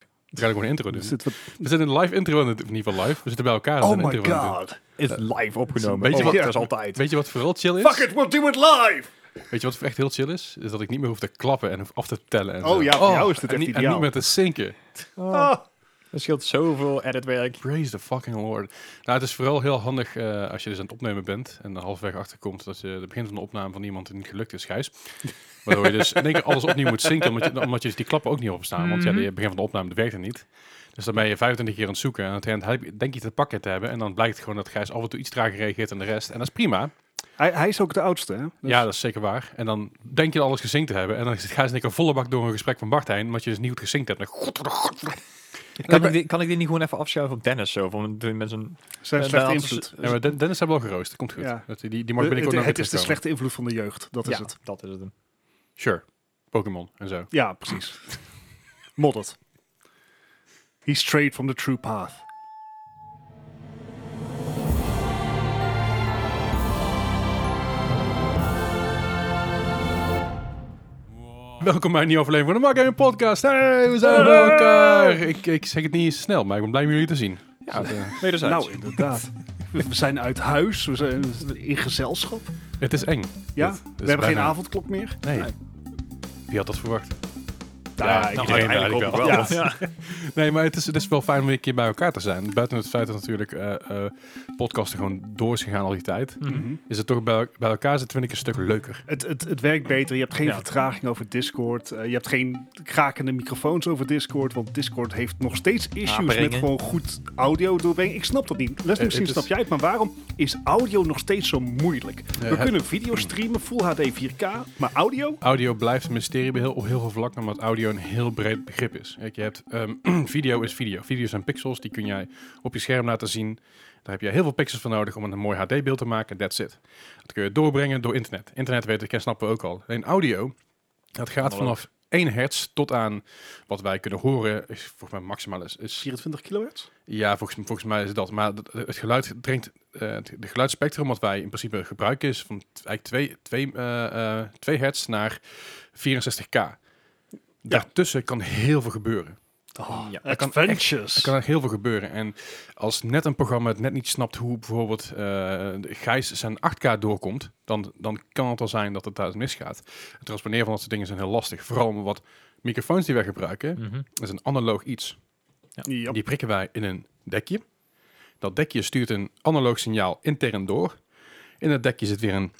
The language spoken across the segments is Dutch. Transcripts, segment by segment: Dan ga ik gewoon een intro doen. Dus het wat- We zitten in een live intro, in het- of niet van live. We zitten bij elkaar. en oh een my intro aan het doen. god. Is live opgenomen. beetje oh, wat- dat is altijd. Weet je wat vooral chill is? Fuck it, we'll do it live! Weet je wat echt heel chill is? Is dat ik niet meer hoef te klappen en hoef af te tellen. En Oh zo. ja, voor jou is dit en, echt niet, en ideaal. niet meer te zinken. Oh. Ah. Dat scheelt zoveel editwerk. Praise the fucking lord. Nou, het is vooral heel handig eh, als je dus aan het opnemen bent en er halfweg achterkomt dat je het begin van de opname van iemand niet gelukt is, Gijs. Waardoor je dus in één keer alles opnieuw moet zinken, omdat je, omdat je dus die klappen ook niet opstaan. Want Mhm. ja, het begin van de opname dat werkt er niet. Dus dan ben je 25 keer aan het zoeken en aan het eind heb je- denk je te pakken te hebben. En dan blijkt gewoon dat Gijs af en toe iets trager reageert dan de rest. En dat is prima. Hij, hij is ook de oudste, hè? Dus- Ja, dat is zeker waar. En dan denk je dat alles gezinkt te hebben. En dan ga je een keer volle bak door een gesprek van Bart heen, omdat je dus niet goed gezinkt hebt. En dan- Kan ik, die, kan ik die niet gewoon even afschuiven op Dennis? Zo, van, doe je met zijn... Zijn Eh, slechte bij invloed. ons- Ja, maar Den- Dennis hebben wel geroost. Dat komt goed. Ja. Dat- Die, die mag De- binnenkort het nog het weer is de terugkomen. slechte invloed van de jeugd, dat is ja, het. dat is het. Sure. Pokémon en zo. Ja, precies. Modded. He strayed from the true path. Welkom bij een nieuwe aflevering van de Mark Gaming Podcast. Hey, we zijn bij elkaar. Ik, ik zeg het niet eens snel, maar ik ben blij om jullie te zien. Ja, Dus, eh, Wederzijds. Nou, inderdaad. We zijn uit huis, we zijn in gezelschap. het is eng. Ja? Dit- dit we is hebben geen bijna- avondklok meer. Nee. Wie had dat verwacht? Ja, ik- iedereen eigenlijk wel. wel. Ja. Nee, maar het is, het is wel fijn om weer een keer bij elkaar te zijn. Buiten het feit dat natuurlijk eh, eh, podcasten gewoon door is gegaan al die tijd. Mhm. Is het toch bij, el- bij elkaar zitten vind ik een stuk leuker. Het, het, het werkt beter, je hebt geen Ja. vertraging over Discord. eh, je hebt geen krakende microfoons over Discord. Want Discord heeft nog steeds issues met Haperingen. gewoon goed audio doorbrengen. Ik snap dat niet. Leslie, Eh, het misschien is- snap jij het, maar waarom is audio nog steeds zo moeilijk? We het- kunnen video streamen, Full HD 4K, maar audio? Audio blijft een mysterie bij heel, op heel veel vlakken, omdat audio een heel breed begrip is. Kijk, je hebt, ehm, video is video. Video's zijn pixels, die kun jij op je scherm laten zien. Daar heb je heel veel pixels voor nodig om een mooi HD-beeld te maken. That's it. Dat kun je doorbrengen door internet. Internet weten, ken- snappen we ook al. Alleen audio, dat gaat vanaf 1 hertz tot aan wat wij kunnen horen, is volgens mij maximaal is, is 24 kilohertz? ja, volgens, volgens mij is dat. Maar dat- het geluid dringt. eh, het het geluidsspectrum wat wij in principe gebruiken is van t- eigenlijk 2 twee, eh, eh, twee hertz naar 64k. Daartussen kan heel veel gebeuren. Ja, ja, er Eh, kan adventures. Er kan echt heel veel gebeuren. En als net een programma het net niet snapt hoe bijvoorbeeld eh Gijs zijn 8K doorkomt, dan, dan kan het al zijn dat het daar misgaat. Het transponeren van dat soort dingen zijn heel lastig. Vooral met wat microfoons die wij gebruiken, Mhm. dat is een analoog iets. Ja. Die prikken wij in een dekje. Dat dekje stuurt een analoog signaal intern door. In dat dekje zit weer een,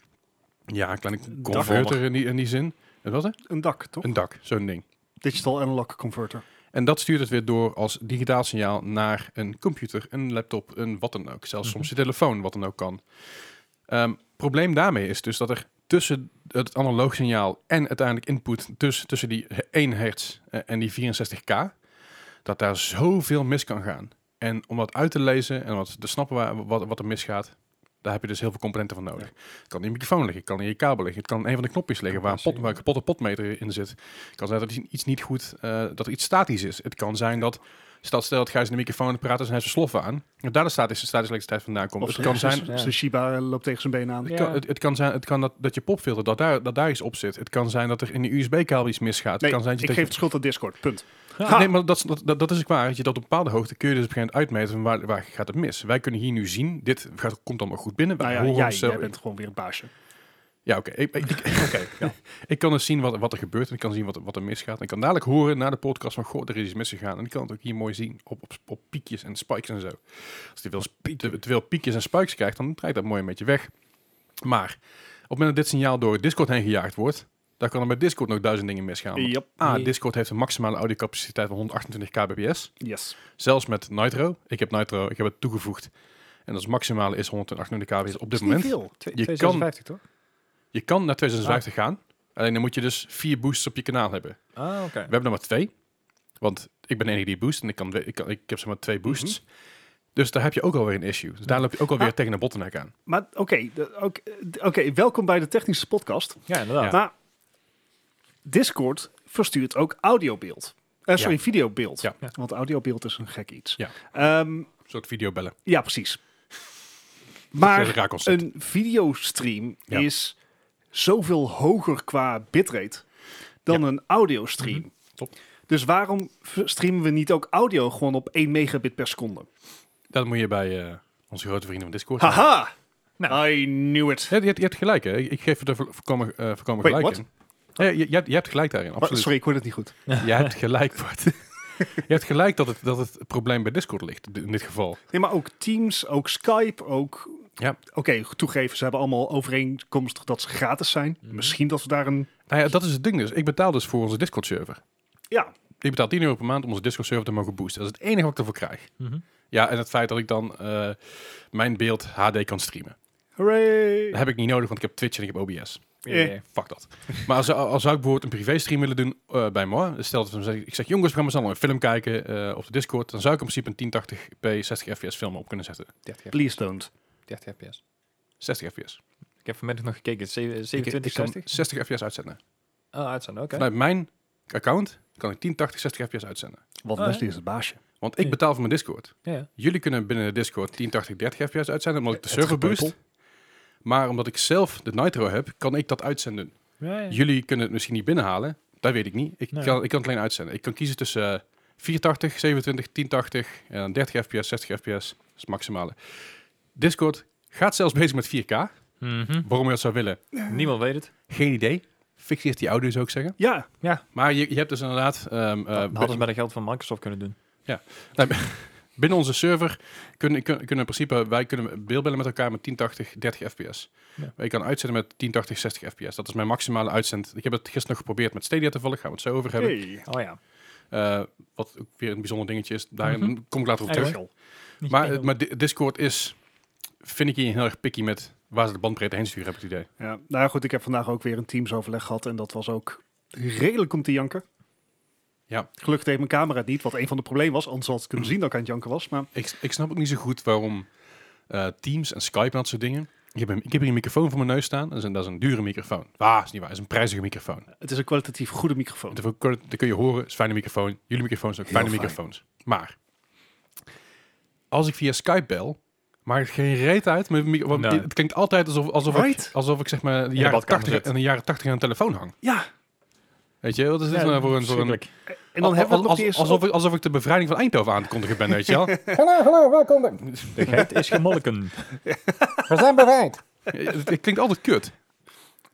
ja, een kleine converter in die, in die zin. Wat was het? Een dak, toch? Een dak, zo'n ding. Digital analog converter. En dat stuurt het weer door als digitaal signaal naar een computer, een laptop, een wat dan ook. Zelfs soms je telefoon, wat dan ook kan. Ehm probleem daarmee is dus dat er tussen het analoog signaal en uiteindelijk input, dus tussen die 1 hertz eh, en die 64k, dat daar zoveel mis kan gaan. En om dat uit te lezen en wat te snappen waar, wat, wat er misgaat, daar heb je dus heel veel componenten van nodig. Het kan in je microfoon liggen, het kan in je kabel liggen, het kan in een van de knopjes liggen waar een, pot, waar een kapotte potmeter in zit. Het kan zijn dat er iets niet goed, eh, dat er iets statisch is. Het kan zijn dat, stel, stel dat Gijs in de microfoon aan het praten is en hij heeft zijn sloffen aan, en daar de statische, statische elektriciteit vandaan komt. Of het kan zijn, ja. Zijn Shiba loopt tegen zijn been aan. Ja. het kan, het, het kan zijn het kan dat, dat je popfilter, dat daar, dat daar iets op zit. Het kan zijn dat er in de USB-kabel iets misgaat. het Nee, kan zijn dat je- dat ik geef je- de schuld aan Discord, punt. Ah, nee, maar dat, is- dat, dat, dat is ook waar. Dat je dat op bepaalde hoogte kun je dus op een gegeven moment uitmeten van waar, waar gaat het mis. Wij kunnen hier nu zien, dit gaat, komt allemaal goed binnen. Wij Nou ja, horen jij, onszelf- jij bent gewoon weer het baasje. Ja, oké. Ik, ik, ik- ik kan dus zien wat, wat er gebeurt en ik kan zien wat, er- wat er misgaat. En ik kan dadelijk horen na de podcast van, goh, er is iets misgegaan. En ik kan het ook hier mooi zien op, op, op piekjes en spikes en zo. Als je veel, spie- te, te veel piekjes en spikes krijgt, dan draait dat mooi een beetje weg. Maar op het moment dat dit signaal door Discord heen gejaagd wordt, dan kan er bij Discord nog duizend dingen misgaan. Want Yep. A, Nee. Discord heeft een maximale audiocapaciteit van 128 kbps. Yes. Zelfs met Nitro. Ik heb Nitro, ik heb het toegevoegd. En dat maximale is 128 kbps op dit Is niet moment. veel. Twee- je kan- 256, toch? Je kan naar 2050 Ah. gaan. Alleen dan moet je dus vier boosts op je kanaal hebben. Ah, oké. We hebben er maar twee. Want ik ben de enige die boost en ik, kan, ik, kan, ik heb zeg maar Mhm. twee boosts. Dus daar heb je ook alweer een issue. Dus daar loop je ook alweer Ah. tegen een bottleneck aan. Maar oké, de- oké, d- oké, welkom bij de technische podcast. Ja, inderdaad. Maar Discord verstuurt ook audiobeeld. Eh, sorry, Ja. videobeeld. Ja. Ja. Want audiobeeld is een gek iets. Ja. Ehm, Een soort videobellen. ja precies. Dat is een Maar raar concept. een videostream Ja. is Mhm. zoveel hoger qua bitrate dan een audiostream. Klopt. Dus waarom v- streamen we niet ook audio gewoon op 1 megabit per seconde? Dat moet je bij eh, onze grote vrienden van Discord. hebben. Haha! Nou. I knew it. Ja, je, hebt, je hebt gelijk, hè? Ik, ik geef het er vo- voorkomen, eh, voorkomen Wait, gelijk what? in. Ja, je, je, hebt- je hebt gelijk daarin, Wa- absoluut. Sorry, ik hoorde het niet goed. Je hebt gelijk, Bart. je hebt gelijk dat het, dat het probleem bij Discord ligt, in dit geval. Nee, maar ook Teams, ook Skype, ook... Ja. Oké, toegeven, ze hebben allemaal overeenkomstig dat ze gratis zijn. Mhm. Misschien dat we daar een... Nou ja, dat is het ding dus. Ik betaal dus voor onze Discord-server. Ja, Ik betaal 10 euro per maand om onze Discord-server te mogen boosten. Dat is het enige wat ik ervoor krijg. Mhm. Ja, en het feit dat ik dan eh, mijn beeld HD kan streamen. hooray! Dat heb ik niet nodig, want ik heb Twitch en ik heb OBS. Eh. Fuck dat. Maar als, als zou ik bijvoorbeeld een privé-stream willen doen eh, bij moi, stel dat we zeggen- ik zeg, jongens, we gaan maar allemaal een film kijken eh, op de Discord, dan zou ik in principe een 1080p 60 fps film op kunnen zetten. 30, Please don't. 30 fps. 60 fps. Ik heb vanmiddag nog gekeken. Zeven- Ik- ik 27, kan 60? 60 fps uitzenden. Ah, uitzenden, oké. Vanuit mijn account kan ik 1080 60 fps uitzenden. Want Oh, Leslie ja. is het baasje. Want ik Ja. betaal voor mijn Discord. Ja, ja. Jullie kunnen binnen de Discord 1080 30 fps uitzenden, omdat ik de Het server boost. gepeupel. Maar omdat ik zelf de Nitro heb, kan ik dat uitzenden. Ja, ja. Jullie kunnen het misschien niet binnenhalen. Dat weet ik niet. Ik, Nee. kan, ik kan het alleen uitzenden. Ik kan kiezen tussen eh, 480, 27, 1080 en dan 30 fps, 60 fps. Dat is het maximale. Discord gaat zelfs bezig met 4K. Mhm. Waarom je dat zou willen? Niemand weet Eh, het. Geen idee. Fictie is die audio zou ik zeggen. Ja, Maar je, je hebt dus inderdaad... ehm, eh, dat hadden ze met het geld van Microsoft kunnen doen. Binnen onze server kunnen, kun- kunnen in principe, wij kunnen beeldbellen met elkaar met 1080, 30 fps. Ja. Ik kan uitzetten met 1080, 60 fps. Dat is mijn maximale uitzend. Ik heb het gisteren nog geprobeerd met Stadia toevallig, gaan we het zo over hebben. hey. Oh ja. Eh, wat ook weer een bijzonder dingetje is. Daar Mhm. kom ik later op Echt? terug. Maar, eh, maar Di- Discord is, vind ik hier heel erg picky met waar ze de bandbreedte heen sturen, heb ik het idee. Ja, nou ja, goed, ik heb vandaag ook weer een teamsoverleg gehad en dat was ook redelijk om te janken. Ja. Gelukkig deed mijn camera het niet, wat een van de problemen was. Anders had ik kunnen zien dat ik aan het janken was. Maar Ik, ik snap ook niet zo goed waarom eh, Teams en Skype en dat soort dingen. Ik heb, een- ik heb hier een microfoon voor mijn neus staan. Dat is een, dat is een dure microfoon. Waar, is niet waar. Dat is een prijzige microfoon. het is een kwalitatief goede microfoon. Dat kun je- dat kun je horen, is een fijne microfoon. Jullie microfoons zijn ook Heel fijne fijn. microfoons. Maar, als ik via Skype bel, maakt het geen reet uit. Mijn micro- want Nee. Het klinkt altijd alsof, alsof, Right? ik, alsof ik zeg maar de de jaren, badkamer 80, zit. in de jaren 80 aan een telefoon hang. Ja, Weet je, wat is dit Ja, nou voor een... Voor een verschrikkelijk. en dan Al- hebben we al- het nog als- eens alsof, ik, alsof ik de bevrijding van Eindhoven aan het kondigen ben, weet je wel. Hallo, hallo, welkom. bij- De geit is gemolken. We zijn bevrijd. het, het klinkt altijd kut.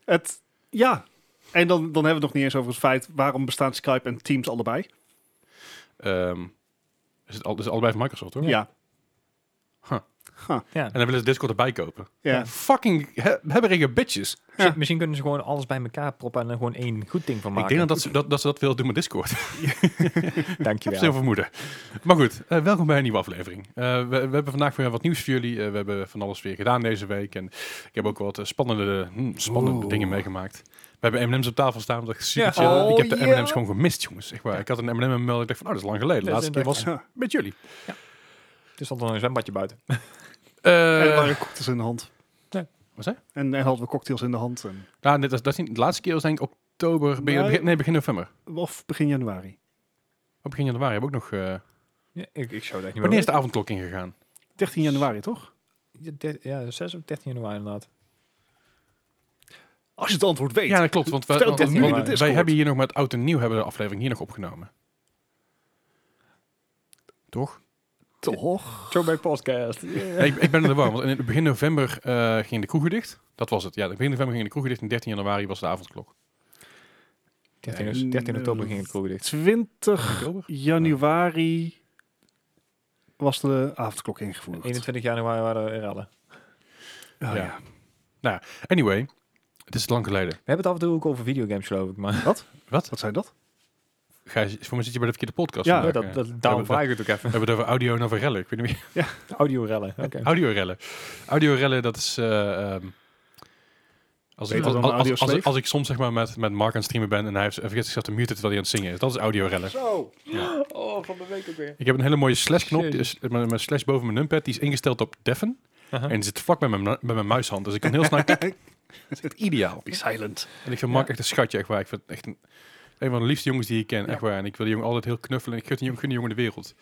het. Ja, en dan, dan hebben we het nog niet eens over het feit waarom bestaan Skype en Teams allebei. Ehm, is het al, is het allebei van Microsoft, hoor. Ja, ja. Ja. En dan willen ze Discord erbij kopen. ja. Fucking he, hebberige bitches. Ja. Misschien kunnen ze gewoon alles bij elkaar proppen en er gewoon één goed ding van maken. Ik denk dat, dat, ze- dat, dat ze dat willen doen met Discord. Ik heb Dankjewel. zo'n vermoeden. Maar goed, eh, welkom bij een nieuwe aflevering. Eh, we, we hebben vandaag weer wat nieuws voor jullie. Eh, we hebben van alles weer gedaan deze week. En ik heb ook wat eh, spannende, hm, spannende Oeh. dingen meegemaakt. We hebben M&M's op tafel staan. Dat is super Ja. chill. Oh, ik heb de ja. M&M's gewoon gemist, jongens. Echt waar. Ik had een M&M in mijn mail. Ik dacht van, oh, dat is lang geleden. De Dat laatste is keer was Ja. met jullie. Er stond al een zwembadje buiten. En er Eh, waren cocktails in de hand. wat zei je? En, en hadden we cocktails in de hand. En, Nou, dit was- dat is niet- de laatste keer was denk ik oktober. Begin, Nee. begin- nee, begin november. of begin januari. Op begin januari heb ik ook nog... eh, Ja, ik, ik zou dat niet wanneer is de avondklok ingegaan? 13 januari, toch? weten. Ja, ja, 6 of 13 januari inderdaad. Als je het antwoord weet. Ja, dat klopt. Want, we, Vertel want- dit want- nu in want de wij Discord. hebben hier nog met oud en nieuw hebben we de aflevering hier nog opgenomen. Toch? Toch? Throwback podcast. Ja, ik, ik ben er warm. Want in het begin november eh gingen de kroegen dicht. Dat was het. Ja, begin november gingen de kroegen dicht. En 13 januari was de avondklok. 13, 13 oktober ging het kroeg dicht. 20 Oktober? januari was de avondklok ingevoerd. 21 januari waren er rellen. Oh, ja. Nou, Anyway, het is lang geleden. We hebben het af en toe ook over videogames geloof ik, maar Wat zijn dat? Gijs, voor mij zit je bij de verkeerde podcast. Ja, vandaag, dat, eh. dat, daarom we hebben- vraag ik het ook even. We hebben het over audio en over rellen. Ik weet niet meer. Audio rellen. Oké. Audiorellen. Audiorellen, dat is... eh, ehm, als ik, Beter als, als- dan als- audiosleep? als ik- als ik soms zeg maar met, met Mark aan het streamen ben en hij heeft, vergeet zichzelf te muten terwijl hij aan het zingen is. Dat is audiorellen. Zo. Oh, van de week ook weer. Ik heb een hele mooie slash knop. Die Jezus. is, mijn, mijn slash boven mijn numpad die is ingesteld op Deffen. Aha. En die zit vlak bij mijn, bij mijn muishand. Dus ik kan heel snel... klik. dat is echt ideaal. Be silent. En ik vind Mark Ja. echt een schatje. Echt waar. Ik vind het echt een, een van de liefste jongens die ik ken. Echt waar. En ik wil die jongen altijd heel knuffelen. En ik gun die, jongen- gun die jongen de wereld.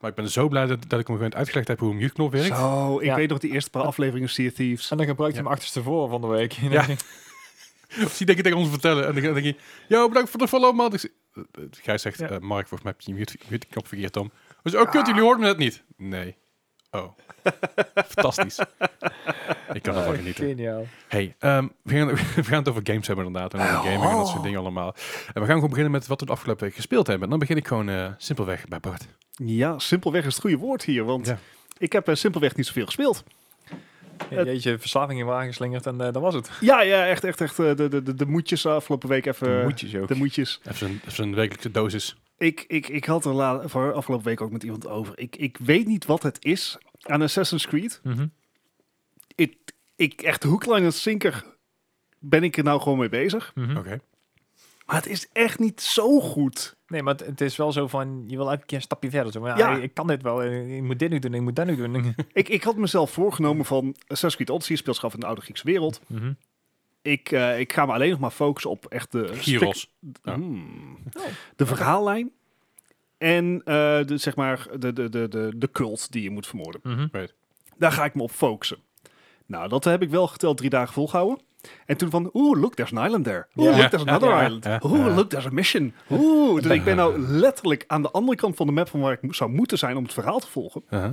Maar ik ben zo blij dat, dat ik hem gewoon uitgelegd heb hoe een mute knop werkt. Zo, ik Ja. weet nog die eerste paar afleveringen Sea of Thieves. En dan gebruikte Ja. je hem achterstevoren van de week. Ja. Of die denk ik tegen ons vertellen. En dan denk ik, yo, bedankt voor de follow, man. Ik zeg, eh, Gijs zegt, Ja. eh, Mark, volgens mij heb je je mute- mute-knop verkeerd dan. Dus, oh, kut, jullie horen me net niet. Nee. Oh. Fantastisch. Ik kan ervan genieten. Geniaal. Hey, ehm, we, gaan, we gaan het over games hebben inderdaad. En over gaming en dat soort dingen allemaal. En we gaan gewoon beginnen met wat we de afgelopen week gespeeld hebben. En dan begin ik gewoon eh, simpelweg bij Bart. Ja, simpelweg is het goede woord hier, want Ja. ik heb eh, simpelweg niet zoveel gespeeld. Het- Jeetje, verslaving in wagen slingerd en eh, dat was het. Ja, ja, echt, echt, echt. eh, De, de, de, de moedjes de afgelopen week even. De moedjes ook. Eh, De moedjes. Even zijn- even zijn wekelijkse dosis. Ik, ik, ik had er la- voor afgelopen week ook met iemand over. Ik, ik weet niet wat het is aan Assassin's Creed. Mhm. Ik, ik echt hoekline en sinker ben ik er nou gewoon mee bezig. Mhm. Oké. Maar het is echt niet zo goed. Nee, maar het, het is wel zo van, je wil elke keer een stapje verder. Zo. Maar, Ja. ja, Mhm. ik kan dit wel. eh, Ik moet dit nu doen, ik moet dat nu doen. Ik, ik had mezelf voorgenomen van Assassin's Creed Odyssey speelt zich af in de oude Griekse wereld. Mhm. Ik, eh, ik ga me alleen nog maar focussen op echt de stuk- Gyros. Ja. Hmm. Oh. De verhaallijn. En eh, de, zeg maar de, de, de, de, de cult die je moet vermoorden. Mhm. Daar ga ik me op focussen. Nou, dat heb ik wel geteld drie dagen volgehouden. En toen van, oeh, look, there's an island there. Oeh, Ja. look, there's another Ja, ja, island. ja, Oeh, ja. look, there's a mission. Oeh, dus ik ben nou letterlijk aan de andere kant van de map van waar ik mo- zou moeten zijn om het verhaal te volgen. Uh-huh.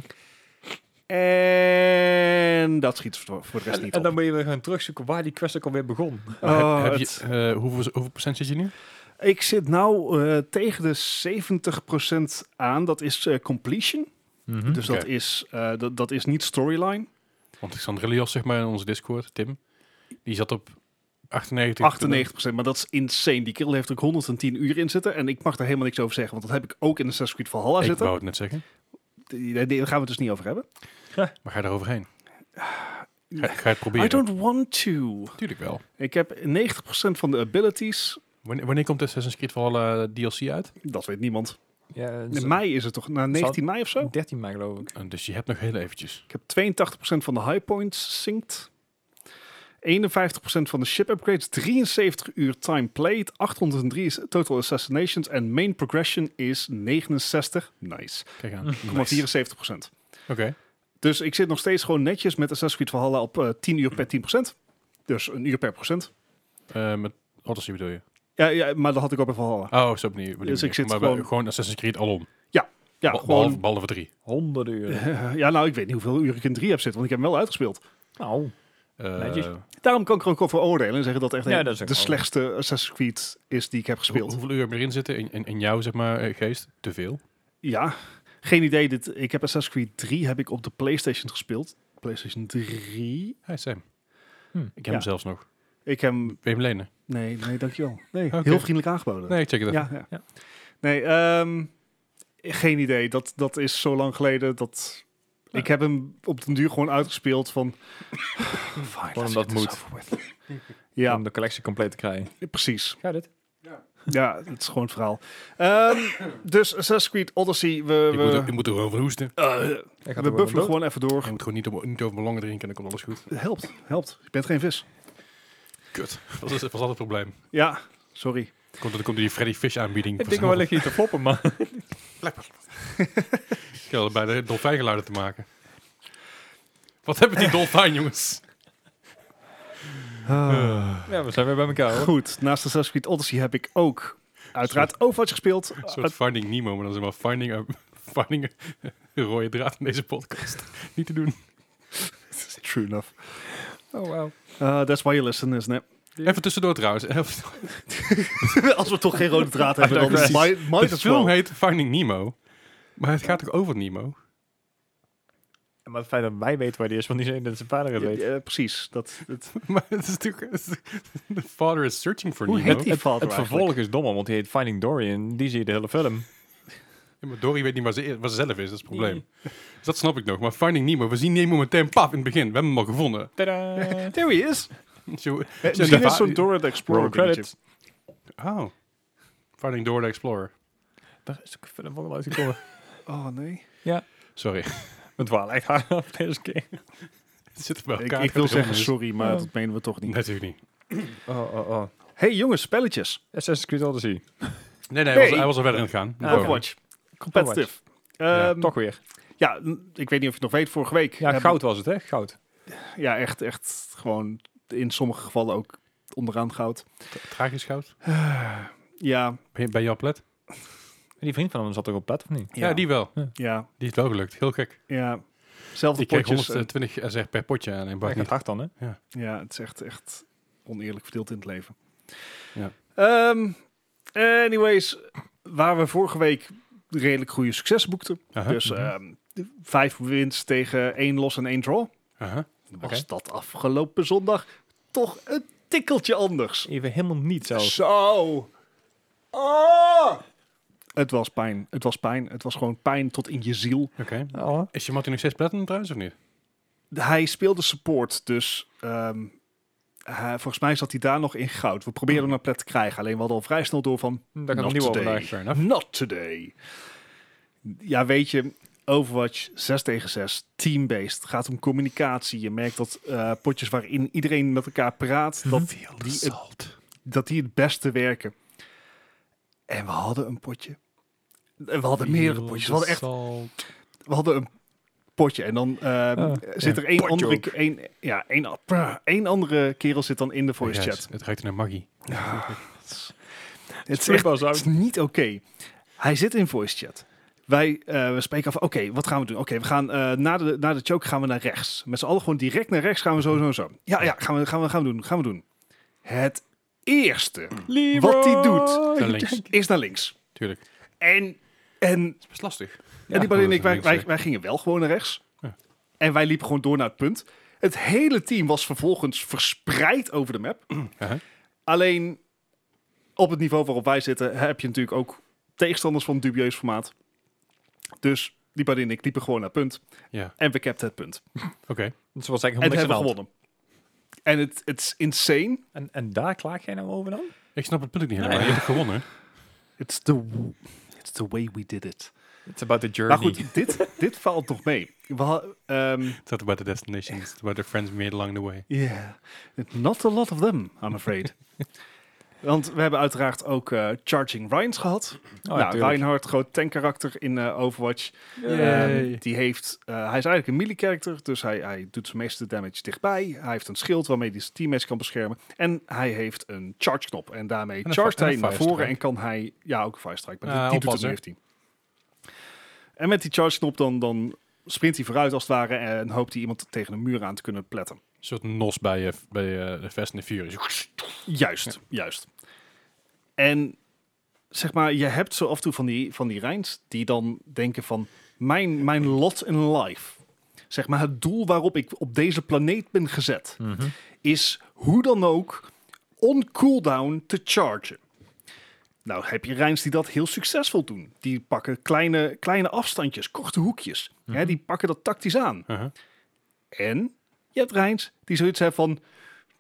En dat schiet voor voor de rest niet En dan op. moet je weer gaan terugzoeken waar die quest ook alweer begon. Oh, heb, heb het- je, eh, hoeveel, hoeveel procent zit je nu? Ik zit nou eh, tegen de 70% aan. Dat is eh, completion. Mhm. Dus dat, Oké. is, eh, dat, dat is niet storyline. Want Xandre Lios, zeg maar, in onze Discord, Tim, die zat op 98. 98%, maar dat is insane. Die kerel heeft er ook 110 uur in zitten. En ik mag daar helemaal niks over zeggen, want dat heb ik ook in de Assassin's Creed Valhalla Ik zitten. wou het net zeggen. Die- die- die- Daar gaan we het dus niet over hebben. Maar ga daar overheen. Ga, ga het proberen. I don't want to. Natuurlijk wel. Ik heb 90% van de abilities. Wanneer, wanneer komt Assassin's Creed Valhalla DLC uit? Dat weet niemand. Ja, In mei is het toch? Na 19 mei of zo? 13 mei geloof ik. Eh, dus je hebt nog heel eventjes. Ik heb 82% van de high points synced. 51% van de ship upgrades, 73 uur time played, 803 is total assassinations en main progression is 69. Nice. Kijk aan. Nice. 74%. Oké. Dus ik zit nog steeds gewoon netjes met Assassin's Creed Valhalla op eh, 10 uur per 10%. Dus een uur per procent. Eh, met Odyssey bedoel je? Ja, ja maar dat had ik ook bij Valhalla. Oh, zo opnieuw. bedoel Dus ik zit maar gewoon- we- gewoon Assassin's Creed alom. Ja, Be- gewoon, behalve, behalve drie. Honderden uren. ja, nou, ik weet niet hoeveel uur ik in 3 heb zitten, want ik heb hem wel uitgespeeld. Nou, Eh, Netjes. Daarom kan ik er ook over oordelen en zeggen dat echt Ja, een- dat is ook de wel- slechtste Assassin's Creed is die ik heb hoe- gespeeld. hoeveel uur heb je erin zitten? In, in, in jouw, zeg maar, eh, geest? Te veel. Ja, geen idee. Dit, ik heb Assassin's Creed 3 heb ik op de PlayStation gespeeld. PlayStation 3. Hey, Sam. Hm. Ik heb Ja. hem zelfs nog. Wil Ik heb hem... je hem lenen? Nee, nee, dankjewel. Nee, Oké. heel vriendelijk aangeboden. Nee, ik check het even. Ja, ja. Ja. Nee, ehm, geen idee. Dat, dat is zo lang geleden dat... Ja. Ik heb hem op den duur gewoon uitgespeeld van... Fine, let's omdat get this moet. over with. ja, om de collectie compleet te krijgen. precies. Gaat dit? Ja, het is gewoon het verhaal. Ehm, dus Assassin's Creed Odyssey, we... Ik, we moet, ik moet er gewoon van hoesten. eh, we buffelen gewoon even door. Ik moet gewoon niet, op- niet over mijn longen drinken en dan komt alles goed. Helpt, helpt. Je bent geen vis. Kut. Dat was, dat was altijd het probleem. Ja, sorry. Komt, dan komt die Freddy Fish aanbieding. Ik denk wel lig hier te floppen, maar... Ik had bij de dolfijngeluiden te maken. Wat hebben die dolfijn, jongens? ja, we zijn weer bij elkaar hoor. Goed, naast Assassin's Creed Odyssey heb ik ook uiteraard Overwatch gespeeld. Een soort Finding Nemo, maar dan zeg maar Finding... a- finding a- een rode draad in deze podcast. Niet te doen. True enough. Oh, wow. Uh, that's why you listen, isn't it? Even tussendoor trouwens. Even- Als we toch geen rode draad hebben, dan Precies. might, might de as film well. heet Finding Nemo. Maar het gaat toch over Nemo? Maar het feit dat wij weten waar die is, want die zijn dat zijn vader het Ja, weet. ja, precies. Dat, dat, Maar het is natuurlijk... het is- The father is searching for hoe Nemo. heet die vader Het vervolg is dommer, want die heet Finding Dory en die zie je de hele film. Ja, maar Dory weet niet waar ze, e- waar ze zelf is, dat is het probleem. Dus dat snap ik nog. Maar Finding Nemo, we zien Nemo meteen paf in het begin. We hebben hem al gevonden. Tadaa! There he is. Zo- Eh, zo- misschien die- is zo'n Dora the Explorer Roll dingetje. credits. Oh. Finding Dora the Explorer. Daar is ook een film van uitgekomen. Oh, nee. Sorry. Het waren echt hard af deze keer. Het zit bij Ik, elkaar. ik wil Het gaat zeggen helemaal sorry, maar Ja. dat menen we toch mis. niet. Natuurlijk niet. Oh, oh, oh. Oh. Hey jongens, spelletjes. Assassin's Creed Odyssey. Nee, nee, hij, was, Nee. hij was al verder aan het gaan. Ah, oké. Overwatch. Competitive. Ja, Ehm, Toch weer. ja, n- ik weet niet of je het nog weet, vorige week. Ja, hebben- goud was het, hè? Goud. Ja, echt, echt gewoon in sommige gevallen ook onderaan goud. Tragisch goud. Ja, Ben je, ben je al plat? Die vriend van hem zat toch op plat of niet? Ja. die wel. Ja, Die is wel gelukt. Heel gek. ja. Zelfde Die kreeg potjes. eh? en- 120 SR per potje aan in Hij Barney. gaat hard dan, hè? Ja, het is echt, echt oneerlijk verdeeld in het leven. Ja. Ehm, anyways, waar we vorige week redelijk goede succes boekten. Aha, Dus ehm, de- vijf wins tegen één los en één draw. aha. Was Oké. dat afgelopen zondag toch een tikkeltje anders? Even helemaal niet zo. Zo. Ah! Het was pijn. Het was pijn. Het was gewoon pijn tot in je ziel. Oké. Oh. Is je Martin nog steeds platinum trouwens of niet? hij speelde support, dus ehm, hij- volgens mij zat hij daar nog in goud. We probeerden hem naar plat te krijgen, alleen we hadden al vrij snel door van... Daar kan Not ik nieuw over vandaag. today. Fair enough. Not today. Ja, weet je, Overwatch 6 tegen 6, team-based, gaat om communicatie. Je merkt dat eh, potjes waarin iedereen met elkaar Mhm. praat, dat, die het- dat die het beste werken. En we hadden een potje. En we hadden meerdere potjes. We hadden echt we hadden een potje en dan ehm, Ah, zit er één Potje andere, ook. één, ja, één, a- pra- één andere kerel zit dan in de voice Yes, chat. Het ruikt naar Maggie. Het is echt het is niet oké. Hij zit in voice chat. Wij eh, we spreken af, oké, wat gaan we doen? Oké, we gaan eh, na, de, na de choke gaan we naar rechts. Met z'n allen gewoon direct naar rechts gaan we zo, zo, zo. Ja, ja, gaan we, gaan we, gaan we doen, gaan we doen. Het eerste Wat die doet. Naar links. is naar links. Tuurlijk. Het En, en is best lastig. en die Barry en dat ik, is wij, niks, wij, hè. wij gingen wel gewoon naar rechts. Ja. En wij liepen gewoon door naar het punt. Het hele team was vervolgens verspreid over de map. Aha. Alleen op het niveau waarop wij zitten heb je natuurlijk ook tegenstanders van dubieus formaat. Dus die Barry en ik liepen gewoon naar het punt. Ja, En we capten het punt. oké. Dat was eigenlijk helemaal En niks aan de hebben hand. gewonnen. En het, het is insane. En, en daar klaag jij nou over dan? Ik snap het punt ook niet Nee. helemaal. Je hebt gewonnen. It's the, it's the way we did it. It's about the journey. Maar goed, dit, dit valt nog mee. We, ha- ehm, It's not about the destination. It's about the friends made along the way. Yeah, not a lot of them, I'm afraid. Want we hebben uiteraard ook eh, Charging Ryans gehad. Oh, ja, nou, tuurlijk. Reinhardt, groot tankkarakter in eh, Overwatch. Ehm, die heeft, eh, hij is eigenlijk een melee character, dus hij, hij doet zijn meeste damage dichtbij. Hij heeft een schild waarmee hij zijn teammates kan beschermen. En hij heeft een charge knop. En daarmee En een charge fi- en hij een naar firestrike. voren en kan hij... Ja, ook een firestrike, maar Ja, die, die doet het oppassen. heeft hij. En met die charge knop dan, dan sprint hij vooruit als het ware... en hoopt hij iemand tegen een muur aan te kunnen pletten. Een soort nos bij, eh, bij eh, de Fast and the Furious. Juist, juist. En zeg maar, je hebt zo af en toe van die, van die Rijns die dan denken van... Mijn, mijn lot in life, zeg maar het doel waarop ik op deze planeet ben gezet... Mhm. is hoe dan ook on cooldown te chargen. Nou heb je Rijns die dat heel succesvol doen. Die pakken kleine, kleine afstandjes, korte hoekjes. Hè, die pakken dat tactisch aan. Uh-huh. En je hebt Rijns die zoiets heeft van...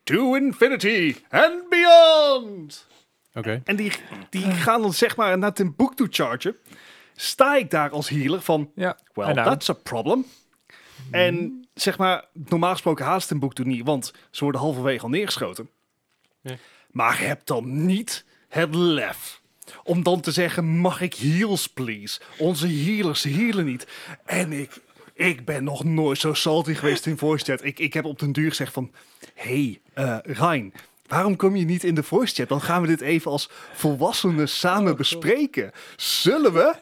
To infinity and beyond! Oké. En die, die gaan dan zeg maar naar Timbuktu chargen. Sta ik daar als healer van... Ja. Well, En nou? that's a problem. En zeg maar, normaal gesproken haast Timbuktu niet... want ze worden halverwege al neergeschoten. Ja. Maar heb dan niet het lef... om dan te zeggen, mag ik heals please? Onze healers healen niet. En ik... Ik ben nog nooit zo salty geweest in voice chat. Ik, ik heb op den duur gezegd van... hey, eh Rijn, waarom kom je niet in de voice chat? Dan gaan we dit even als volwassenen samen bespreken. Zullen we?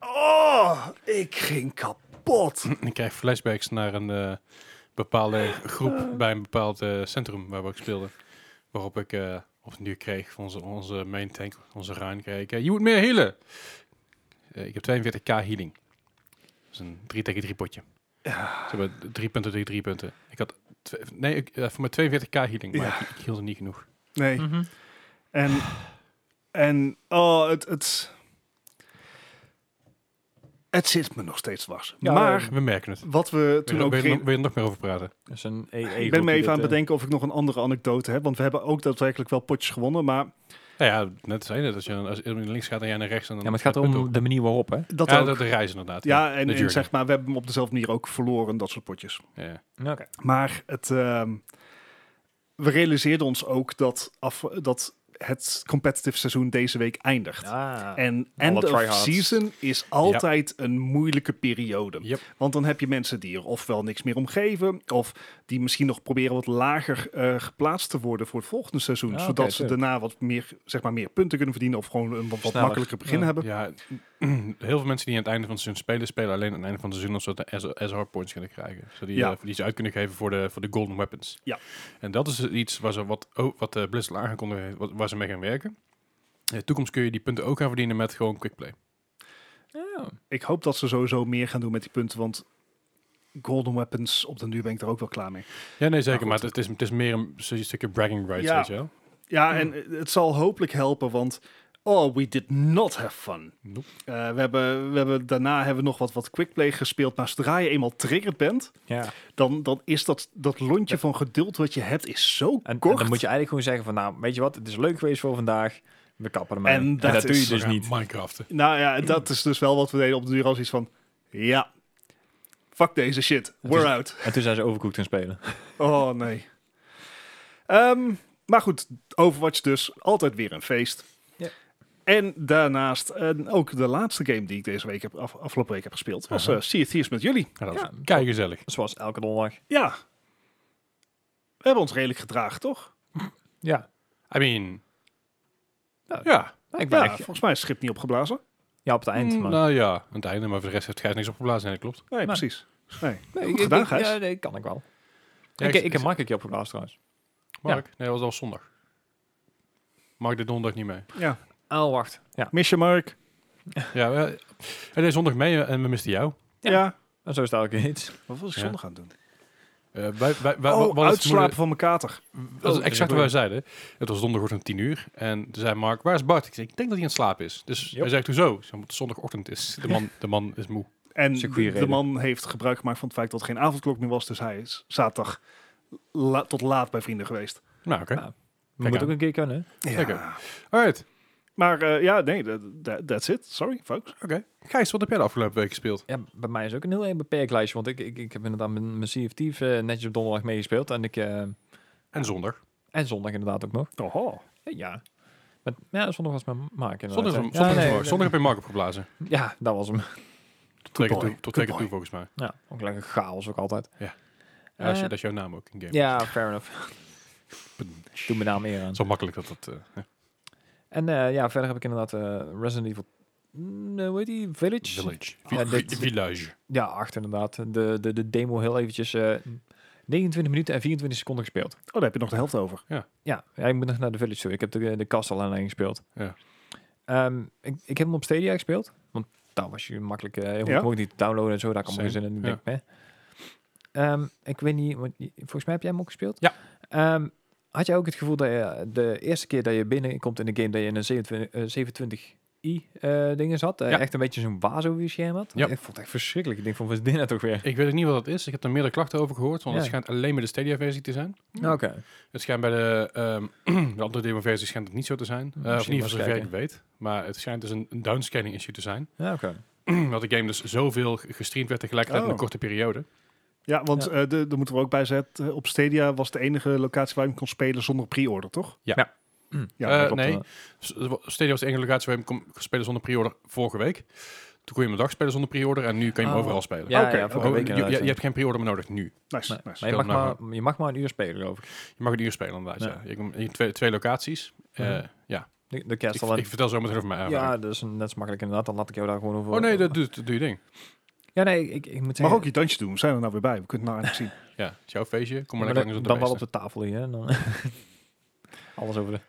Oh, ik ging kapot. Ik krijg flashbacks naar een eh, bepaalde groep bij een bepaald eh, centrum waar we ook speelden. Waarop ik eh op een duur kreeg van onze, onze main tank, onze Ryan, kreeg ik, eh, je moet meer healen. Eh, ik heb 42k healing. Dat is een 3 tegen 3 potje. Ze hebben 3 punten tegen 3 punten. Ik had twe- nee, ik, eh, voor mijn 42k healing, maar Ja. ik, ik hield er niet genoeg. Nee. En, en oh, het, het, het zit me nog steeds dwars. Ja, maar We merken het. wat we toen Wil ook... wil je geen- er nog- wil je er nog meer over praten? Dus een e Ik ben me even aan het bedenken of ik nog een andere anekdote heb. Want we hebben ook daadwerkelijk wel potjes gewonnen. Maar Nou ja, net zei je net, als je als iemand naar links gaat en jij naar rechts... En dan Ja, maar het gaat om de manier waarop, hè? dat ja, ook. de, de reis inderdaad. ja, en, de en journey. zeg maar, we hebben hem op dezelfde manier ook verloren. Dat soort potjes. Ja. Oké. Maar het, ehm, we realiseerden ons ook dat, af, dat het competitive seizoen deze week eindigt. En Alle end of tryhards. season is altijd een moeilijke periode. Yep. Want dan heb je mensen die er ofwel niks meer om geven... of die misschien nog proberen wat lager eh, geplaatst te worden voor het volgende seizoen. Ah, oké, zodat ze tuurlijk. daarna wat meer, zeg maar, meer punten kunnen verdienen of gewoon een wat, wat Sneller. makkelijker begin Ja. hebben. Ja, heel veel mensen die aan het einde van het seizoen spelen, spelen alleen aan het einde van het seizoen zodat de SR points kunnen krijgen. Zodat die, Ja. eh, die ze uit kunnen geven voor de, voor de golden weapons. Ja. En dat is iets waar ze wat, oh, wat eh, Blizzard al aangekondigd heeft, wat, waar ze mee gaan werken. In de toekomst kun je die punten ook gaan verdienen met gewoon quickplay. Oh. Ik hoop dat ze sowieso meer gaan doen met die punten, want Golden Weapons, op den duur ben ik daar ook wel klaar mee. Ja, nee, zeker. goed. maar het is, het is meer een, een stukje bragging rights, Ja. weet je wel. Ja, en eh, het zal hopelijk helpen, want oh, we did not have fun. Nope. Eh, we hebben, we hebben, daarna hebben we nog wat, wat quickplay gespeeld, maar zodra je eenmaal triggered bent, Ja. dan, dan is dat, dat lontje van geduld wat je hebt, is zo En, en kort. dan moet je eigenlijk gewoon zeggen van, nou, weet je wat, het is leuk geweest voor vandaag. We kappen ermee. En dat dat doe je is- dus Ja, niet. Minecraften. Nou ja, dat is dus wel wat we deden op de duur als iets van, ja, fuck deze shit, we're is- out. En toen zijn ze overcooked gaan spelen. Oh nee. Ehm, maar goed, Overwatch dus altijd weer een feest. Ja. En daarnaast, en ook de laatste game die ik deze week heb, af- afgelopen week heb gespeeld, was eh Aha. Sea of Thieves met jullie. Ja, dat Ja. was kei gezellig. Zoals elke donderdag. Ja. We hebben ons redelijk gedragen, toch? Ja. I mean... Nou, ja. ik ben Ja, echt- volgens mij is het schip niet opgeblazen. ja, op het eind. Mm, maar- Nou ja, aan het einde. Maar voor de rest heeft Gijs niks opgeblazen. Nee, dat klopt. Nee, Maar- precies. Nee. Nee, Goed ik- ik- gedaan, ik- Gijs. Ja, nee, kan ik wel. Ja, ik, ik- ik, heb Mark een keer opgeblazen trouwens. Mark? Nee, dat was al zondag. Mark dit donderdag niet mee. Ja. Oh, wacht. Ja, Miss je, Mark? Ja, we- hij deed zondag mee eh, en we misten jou. Ja. Ja. en zo is het elke keer iets. Wat was ik Ja. zondag aan het doen? Eh, wij, wij, wij, oh, wat het uitslapen van mijn kater. moeilijk- dat is Oh, exact dat wat wij is zeiden. Het was donderdagochtend 10 uur. En toen zei Mark, waar is Bart? Ik zei, ik denk dat hij aan het slapen is. Dus Yep. hij zegt, hoezo? Ik zei, "Omdat het zondagochtend is. De man, de man is moe. En is een de, goede de reden. man heeft gebruik gemaakt van het feit dat het geen avondklok meer was. Dus hij is zaterdag la- tot laat bij vrienden geweest. Nou, oké. Nou, Kijk moet aan. ook een keer kunnen. Zeker. Alright. Maar eh, ja, nee, that- that- that's it. Sorry, folks. Gijs, wat heb jij de afgelopen week gespeeld? Ja, bij mij is ook een heel erg beperkt lijstje. Want ik, ik, ik heb inderdaad mijn, mijn Sea of Thieves, eh, netjes op donderdag meegespeeld. En, ik, eh, En zondag. en zondag inderdaad ook nog. Eh, Oho. Ja. Met, ja, zondag was mijn maak Zondag, inderdaad. is hè. hem- Ja, zondag, is hem nee, mooi. zondag heb je Mark opgeblazen. Ja, dat was hem. Tot twee keer boy. toe, tot twee Good keer toe volgens mij. Ja, ook lekker chaos ook altijd. Ja, dat is- Eh, dat is jouw naam ook in game. Ja, fair enough. Doe mijn naam eer aan. Zo makkelijk dat dat... eh, ja. En eh, ja, verder heb ik inderdaad eh, Resident Evil... Mm, eh, hoe heet die? Village? Village. Ja, dit- Village. Ja, 8 inderdaad. De, de, de demo heel eventjes... eh 29 minuten en 24 seconden gespeeld. Oh, daar heb je nog de helft over. Ja, ja, ik moet nog naar de Village toe. Ik heb de, de kast al alleen gespeeld. Ja. Ehm, ik, ik heb hem op Stadia gespeeld. Want daar was je makkelijk eh, heel Ja. moeilijk niet te downloaden en zo. Daar kan ik Same, geen zin in. Ik ja. denk, meh. Ehm, ik weet niet, want je- volgens mij heb jij hem ook gespeeld? Ja. Ehm, had jij ook het gevoel dat je eh, de eerste keer dat je binnenkomt in de game, dat je in een 27, eh, 27i eh, dingen zat? Eh, Ja. Echt een beetje zo'n wazo-scherm had? Ja. Ik vond het echt verschrikkelijk. Ik denk van, wat is dit nou toch weer? Ik weet ook niet wat dat is. Ik heb er meerdere klachten over gehoord, want het Ja. schijnt alleen maar de Stadia-versie te zijn. Oké. Het schijnt bij de, ehm, de andere demo-versie schijnt het niet zo te zijn. Eh of in ieder eens geval zover ik kijken. weet. Maar het schijnt dus een, een downscanning issue te zijn. Ja, oké. Want de game dus zoveel ge- gestreamd werd tegelijkertijd in een Oh. korte periode. Ja, want Ja. eh, de- daar moeten we ook bij zetten. eh, op Stadia was de enige locatie waar je hem kon spelen zonder pre-order, toch? Ja. Ja. Ja, Eh, dat klopt, nee, eh. S- Stadia was de enige locatie waar je hem kon spelen zonder pre-order vorige week. Toen kon je hem een dag spelen zonder pre-order en nu kan je hem Oh. overal spelen. Ja, Oké, ja, Oh, vorige week je, inderdaad, je- ja. je hebt geen pre-order meer nodig nu. Nice, Nee, nice. maar je, mag Stel nou maar, je mag maar een uur spelen, geloof ik. Je mag een uur spelen inderdaad. Ja. Ja. Je komt in twee, twee locaties. Eh, Mhm. Ja, De, de ik, kerst al ik vertel zo meteen over mijn ervaring. Ja, dat is net zo makkelijk inderdaad. Dan laat ik jou daar gewoon over. Oh nee, dat doe, doe je ding. Ja, nee, ik, ik moet Mag zeggen... ook je dansje doen. We zijn er nou weer bij. We kunnen het nou eigenlijk zien. Ja, het is jouw feestje. Kom maar maar lekker dan, langs dan wel op de de tafel hier. hè, Dan Alles over de...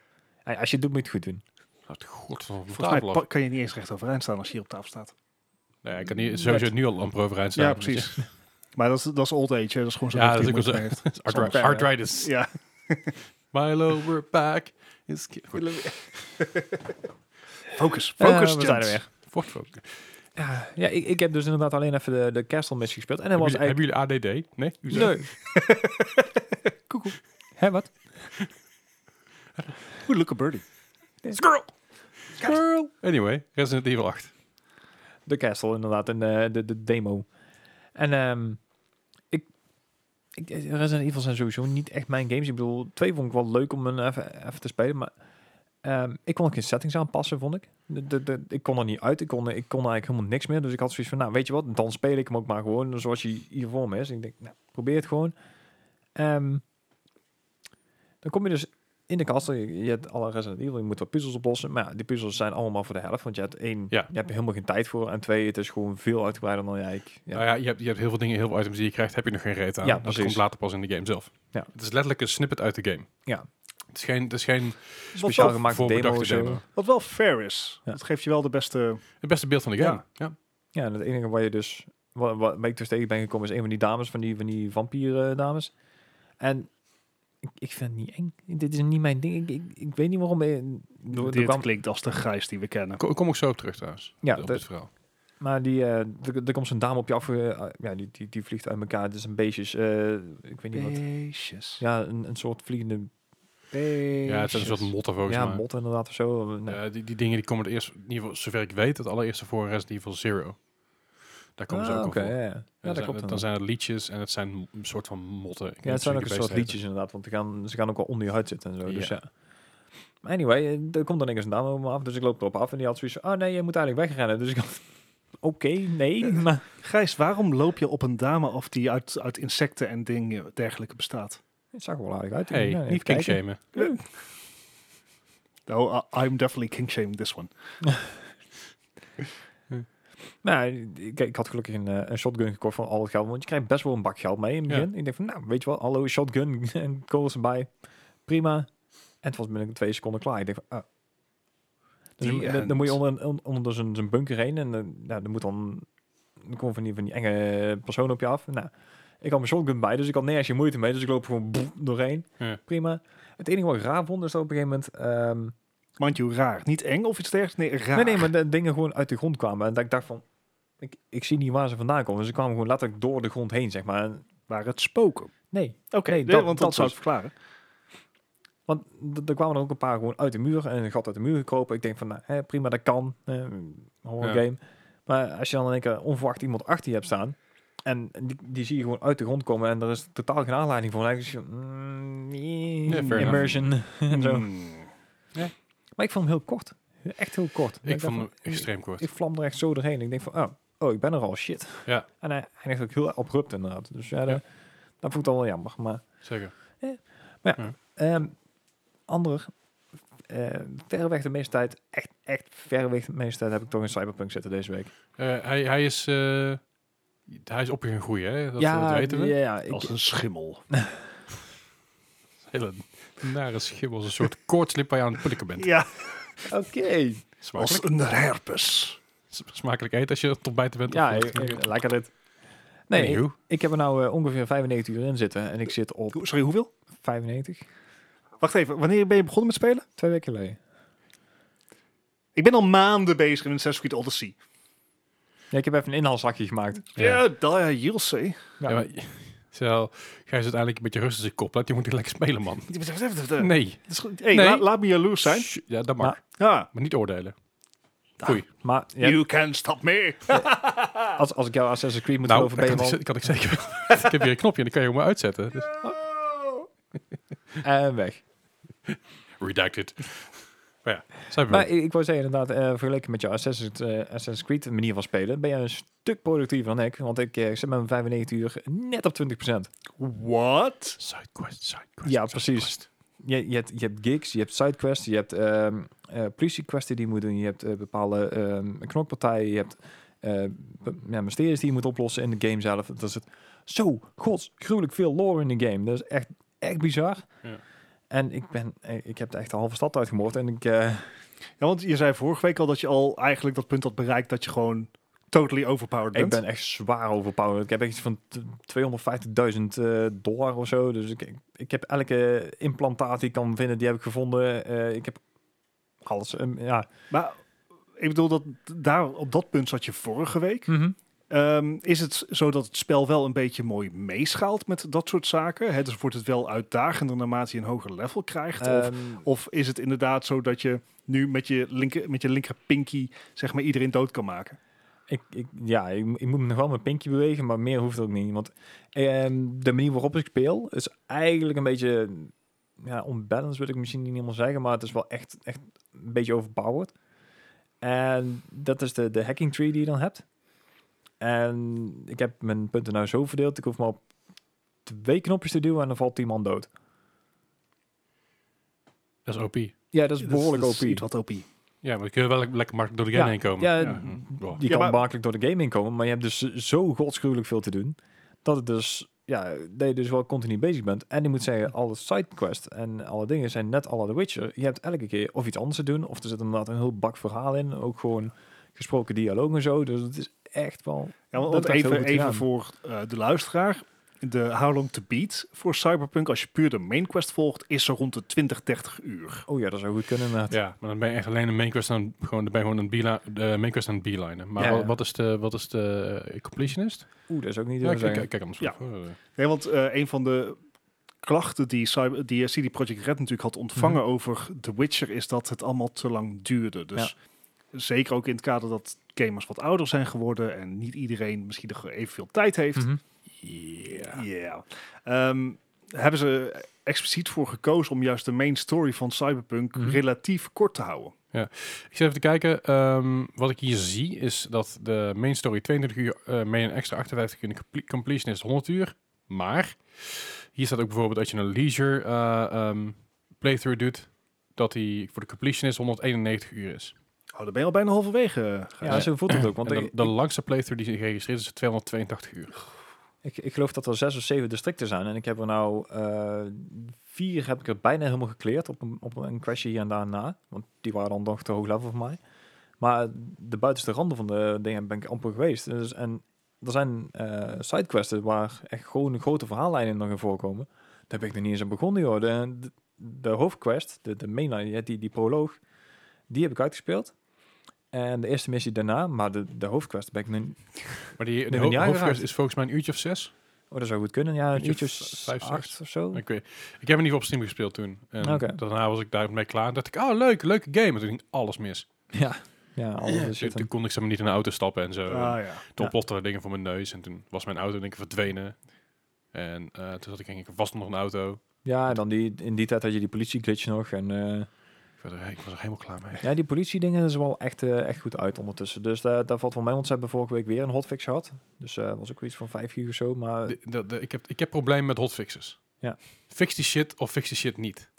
Hey, als je het doet, moet je het goed doen. beesten. God, van de Volgens tafel mij af. pa- kan je niet eens recht overeind staan als je hier op tafel staat. Nee, ik kan niet, sowieso nu al amper overeind staan. ja, precies. maar dat is, dat is old age, hè. Dat is gewoon zo'n Ja, rug dat die is je ook moeite Het is arthri- Soms, ja. Arthritis. mee heeft. Milo, we're back. Is ki- Goed, Ja. Focus, Eh, focus, we zijn er gents. weer. voort, voort. Hebben Ja, ja ik, ik heb dus inderdaad alleen even de, de kerstelmis gespeeld. En dat was jullie, eigenlijk... hebben jullie ADD? Nee? U zegt- Leuk. Koekoek. Hé, wat? Goed, look a birdie. Squirrel! Squirrel! Anyway, Resident Evil 8. De Castle, inderdaad. En eh, de, de demo. En ehm ik, ik... Resident Evil zijn sowieso niet echt mijn games. Ik bedoel, twee vond ik wel leuk om een even, even te spelen. Maar ehm, ik kon ook geen settings aanpassen, vond ik. De, de, de- ik kon er niet uit. Ik kon, ik kon eigenlijk helemaal niks meer. Dus ik had zoiets van, nou, weet je wat? Dan speel ik hem ook maar gewoon zoals hij hier voor me is. ik denk, nou, probeer het gewoon. Ehm, dan kom je dus in de kast. Je, je hebt alle Resident Evil, je moet wat puzzels oplossen. Maar ja, die puzzels zijn allemaal voor de helft. Want je hebt één, Ja. je hebt er helemaal geen tijd voor. En twee, het is gewoon veel uitgebreider dan jij. Ja. Nou ja, je hebt, je hebt heel veel dingen, heel veel items die je krijgt, heb je nog geen reet aan. Ja, dat precies. komt later pas in de game zelf. Ja. Het is letterlijk een snippet uit de game. Ja. Het is geen, het is geen Speciaal wel gemaakt demo. voorbedachte of demo. Zo. Wat wel fair is. Ja. Dat geeft je wel de beste... Het beste beeld van de Ja. game. Ja. Ja, en het enige waar je dus, wat, wat waar ik dus tegen ben gekomen, is een van die dames, van die, van die vampier eh, dames. En ik, ik vind het niet eng. Dit is niet mijn ding. Ik, ik, ik weet niet waarom. eh, er Dit kwam- klinkt als de grijs die we kennen. Ko- Kom ik zo op terug trouwens. ja, op dat- dit verhaal. maar die, eh, er er komt zo'n dame op je af. eh, ja, die, die, die vliegt uit elkaar. Het is een beestjes. eh, ik weet niet wat. Beestjes. Ja, een, een soort vliegende. Ja, het zijn een soort motten volgens ja, mij. mot inderdaad of zo. Nee. Eh, die, die dingen die komen het eerst, in ieder geval zover ik weet, het allereerste voor Resident Evil Zero. Daar komen ze Ah, ook oké, al voor. ja, ja. ja, En dat dan, klopt. zijn, dan. dan zijn het liedjes en het zijn m- een soort van motten. Ik weet Ja, niet het zijn ook een precies hoe soort die liedjes inderdaad, want die gaan, ze gaan ook wel onder je huid zitten en zo. Dus Ja. ja. Maar anyway, eh, er komt dan ineens een dame op me af, dus ik loop erop af en die had zoiets van, oh nee, je moet eigenlijk wegrennen. Dus ik had, oké, nee, maar... Gijs, waarom loop je op een dame af die uit, uit insecten en dingen dergelijke bestaat? Het zag er wel aardig uit. heet. Hey, Ja, even niet kijken. kinkshamen. Nou, I- I'm definitely king shaming this one. Nou, ik, ik had gelukkig een, eh, een shotgun gekocht van al het geld, want je krijgt best wel een bak geld mee in het Ja. begin. Ik denk van, nou, weet je wel, hallo, shotgun en kogels erbij. Prima. En het was binnen twee seconden klaar. Ik denk van, ah. Dus Die eh, dan- dan, end. dan moet je onder, een- on- onder zijn, zijn bunker heen en eh, nou, dan moet dan, dan komen van die, van die enge persoon op je af. Nou, ik had mijn shotgun bij, dus ik had nergens je moeite mee, dus ik loop gewoon boem, doorheen. Ja. Prima. Het enige wat ik raar vond is dat op een gegeven moment... ehm, Mind you, raar. Niet eng of iets dergelijks. Nee, raar. Nee, nee, maar de dingen gewoon uit de grond kwamen. En dat ik dacht van, ik, ik zie niet waar ze vandaan komen. Ze kwamen gewoon letterlijk door de grond heen, zeg maar. En Waar het spoken. nee, Oké, Nee, nee, dat- want dat, dat zou dus. het verklaren. want d- er kwamen er ook een paar gewoon uit de muur. En een gat uit de muur gekropen. Ik denk van, nou, hè, prima, dat kan. Eh, horror Ja. game. Maar als je dan in één keer onverwacht iemand achter je hebt staan... En die, die zie je gewoon uit de grond komen. En er is totaal geen aanleiding voor. En eigenlijk is je, mm, fair enough. immersion en zo. Hmm. Maar ik vond hem heel kort. Echt heel kort. Dat Ik dacht vond hem van, extreem kort. Ik vlam er echt zo doorheen. Ik denk van, oh, oh ik ben er al, shit. Ja. En hij eindigt ook heel abrupt inderdaad. Dus ja, dat, dat vond ik dan wel jammer. Maar Zeker. ehm ander, eh, verreweg de meeste tijd, echt, echt verreweg de meeste tijd heb ik toch in Cyberpunk zitten deze week. Eh, hij, hij is... eh, hij is op je groeien, hè? Dat, dat weten we. Ja, ja, ik, Als een schimmel. Hele nare schim als een soort koortslip waar je aan het pukken bent. Ja, oké. Smakelijk, als een herpes. smakelijk eten als je er tot bijten bent. Ja, Of- ik- ik- lekker dit. Nee, ik, Anywho. ik heb er nou eh, ongeveer 95 uur in zitten en ik zit op Hoe- Sorry, hoeveel? 95, Wacht even, wanneer ben je begonnen met spelen? twee weken geleden. Ik ben al maanden bezig met Assassin's Creed Odyssey. Ja, ik heb even een inhaalslagje gemaakt. Ja. Ja, eh, daar JLC. Ja, maar... Stel, Gijs is uiteindelijk een beetje rustig in zijn kop. Laat die moet lekker spelen, man. Nee. Ah. Nee. Nee. Hey, la- laat me jaloers zijn. Sh- Ja, dat mag. Maar- Ja. Maar niet oordelen. Nou, Goeie. Maar ja, You can stop me. als, als ik jou Assassin's Creed moet nou, geloven, ben je dat kan, wel ik, kan ik zeker wel. ik heb hier een knopje en dan kan je hem maar uitzetten. Dus. Ah. eh, weg. Redacted. Maar ja, zijn we Maar ik, ik wou zeggen inderdaad, eh, vergeleken met jouw Assassin's, eh, Assassin's Creed manier van spelen, ben jij een stuk productiever dan ik. Want ik eh, zit met mijn 95 uur net op 20%. What? Sidequest, sidequest. Ja, precies. sidequest. Je, je, hebt, je hebt gigs, je hebt sidequests, je hebt ehm eh, politie quests die je moet doen, je hebt eh, bepaalde ehm, knokpartijen, je hebt eh, be- ja, mysteries die je moet oplossen in de game zelf. Dat is het zo godsgruwelijk veel lore in de game. Dat is echt, echt bizar. Ja. En ik, ben, eh, ik heb echt de halve stad uitgemoord en ik... eh, Ja, want je zei vorige week al dat je al eigenlijk dat punt had bereikt dat je gewoon totally overpowered bent. Ik ben echt zwaar overpowered. Ik heb echt iets van t- 250.000 eh, dollar of zo. Dus ik, ik- ik heb elke implantaat die ik kan vinden, die heb ik gevonden. Eh, ik heb alles. ehm, ja. Maar ik bedoel, dat, daar, op dat punt zat je vorige week. Ehm, is het zo dat het spel wel een beetje mooi meeschaalt met dat soort zaken? Hè, dus wordt het wel uitdagender naarmate je een hoger level krijgt? of, Ehm, of is het inderdaad zo dat je nu met je linker, met je linker pinky zeg maar iedereen dood kan maken? ik, ik, ja, ik, ik moet nog wel mijn pinkje bewegen, maar meer hoeft ook niet. Want ehm, de manier waarop ik speel is eigenlijk een beetje... Ja, onbalanced wil ik misschien niet helemaal zeggen, maar het is wel echt, echt een beetje overpowered. En dat is de, de hacking tree die je dan hebt. En ik heb mijn punten nou zo verdeeld. Ik hoef maar op twee knopjes te duwen en dan valt die man dood. Dat is OP. Ja, dat is behoorlijk dat is OP. iets wat OP. Ja, maar dan kun je wel le- lekker makkelijk door de game Ja, heen komen. ja, hm, wow. Die Ja, kan maar- makkelijk door de game inkomen, maar je hebt dus zo godsgruwelijk veel te doen, dat het dus, ja, dat je dus wel continu bezig bent. En ik moet zeggen, alle sidequests en alle dingen zijn net alle The Witcher. Je hebt elke keer of iets anders te doen, of er zit inderdaad een heel bak verhaal in, ook gewoon gesproken dialoog en zo, dus het is echt wel... Ja, want dat heeft heel even, goed even gedaan. voor eh, de luisteraar. De How Long to Beat voor Cyberpunk, als je puur de main quest volgt, is zo rond de 20, 30 uur. Oh ja, dat zou goed kunnen inderdaad. Ja, maar dan ben je echt alleen een main quest aan gewoon, dan ben je gewoon een beeli- de main quest aan het beelinen. Maar Ja, wat, ja. wat is de, wat is de eh, completionist? Oeh, dat is ook Ja, niet heel ik- ik- zeggen. kijk, kijk anders Ja. voor. Eh, Nee, want eh, een van de klachten die, cyber, die eh, CD Projekt Red natuurlijk had ontvangen Mhm. over The Witcher is dat het allemaal te lang duurde. Dus zeker ook in het kader dat gamers wat ouder zijn geworden en niet iedereen misschien nog evenveel tijd heeft. Mhm. Ja. Ehm, hebben ze expliciet voor gekozen om juist de main story van Cyberpunk Mhm. relatief kort te houden. Ik zit even te kijken. ehm, wat ik hier zie is dat de main story 22 uur, eh mee een extra 58 uur en de comple- completion is 100 uur. Maar hier staat ook bijvoorbeeld dat je een leisure eh, ehm, playthrough doet, dat die voor de completion is 191 uur is. Oh, dan ben je al bijna halverwege. eh, Ja, zo voelt het ook, want en de, ik- de langste playthrough die geregistreerd is 282 uur. Ik, ik geloof dat er zes of zeven districten zijn. En ik heb er nou eh, vier heb ik er bijna helemaal gekleerd op een, op een questje hier en daarna. Want die waren dan nog te hoog level voor mij. Maar de buitenste randen van de dingen ben ik amper geweest. Dus, en er zijn eh sidequests waar echt gewoon grote verhaallijnen nog in voorkomen. Daar ben ik nog niet eens aan begonnen, joh. De, de, de hoofdquest, de, de mainline, ja, die, die proloog, die heb ik uitgespeeld. En de eerste missie daarna, maar de, de hoofdquest ben ik nu... Maar die de ben ho- je aangeraakt. hoofdquest is volgens mij een uurtje of zes. Oh, dat zou goed kunnen. Ja, een Uurtje uurtje v- vijf, zes. acht of zo. Ik, weet, ik heb hem niet op Steam gespeeld toen. En Oké. Daarna was ik daarmee klaar. En dacht ik, oh leuk, leuke game. En toen ging alles mis. Ja, ja alles is Dus shit. toen kon ik zeg maar, niet in de auto stappen en zo. Ah ja. Toen ontplofte er dingen voor mijn neus en toen was mijn auto in één keer verdwenen. En eh, toen zat ik denk ik vast nog een auto. Ja, en dan die, in die tijd had je die politieglitch nog. En eh, Verder, ik was er helemaal klaar mee. ja, die politiedingen is er wel echt, eh, echt goed uit ondertussen. Dus daar daar valt wel mee, want ze hebben vorige week weer een hotfix gehad. Dus eh was ook iets van 5 uur of zo. Maar De- de- de- ik, heb, ik heb problemen met hotfixes. Ja. Fix die shit of fix die shit niet.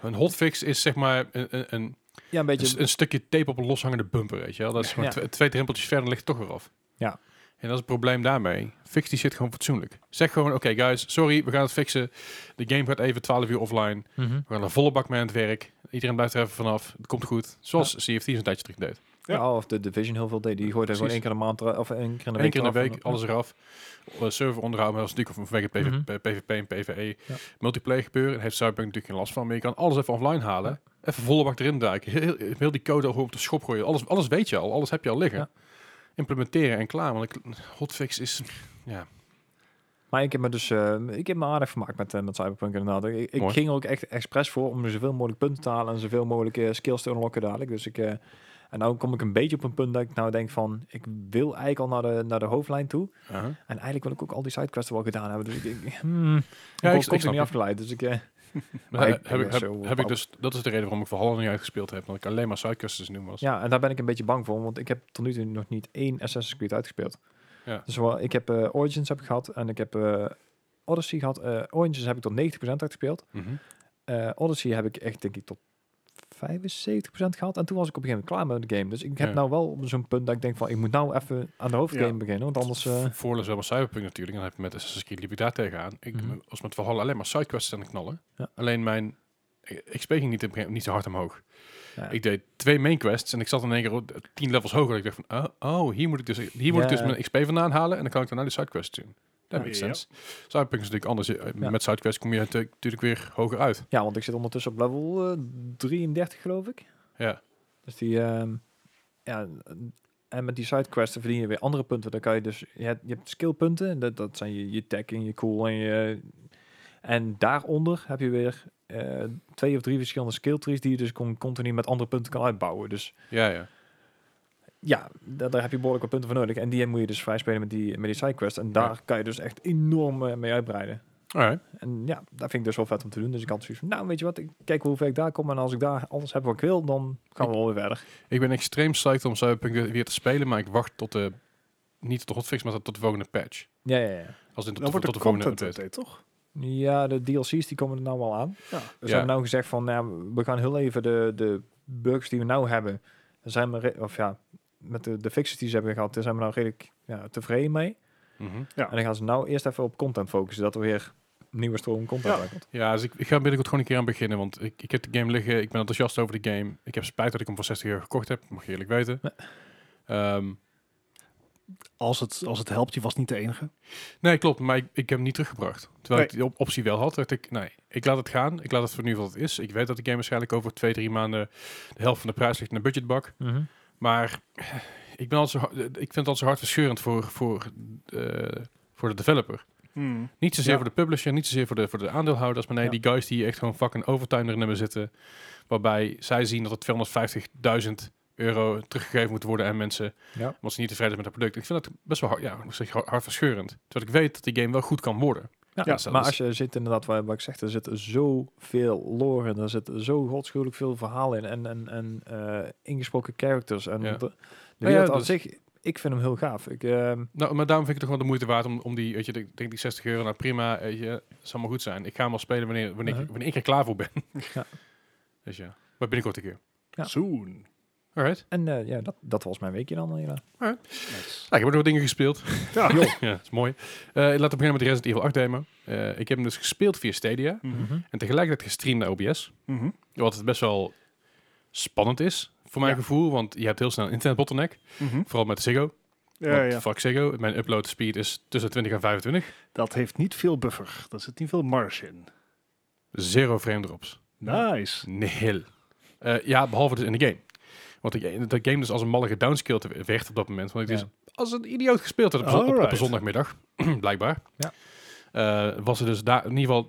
Een hotfix is zeg maar een, een, een, ja, een beetje... een, een stukje tape op een loshangende bumper, weet je wel. Dat is gewoon Ja. twee, twee drempeltjes verder ligt het toch weer af. Ja. En dat is het probleem daarmee. Fix die shit gewoon fatsoenlijk. Zeg gewoon, oké guys, sorry, we gaan het fixen. De game gaat even 12 uur offline. Mhm. We gaan er volle bak mee aan het werk. Iedereen blijft er even vanaf. Het komt goed. Zoals CFT een tijdje terug deed. Ja. Ja, of de Division heel veel deed. Die gooide gewoon Precies. één keer in de maand er- of één keer in de Eén week. keer in de eraf. week, alles eraf. Eh, server onderhouden, maar dat is natuurlijk vanwege PV, Mhm. PvP en PvE. Ja. Multiplayer gebeuren, daar heeft Cyberpunk natuurlijk geen last van. Maar je kan alles even offline halen. Even volle bak erin duiken. Heel, heel die code al gewoon op de schop gooien. Alles, alles weet je al, alles heb je al liggen. Ja. Implementeren en klaar. Want ik, hotfix is... Maar ik heb me dus eh, ik heb me aardig vermaakt met, eh, met Cyberpunk inderdaad. Ik, ik Mooi. ging er ook echt expres voor om zoveel mogelijk punten te halen en zoveel mogelijk eh, skills te unlocken dadelijk. Dus ik, eh, en nou kom ik een beetje op een punt dat ik nou denk van, ik wil eigenlijk al naar de, naar de hoofdlijn toe. En eigenlijk wil ik ook al die sidequests wel gedaan hebben. Dus ik, ik, hmm, ja, ik ik, snap ik, niet je. afgeleid. Dus ik, eh, Maar Maar he- ik ben heb, ik, dus heb, zo heb ik op- dus, dat is de reden waarom ik Valhalla niet uitgespeeld heb. Dat ik alleen maar sidequests doen was. Ja, en daar ben ik een beetje bang voor, want ik heb tot nu toe nog niet één Assassin's Creed uitgespeeld. Ja. Dus wel, ik heb eh, Origins heb ik gehad en ik heb eh, Odyssey gehad. Eh, Origins heb ik tot 90% uitgespeeld. Mhm. eh Odyssey heb ik echt, denk ik, tot 75% gehad. En toen was ik op een gegeven moment klaar met de game. Dus ik heb Ja. nou wel op zo'n punt dat ik denk van... ik moet nou even aan de hoofdgame Ja. beginnen. Want anders... eh, Voordeel is wel met Cyberpunk natuurlijk. En dan heb je met Assassin's Creed liep ik daar tegenaan. Ik, Mhm. Als met Valhalla alleen maar sidequests aan het knallen. Ja. Alleen mijn... Ik, ik speeg niet, op een gegeven moment niet zo hard omhoog. ja. Ik deed twee main quests en ik zat in één keer op tien levels hoger. Ik dacht van, oh, oh, hier moet ik dus, hier moet ik dus Ja. mijn XP vandaan halen en dan kan ik daarna die sidequests doen. Dat Ja. makes Ja. sense. Cyberpunk is natuurlijk anders. Eh, Ja. Met sidequests kom je natu- natuurlijk weer hoger uit. ja, want ik zit ondertussen op level eh, 33, geloof ik. Ja. Dus die... ehm, ja, en met die sidequests verdien je weer andere punten. Dan kan je dus... Je hebt, je hebt skillpunten. en Dat, dat zijn je, je tech en je cool en je... En daaronder heb je weer eh, twee of drie verschillende skill trees... die je dus con- continu met andere punten kan uitbouwen. Dus Ja, ja. Ja, daar, daar heb je behoorlijk wat punten voor nodig. En die moet je dus vrij spelen met die, met die sidequest. En daar kan je dus echt enorm eh, mee uitbreiden. Alright. En ja, dat vind ik dus wel vet om te doen. Dus ik had zoiets van, nou weet je wat, ik kijk hoe ver ik daar kom. En als ik daar alles heb wat ik wil, dan gaan we wel weer verder. Ik ben extreem psyched om Cyberpunk weer te spelen, maar ik wacht tot de niet tot de hotfix, maar tot de volgende patch. Ja, ja, ja. Als in tot, Dan de- tot wordt er de volgende content update. update, toch? Ja, de DLC's die komen er nou al aan. Ja. Dus Ja. hebben we nou gezegd van, nou, we gaan heel even de, de bugs die we nou hebben, daar zijn we, re- of ja, met de, de fixes die ze hebben gehad, daar zijn we nou redelijk ja, tevreden mee. Mhm. Ja. En dan gaan ze nou eerst even op content focussen, dat er weer nieuwe stroom content Ja. bij komt. Ja, dus ik, ik ga binnenkort gewoon een keer aan beginnen, want ik, ik heb de game liggen, ik ben enthousiast over de game. Ik heb spijt dat ik hem voor 60 euro gekocht heb, mag je eerlijk weten. Ehm, Als, het, als het helpt, je was niet de enige. nee, klopt, maar ik, ik heb hem niet teruggebracht. Terwijl ik die op- optie wel had, dacht ik, nee, ik laat het gaan. Ik laat het voor nu wat het is. Ik weet dat de game waarschijnlijk over twee, drie maanden de helft van de prijs ligt in de budgetbak. Maar ik, ben altijd zo, hard- ik vind het altijd zo hartverscheurend voor, voor, eh, voor de developer. Niet zozeer Ja. voor de publisher, niet zozeer voor de, voor de aandeelhouders, maar nee, Ja. die guys die echt gewoon fucking overtime erin hebben zitten. Waarbij zij zien dat het 250.000 euro teruggegeven moet worden aan mensen, Ja. omdat ze niet tevreden zijn met het product. Ik vind dat best wel hard, ja, hoe zeg je, hard- hartverscheurend. Terwijl ik weet dat die game wel goed kan worden. Ja, dat is- maar als je zit inderdaad, wat, wat ik zeg, er zit zoveel lore in, er zit zo godschuwelijk veel verhaal in en, en, en eh, ingesproken characters. En Ja. de, de ja, wereld aan dus- zich, ik vind hem heel gaaf. Ik, ehm, Nou, maar daarom vind ik het toch wel de moeite waard om, om die, weet je, ik denk die 60 euro, nou prima, weet je, zal maar goed zijn. Ik ga hem al spelen wanneer, wanneer, ik- Mhm. wanneer ik er klaar voor ben. Ja. Dus ja, maar binnenkort een keer. Ja. Soon. Alright. en eh, ja, dat, dat was mijn weekje dan. Ja. Nice. Nou, ik heb ook nog wat dingen gespeeld. Ja. ja, dat is mooi. Eh laten we beginnen met de Resident Evil 8 demo. Eh, ik heb hem dus gespeeld via Stadia Mhm. en tegelijkertijd gestreamd naar OBS. Mhm. Wat best wel spannend is, voor mijn Ja. gevoel. Want je hebt heel snel een internet bottleneck. Mhm. Vooral met Ziggo. Ja, want ja. fuck Ziggo. Mijn upload speed is tussen 20 en 25. Dat heeft niet veel buffer. Daar zit niet veel marge in. Zero frame drops. Nice. Nihil. Eh, ja, behalve dus in de game. Want ik- de game dus als een mallige downscale werd op dat moment. Want ik Ja. dus als een idioot gespeeld had op, op- op een Alright. zondagmiddag, blijkbaar. Ja. Eh, was er dus daar, in ieder geval,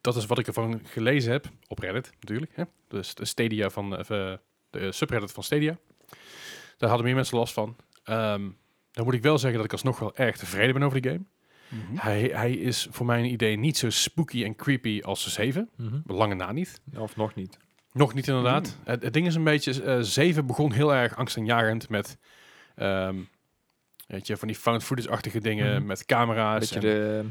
dat is wat ik ervan gelezen heb, op Reddit natuurlijk. Hè? Dus de Stadia van, eh, eh, de subreddit van Stadia. Daar hadden meer mensen last van. Ehm, dan moet ik wel zeggen dat ik alsnog wel erg tevreden ben over de game. Hm? Mhm. Hij, hij is voor mijn idee niet zo spooky en creepy als 7. Lange na niet. Mhm. Of nog niet. Nog niet inderdaad. Hmm. Het, het ding is een beetje, eh 7 begon heel erg angstaanjagend met ehm, weet je, van die found footage-achtige dingen, Mhm. met camera's. beetje en de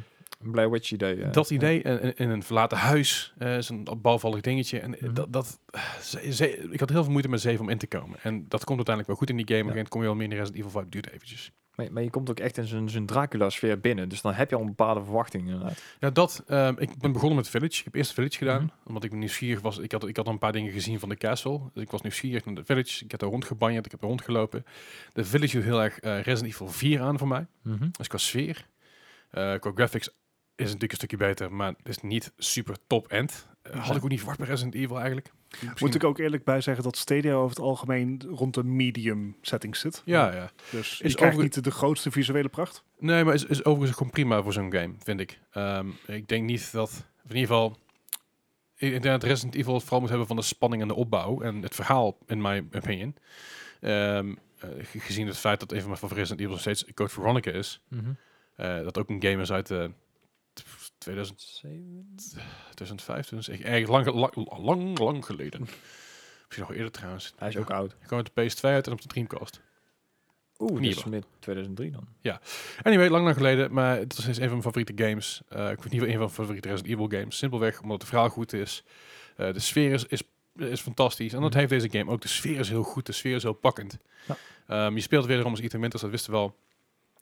eh, Blair Witch idee. eh. dat idee en- en- in een verlaten huis, eh is een bouwvallig dingetje. En eh, Mhm. dat, dat, ze- ze- ik had heel veel moeite met 7 om in te komen. En dat komt uiteindelijk wel goed in die game. Ja. En kom je wel meer in de Resident Evil 5, duurt eventjes. Maar, maar je komt ook echt in zo'n zo'n Dracula-sfeer binnen. Dus dan heb je al een bepaalde verwachting inderdaad. Ja, dat, ehm, ik ben begonnen met Village. Ik heb eerst Village gedaan, Mhm. omdat ik nieuwsgierig was. Ik had, ik had al een paar dingen gezien van de castle. Dus ik was nieuwsgierig naar de Village. Ik heb daar rondgebanjerd, ik heb er rondgelopen. De Village doet heel erg eh, Resident Evil 4 aan voor mij. Dus qua sfeer. eh, qua graphics is het natuurlijk een stukje beter, maar het is niet super top-end. Eh, had ik ook niet verwacht bij Resident Evil eigenlijk. Moet ik ook eerlijk bij zeggen dat Stadia over het algemeen rond de medium setting zit. Ja, ja. Dus je Is krijgt over- niet de grootste visuele pracht. Nee, maar is, is overigens gewoon prima voor zo'n game, vind ik. Ehm, ik denk niet dat, of in ieder geval, ik denk dat Resident Evil het vooral moet hebben van de spanning en de opbouw en het verhaal, in my opinion. Ehm, eh, ge- gezien het feit dat een van mijn favoriete Resident Evil nog steeds Code Veronica is, eh, dat ook een game is uit eh, t- 2000, 2005, dus echt erg lang, lang, lang, lang geleden. Misschien nog eerder trouwens. Hm. Hij is ook oud. Ik kwam uit de PS2 uit en op de Dreamcast. Oeh, Nieuwe. dus met 2003 dan. Anyway, lang lang geleden, maar het is nog steeds een van mijn favoriete games. Eh, ik vind het in ieder geval een van mijn favoriete Resident Evil games. Simpelweg omdat het verhaal goed is. Eh, de sfeer is, is, is fantastisch. En dat Mhm. heeft deze game ook. De sfeer is heel goed, de sfeer is heel pakkend. Ja. Ehm, je speelt wederom als Ethan Winters, dat wisten we wel.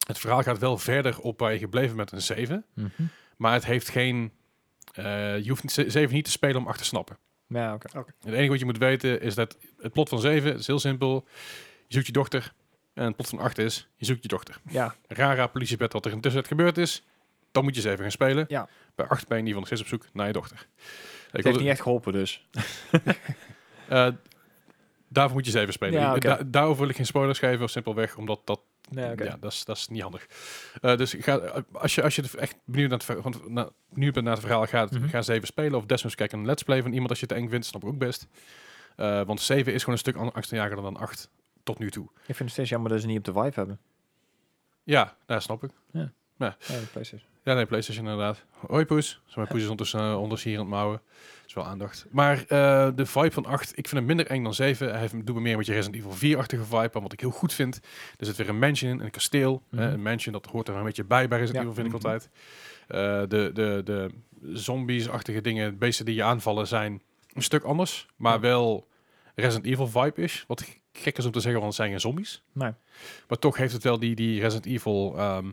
Het verhaal gaat wel verder op waar je gebleven bent een 7. Maar het heeft geen... eh, je hoeft niet- ze- 7 niet te spelen om achter te snappen. Ja, oké. Het enige wat je moet weten is dat het plot van 7 is heel simpel. Je zoekt je dochter. En het plot van 8 is, je zoekt je dochter Ja, rara politiebed wat er intussen gebeurd is. Dan moet je ze even gaan spelen. Ja. Bij acht ben je in ieder geval nog steeds op zoek naar je dochter. Ik het wil- heeft niet echt geholpen dus. eh, daarvoor moet je ze even spelen. Ja, oké. Da- daarover wil ik geen spoilers geven, simpelweg omdat dat, Nee, oké. ja, dat, is, dat is niet handig. Eh, dus ik ga, eh, als je, als je echt benieuwd, naar het, ver- van, na, benieuwd bent naar het verhaal, ga, het- Mhm. ga ze even spelen. Of desnoods kijk een let's play van iemand als je het eng vindt, snap ik ook best. Eh, want 7 is gewoon een stuk an- angstaanjagender dan 8 tot nu toe. Ik vind het steeds jammer dat ze niet op de vibe hebben. Ja, daar snap ik. Ja. Ja, de PlayStation. Ja, nee, PlayStation inderdaad. Hoi Poes. Zo, mijn Poes is ondertussen, eh, ondertussen hier aan het mouwen. Dat is wel aandacht. Maar eh, de vibe van 8, ik vind hem minder eng dan 7. Hij heeft- doet me meer met je Resident Evil 4-achtige vibe, aan, wat ik heel goed vind. Er zit weer een mansion in, een kasteel. hè, Mhm. een mansion, dat hoort er een beetje bij bij Resident Ja. Evil, vind ik Mhm. altijd. Eh, de de, de zombies-achtige dingen, beesten die je aanvallen, zijn een stuk anders. Maar Ja. wel Resident Evil vibe is. Wat g- gek is om te zeggen, want het zijn geen zombies. Nee. Maar toch heeft het wel die, die Resident Evil ehm,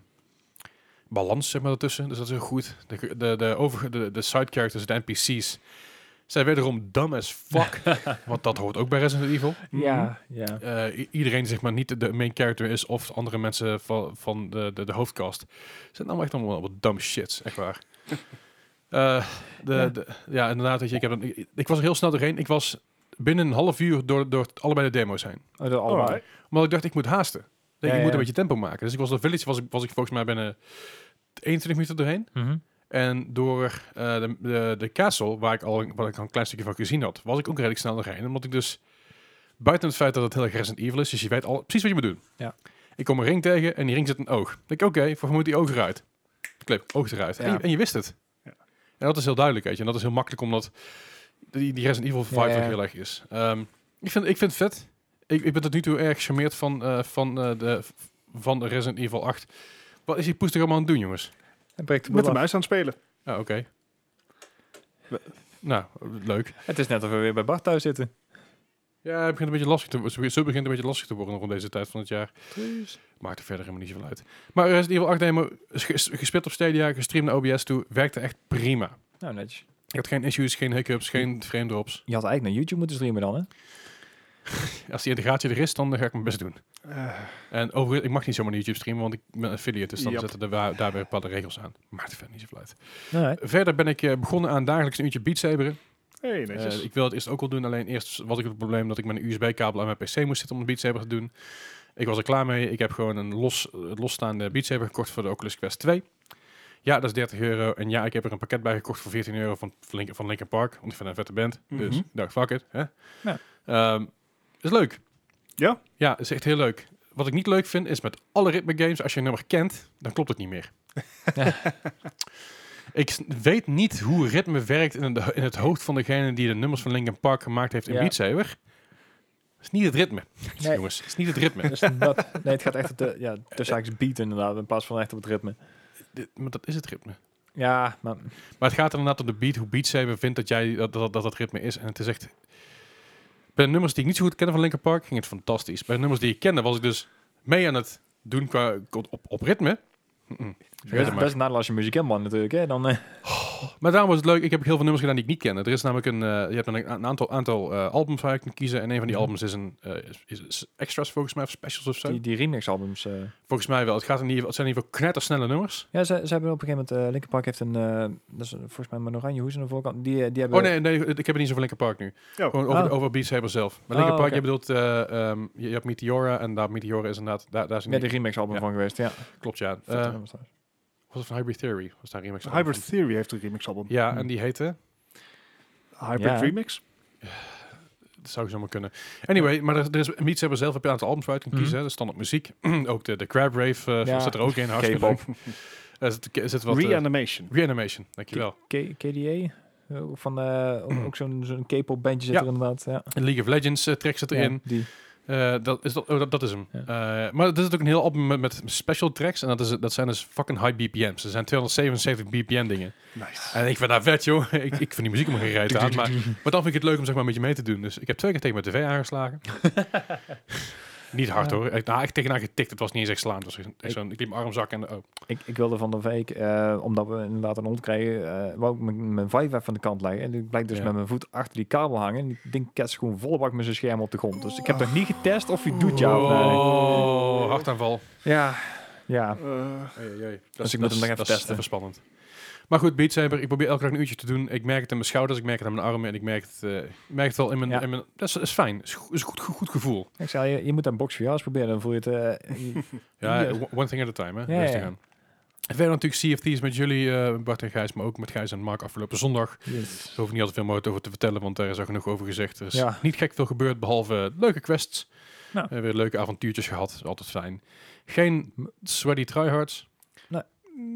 balans zeg maar, ertussen. Dus dat is heel goed. De, de, de, overige, de, de side characters, de NPC's, zijn wederom dumb as fuck. want dat hoort ook bij Resident Evil. Ja, ja. Eh, i- iedereen zeg maar niet de main character is of andere mensen van, van de, de, de hoofdcast. Zijn allemaal echt allemaal wat dumb shits, echt waar. Eh, de, Ja. ja. De, ja, inderdaad. Weet je, ik, heb, een- ik, ik was er heel snel doorheen. Ik was binnen een half uur door, door allebei de demo's heen. Oh, dat allebei. Alright. Omdat ik dacht, ik moet haasten. Ik, denk, Ja, ik moet ja. een beetje tempo maken. Dus ik was door Village, was ik, was ik volgens mij binnen 21 minuten doorheen. Mhm. En door eh, de, de, de castle, waar ik, al, wat ik al een klein stukje van gezien had, was ik ook redelijk snel doorheen. Omdat ik dus, buiten het feit dat het heel erg Resident Evil is, dus je weet al precies wat je moet doen. Ja. Ik kom een ring tegen en in die ring zit een oog. Ik denk, oké, voor hoe moet die oog eruit? Klep, oog eruit. En, Ja. je, en je wist het. Ja. En dat is heel duidelijk, weet je. En dat is heel makkelijk, omdat die, die Resident Evil vibe Ja, ja. ook heel erg is. Ehm, ik, vind, ik vind het vet. Ik, ik ben tot nu toe erg gecharmeerd van, eh, van, eh, de, van de Resident Evil 8. Wat is die poester allemaal aan het doen, jongens? Hij breekt de Met de boel af. muis aan het spelen. Ah, oké. Nou, leuk. Het is net of we weer bij Bart thuis zitten. Ja, het begint een beetje lastig te worden. Zo begint het een beetje lastig te worden rond deze tijd van het jaar. Maakt er verder helemaal niet zoveel uit. Maar Resident Evil 8 demo, is ges- gespeeld op Stadia, gestreamd naar OBS toe, werkte echt prima. Nou, netjes. Je had geen issues, geen hiccups, geen frame drops. Je had eigenlijk naar YouTube moeten streamen dan, hè? Als die integratie er is, dan eh, ga ik mijn best doen. Eh, En overigens, ik mag niet zomaar naar YouTube streamen, want ik ben affiliate, dus dan Yep. zetten er wa- daar weer bepaalde regels aan. Maakt er verder niet zoveel uit. Nee. Verder ben ik eh, begonnen aan dagelijks een uurtje Beat Saberen. hey, netjes. Eh, ik wil het eerst ook wel doen, alleen eerst was ik het probleem dat ik mijn USB-kabel aan mijn PC moest zitten om de Beat Saber te doen. Ik was er klaar mee. Ik heb gewoon een los, eh, losstaande Beat Saber gekocht voor de Oculus Quest 2. Ja, dat is 30 euro. En ja, ik heb er een pakket bij gekocht voor 14 euro van, van Linkin- van Linkin Park, want ik vind een vette band. Dus Mhm. ik dacht, fuck it. Hè? Ja. Ehm, is leuk. Ja? Ja, is echt heel leuk. Wat ik niet leuk vind, is met alle ritme games, als je een nummer kent, dan klopt het niet meer. Ik s- weet niet hoe ritme werkt in, de, in het hoofd van degene die de nummers van Linkin Park gemaakt heeft in Ja. Beat Saber. Het is niet het ritme, Nee. jongens. Het is niet het ritme. Dus dat, nee, het gaat echt op de, ja, tussen haakjes beat inderdaad, in plaats van echt op het ritme. Dit- maar dat is het ritme. Ja, maar Maar het gaat er inderdaad om de beat, hoe Beat Saber vindt dat jij dat dat, dat, dat ritme is. En het is echt... Bij de nummers die ik niet zo goed kende van Linkin Park ging het fantastisch. Bij de nummers die ik kende was ik dus mee aan het doen qua, op, op ritme. Mm-mm. dat Vergeet is het het maar. best nadeel als je muzikant bent natuurlijk, hè? Dan, eh, Maar daarom was het leuk. Ik heb ook heel veel nummers gedaan die ik niet kende. Er is namelijk een, eh, je hebt een, een aantal, aantal eh, albums waar je kunt kiezen. En een van die albums is een eh, is, is extras volgens mij, of specials of zo. Mhm. die, die remix-albums. eh. Volgens mij wel. Het, gaat in ieder geval, het zijn in ieder geval knettersnelle nummers. Ja, ze, ze hebben op een gegeven moment, eh Linkin Park heeft een, eh, dat is een- volgens mij een oranje hoes aan de voorkant. Die, eh, die hebben... Oh nee, nee, ik heb het niet zo van Linkin Park nu. Ja. Gewoon over, Oh. over Beat Saber zelf. Maar Oh, Linkin Park, oké. je bedoelt, eh, ehm, je, je hebt Meteora en daar Meteora is inderdaad, daar, daar is een Ja, die remix-album Ja. van geweest, ja. Klopt ja. Vette Eh nummers trouwens. was het van Hybrid Theory? Was daar een remix van? Hybrid Theory heeft een remix-album. Ja, Hmm. en die heette, Hybrid Ja. Remix? dat zou ik zomaar kunnen. Anyway, maar er, er is Beat Saber zelf, heb je een aantal albums waar je kunt Mhm. kiezen. hè. Dat is standaard muziek. ook de, de Crab Rave eh, Ja. zit er ook in. Hartstikke leuk. K-pop. Er zit, er zit wat... eh, Reanimation. Reanimation, dankjewel. K- KDA? eh, Van, eh, ook- ook zo'n zo'n K-pop bandje zit Ja. er inderdaad. Ja. League of Legends eh, track zit Ja, erin. die. Eh, dat, is dat, oh, dat, dat is hem. Ja. Eh, maar er zit ook een heel album met, met special tracks. En dat, is, dat zijn dus fucking high BPM's. Er zijn 277 BPM dingen. Nice. En ik vind dat vet, joh. ik, ik vind die muziek om geen reet aan. Maar, maar dan vind ik het leuk om zeg maar met je mee te doen. Dus ik heb twee keer tegen mijn tv aangeslagen. niet hard hoor. Ik, nou, echt tegenaan getikt. Het was niet eens echt slaan. Het was echt zo'n- ik liep mijn arm zakken en... Oh. Ik, ik wilde van de week, eh, omdat we inderdaad een hond kregen, eh wou ik mijn mijn vijf even van de kant leggen. En ik blijkt dus Ja. met mijn voet achter die kabel hangen. En ik denk, ketst gewoon volle bak met zijn scherm op de grond. Dus ik heb nog niet getest of hij doet ja of nee. Oh, hartaanval. Ja, ja. Eh, Dat Dus is- dat ik moet hem nog is- even dat is testen. Even spannend. Maar goed, Beat Saber, ik probeer elke dag een uurtje te doen. Ik merk het aan mijn schouders, ik merk het aan mijn armen en ik merk het, eh, ik merk het wel in mijn, Ja. in mijn... Dat is, is fijn, is, go- is een goed, goed, goed gevoel. Ik zei, je, je moet een box voor jou eens proberen. Dan voel je het... eh, Ja, Ja. o- one thing at a time, hè. Ja, Rustig ja. aan. En Verder natuurlijk CFT's met jullie, eh, Bart en Gijs, maar ook met Gijs en Mark afgelopen zondag. yes. Daar hoef ik niet al te veel mogelijk over te vertellen, want daar is al genoeg over gezegd. Er is Ja. niet gek veel gebeurd, behalve leuke quests. Nou. Eh, weer leuke avontuurtjes gehad, altijd fijn. Geen sweaty tryhards. Nee.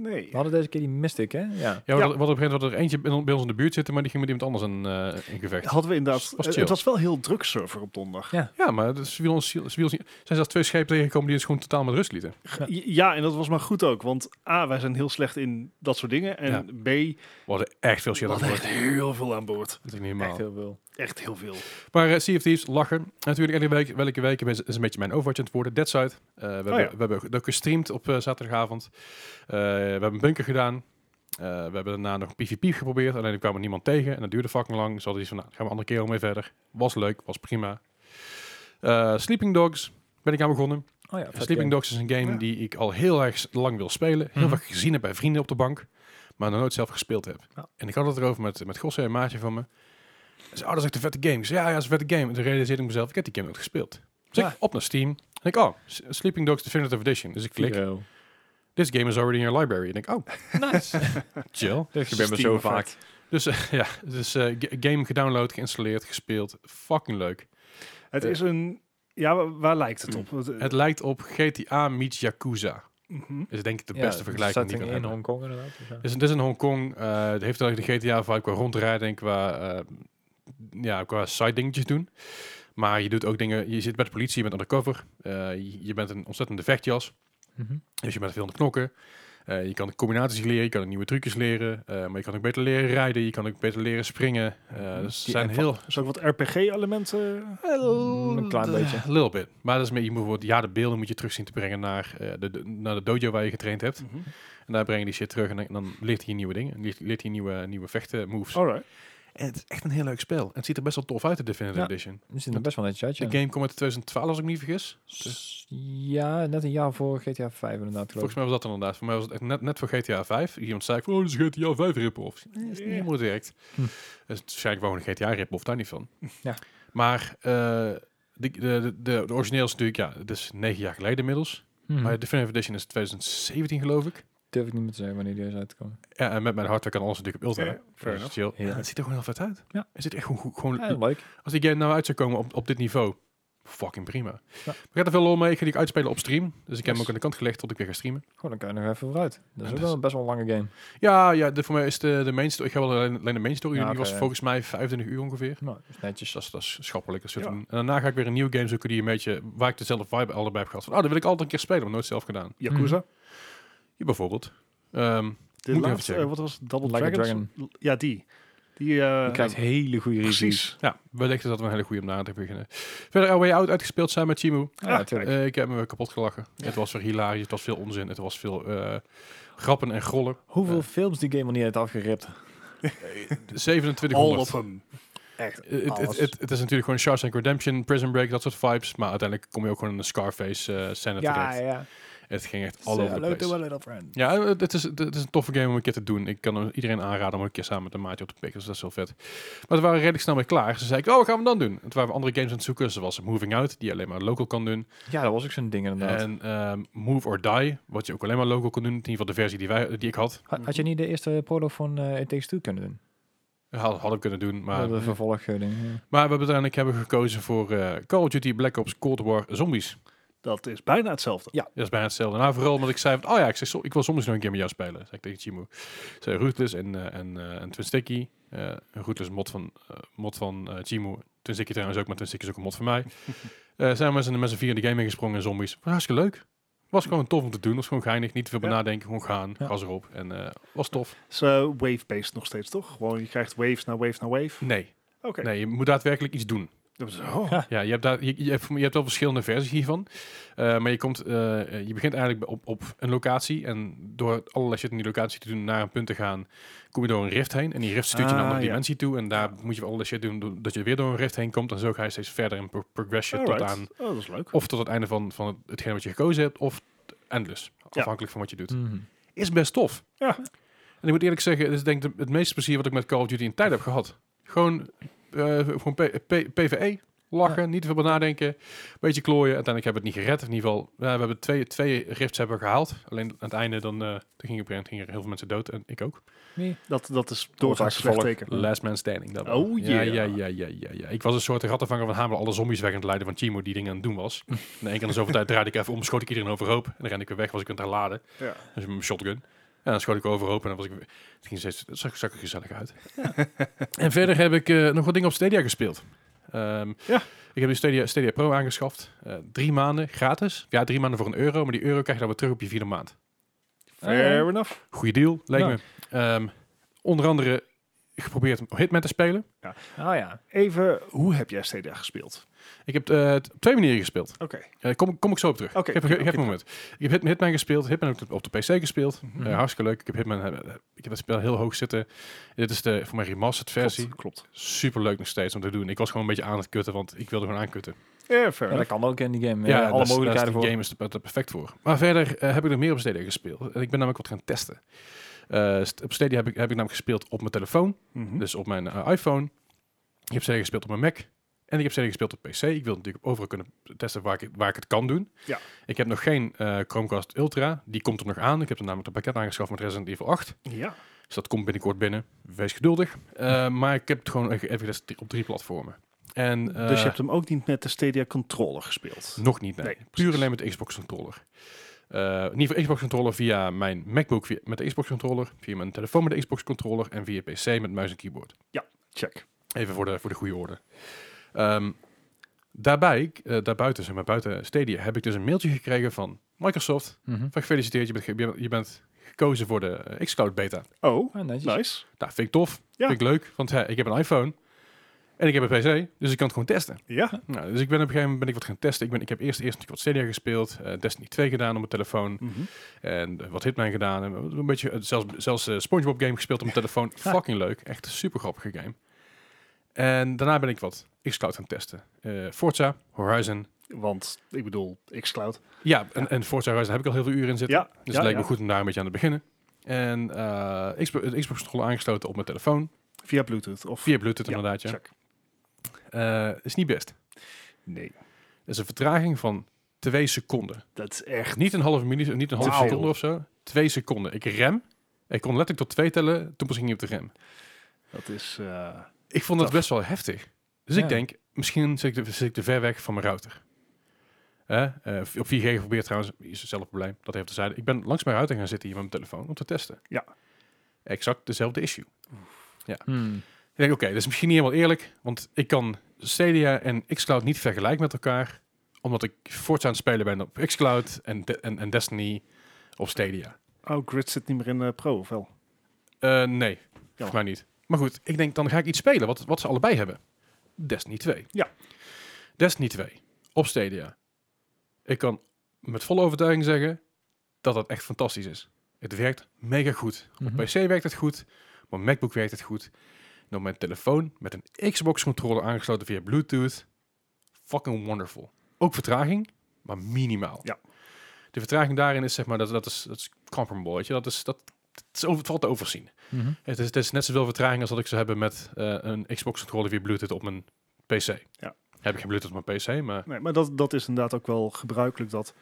Nee. We hadden deze keer die Mystic, hè? Ja. Ja, we Ja. hadden- we hadden op een gegeven moment wat er eentje bij on- bij ons in de buurt zitten, maar die ging met iemand anders in, eh, in gevecht. Hadden we inderdaad. Was eh, chill. het was wel heel druk server op donderdag. Ja, maar dat is- ze willen ons, ze willen ons niet- zijn zelfs twee schepen tegengekomen die het gewoon totaal met rust lieten. Ja. en dat was maar goed ook. Want A, wij zijn heel slecht in dat soort dingen. En B, we We hadden echt veel shit aan hadden boord. echt heel veel aan boord. Dat is niet Echt normaal. heel veel. Echt heel veel. Maar eh Sea of Thieves, lachen. Natuurlijk, elke week, welke week is, is een beetje mijn Overwatch aan het worden. Deadside. Eh we, hebben, ja. we hebben ook- ook gestreamd op eh, zaterdagavond. Eh, we hebben een bunker gedaan. Eh, we hebben daarna nog PvP geprobeerd. Alleen er kwam er niemand tegen. En dat duurde fucking lang. Dus we hadden iets van, nou, gaan we een andere keer wel mee verder. Was leuk, was prima. Eh, Sleeping Dogs ben ik aan begonnen. Oh ja, vet Sleeping game. Dogs is een game Ja. die ik al heel erg s- lang wil spelen. Heel Mhm. vaak gezien heb bij vrienden op de bank. Maar nog nooit zelf gespeeld heb. Ja. En ik had het erover met, met Gosse, een maatje van me. Hij zei, oh, dat is echt een vette game. Ik zei, ja, ja, dat is een vette game. En toen realiseerde ik mezelf, ik heb die game nooit gespeeld. Dus Ja. ik op naar Steam. En ik, oh, S- Sleeping Dogs Definitive Edition. Dus ik klik, Video. this game is already in your library. En ik, oh, Nice. chill. Dus je bent me Steam zo effect. vaak. dus eh, ja, dus eh, g- game gedownload, geïnstalleerd, gespeeld. Fucking leuk. Het Eh. is een. Ja, wa- waar, lijkt het op? Het, eh, Mm. Het lijkt op GTA meets Yakuza. mhm. Is denk ik de Ja, beste vergelijking die ik kan setting in hebben. Hongkong inderdaad. dus ja. Dus het is in Hongkong. eh het heeft eigenlijk de GTA-vibe qua rondrijden en qua, eh, ja, qua side dingetjes doen. Maar je doet ook dingen... Je zit bij de politie, je bent undercover. eh, je, je bent een ontzettende vechtjas. Mhm. Dus je bent veel aan het knokken. Eh, je kan combinaties leren, je kan ook nieuwe trucjes leren. eh, maar je kan ook beter leren rijden, je kan ook beter leren springen. Eh dus Die er zijn app- heel... Dus ook wat RPG-elementen. Mm, een klein beetje. A little bit. Maar dat is meer, je moet bijvoorbeeld- ja, de beelden moet je terug zien te brengen naar, eh, de, de- naar de dojo waar je getraind hebt. En daar breng je die shit terug en dan, dan leert hij nieuwe dingen. Leert, leert hij nieuwe, nieuwe vechten moves. Alright. Oh, En het is echt een heel leuk spel. En het ziet er best wel tof uit, de Definitive Ja. Edition. Er zit nog best wel netjes uit, De ja. game komt uit 2012, als ik me niet vergis. S- Ja, net een jaar voor GTA 5 inderdaad, Volgens geloof ik. mij was dat inderdaad. Voor mij was het echt net, net voor GTA 5. Iemand zei van, oh, dit is GTA 5 rip-off. Nee, dat is niet Ja. helemaal direct. Hm. Het is waarschijnlijk gewoon een GTA rip-off, daar niet van. Ja. Maar eh, de, de, de, de, de origineel is natuurlijk, ja, het is negen jaar geleden inmiddels. Mhm. Maar de Definitive Edition is 2017, geloof ik. durf ik niet meer te zeggen wanneer die is uitgekomen. Ja, en met mijn hardware kan alles natuurlijk op ultra. Ja, hè. Dat fair is enough. chill. Heerlijk. Ja, het ziet er gewoon heel vet uit. Ja. Het ziet echt gewoon, gewoon Ja, leuk. Als die game nou uit zou komen op, op dit niveau, fucking prima. Ja. We gaan er veel lol mee. Ik ga die ook uitspelen op stream. Dus ik heb hem Yes. ook aan de kant gelegd tot ik weer ga streamen. Goed, Oh, dan kan je nog even vooruit. Dat Ja, is ook dus- wel best wel een lange game. Ja, ja de, voor mij is de, de main story. Ik ga wel alleen, alleen de main story. Ja, doen. die oké, was ja. volgens mij 25 uur ongeveer. Nou, dat is Dus netjes. dat is, dat is schappelijk. Dat soort Ja. van- En daarna ga ik weer een nieuwe game zoeken die een beetje, waar ik dezelfde vibe allebei heb gehad. Van, oh, dat wil ik altijd een keer spelen, maar nooit zelf gedaan. Yakuza. Hier bijvoorbeeld. Ehm, De Moet ik even laatste, eh, checken. wat was het? Double Like a Dragons? Ja, die. Die, eh Je krijgt hele goede reviews. precies. ja, wellicht is dat we een hele goede om na te beginnen. Verder Away Out uitgespeeld samen met Chimu. Ah, ja, Ah, tuurlijk. Eh, ik heb me weer kapot gelachen. Het was weer hilarisch. Het was veel onzin. Het was veel eh, grappen en grollen. Hoeveel eh. films die game al niet heeft afgeript. 2700. All of them. Eh, Het, het, Alles. het, het is natuurlijk gewoon Shawshank Redemption, Prison Break, dat soort vibes. Maar uiteindelijk kom je ook gewoon in een Scarface eh scène Ja, terecht. ja. Het ging echt all over the Hello to a place. little friend. Ja, het het is, het is een toffe game om een keer te doen. Ik kan hem iedereen aanraden om een keer samen met een maatje op te pikken. Dus dat is heel vet. Maar we waren redelijk snel mee klaar. Ze zei ik, oh, wat gaan we dan doen? En toen waren we andere games aan het zoeken, zoals Moving Out, die je alleen maar local kan doen. Ja, dat was ook zo'n ding inderdaad. En ehm, Move or Die, wat je ook alleen maar local kon doen. In ieder geval de versie die, wij, die ik had. Ha- had je niet de eerste proloog van eh It Takes Two kunnen doen? Had, had ik kunnen doen, maar... de vervolgding. Ja. Maar we hebben uiteindelijk hebben gekozen voor eh, Call of Duty Black Ops Cold War Zombies. Dat is bijna hetzelfde. Dat is bijna hetzelfde. Nou, vooral omdat ik zei van, oh ja, ik, zeg, so- ik wil soms nog een keer met jou spelen. Zeg ik tegen Chimu. Ik Zei Ruthless en, eh en, eh, en Twin Sticky. Eh, een Ruthless mod van, eh, mod van eh Chimu. Twin Sticky trouwens ook, maar Twin Sticky is ook een mod van mij. Eh, zijn we met z'n- met z'n vier in de game ingesprongen in zombies. Was hartstikke leuk. Was gewoon tof om te doen. Was gewoon geinig. Niet te veel bij Ja. nadenken. Gewoon gaan. Ja. Gas erop. En eh, was tof. Zo eh, wave-based nog steeds, toch? Gewoon, je krijgt waves na wave na wave. Nee. Oké. Nee, je moet daadwerkelijk iets doen. Dat was- oh. Ja, je hebt, daar, je, je hebt, je hebt wel verschillende versies hiervan. Eh, maar je, komt, eh, eh, je begint eigenlijk op, op een locatie. En door allerlei shit in die locatie te doen, naar een punt te gaan, kom je door een rift heen. En die rift stuurt je naar een Ah, andere ja. dimensie toe. En daar moet je allerlei shit doen, do- dat je weer door een rift heen komt. En zo ga je steeds verder in pro- progression tot Alright. aan... Oh, dat is leuk. Of tot het einde van, van het, hetgeen wat je gekozen hebt, of t- endless. Afhankelijk van wat je doet. Mhm. Is best tof. Ja. En ik moet eerlijk zeggen, dit is denk ik de- het meeste plezier wat ik met Call of Duty in tijd heb gehad. Gewoon, eh, gewoon P- P- PvE, lachen, niet te veel bij nadenken, beetje klooien. Uiteindelijk hebben we het niet gered. In ieder geval, ja, we hebben twee, twee rifts hebben we gehaald. Alleen aan het einde dan, eh toen gingen, op een gegeven moment gingen er heel veel mensen dood en ik ook. Nee. Dat, dat is doorgaans een slecht gevolg. teken. Last man standing. Dat wel. Oh, ja, yeah. ja, ja, ja, ja, ja. Ik was een soort rattenvanger van hamelen alle zombies weg aan het leiden van Chimo die dingen aan het doen was. en de ene keer in de zoveel tijd draaide ik even om, schoot ik iedereen overhoop en dan rende ik weer weg, was ik aan het herladen. Ja. Dus met mijn shotgun. En dan schoot ik overhoop en dan was ik, weer- het ging steeds, het zag, zag er gezellig uit. en verder heb ik eh, nog wat dingen op Stadia gespeeld. Ehm, Ja. Ik heb nu Stadia, Stadia Pro aangeschaft. Eh, drie maanden gratis. Ja, drie maanden voor een euro, maar die euro krijg je dan weer terug op je vierde maand. Fair enough. Goeie deal, leek Ja. me. Ehm, onder andere geprobeerd om Hitman te spelen. Oh ja. Even, hoe heb jij Stadia gespeeld? Ik heb eh, t- op twee manieren gespeeld. Oké. Eh, kom, kom ik zo op terug. Oké, Geef- prima, geef me een prima. moment. Ik heb Hit- Hitman gespeeld. Hitman heb ik op de PC gespeeld. Mhm. Eh, hartstikke leuk. Ik heb Hitman eh, ik heb het spel heel hoog zitten. Dit is de voor mij remastered versie. Klopt. klopt. Super leuk nog steeds om te doen. Ik was gewoon een beetje aan het kutten, want ik wilde gewoon aankutten. Ja, fair Ja, dat enough. kan ook in die game. Ja, Ja, dat alle is- mogelijkheden daar voor. is die game is er- er perfect voor. Maar verder eh, heb ik nog meer op Stadia gespeeld. En ik ben namelijk wat gaan testen. Eh, st- op Stadia heb ik, heb ik namelijk gespeeld op mijn telefoon. Mhm. Dus op mijn eh, iPhone. Ik heb CD gespeeld op mijn Mac. En ik heb CD gespeeld op PC. Ik wil natuurlijk overal kunnen testen waar ik, waar ik het kan doen. Ja. Ik heb nog geen eh, Chromecast Ultra. Die komt er nog aan. Ik heb er namelijk een pakket aangeschaft met Resident Evil 8. Ja. Dus dat komt binnenkort binnen. Wees geduldig. Eh, maar ik heb het gewoon echt even getest op drie platformen. En, eh, dus je hebt hem ook niet met de Stadia controller gespeeld. nog niet, nee. Nee, Puur precies. alleen met de Xbox controller. Eh in ieder geval Xbox controller via mijn MacBook via, met de Xbox controller, via mijn telefoon met de Xbox controller en via PC met muis en keyboard. Check. Even voor de, voor de goede orde. Ehm, daarbij, eh, daarbuiten, zeg maar buiten Stadia, heb ik dus een mailtje gekregen van Microsoft. Mhm. Van gefeliciteerd, je bent, ge- je bent- je bent gekozen voor de eh, xCloud beta. Oh, Ah, netjes. nice. Nou, vind ik tof. Ja. Vind ik leuk, want hè, ik heb een iPhone en ik heb een PC, dus ik kan het gewoon testen. Ja. Nou, dus ik ben op een gegeven moment ben ik wat gaan testen. Ik, ben, ik heb eerst, eerst natuurlijk wat Stadia gespeeld, eh, Destiny 2 gedaan op mijn telefoon Mhm. en eh, wat Hitman gedaan. En een beetje, eh, zelfs zelfs eh, Spongebob game gespeeld op mijn telefoon. Fucking leuk, echt een super grappige game. En daarna ben ik wat xCloud gaan testen. Eh, Forza, Horizon. Want, ik bedoel, xCloud. Ja, en, en Forza Horizon heb ik al heel veel uren in zitten. Ja, Dus ja, het leek ja. me goed om daar een beetje aan te beginnen. En eh Xbox, de Xbox controller aangesloten op mijn telefoon. Via Bluetooth. Of Via Bluetooth Ja, inderdaad, ja. check. Eh, is niet best. Nee, Dat is een vertraging van twee seconden. dat is echt... Niet een halve minuut, niet een halve Wauw. seconde of zo. Twee seconden. Ik rem. Ik kon letterlijk tot twee tellen. Toen pas ging je op de rem. Dat is... eh, Ik vond dat Tof. best wel heftig. Dus Ja. ik denk, misschien zit ik, te, zit ik te ver weg van mijn router. Hè? Eh, op 4G geprobeerd trouwens, is hetzelfde probleem. Dat heeft te zijn. Ik ben langs mijn router gaan zitten hier met mijn telefoon om te testen. Ja. Exact dezelfde issue. Hmm. Ik denk, oké, dat is misschien niet helemaal eerlijk. Want ik kan Stadia en xCloud niet vergelijken met elkaar. Omdat ik voorts aan het spelen ben op xCloud en, de- en, en Destiny op Stadia. Oh, Grid zit niet meer in eh, Pro, of wel? Eh, nee, volgens mij niet. Maar goed, ik denk dan ga ik iets spelen wat, wat ze allebei hebben. Destiny 2. Ja. Destiny 2 op Stadia. Ik kan met volle overtuiging zeggen dat dat echt fantastisch is. Het werkt mega goed. Mhm. Op PC werkt het goed, op mijn MacBook werkt het goed. En op mijn telefoon met een Xbox controller aangesloten via Bluetooth. Fucking wonderful. Ook vertraging, maar minimaal. Ja. De vertraging daarin is zeg maar dat, dat is dat is comparable, weet je. Dat is dat, dat is over, het valt te overzien. Mhm. Het is, het is net zoveel vertraging als dat ik zou hebben met eh, een Xbox controller via Bluetooth op mijn PC. Ja. Heb ik geen Bluetooth op mijn PC, maar Nee, maar dat, dat is inderdaad ook wel gebruikelijk dat...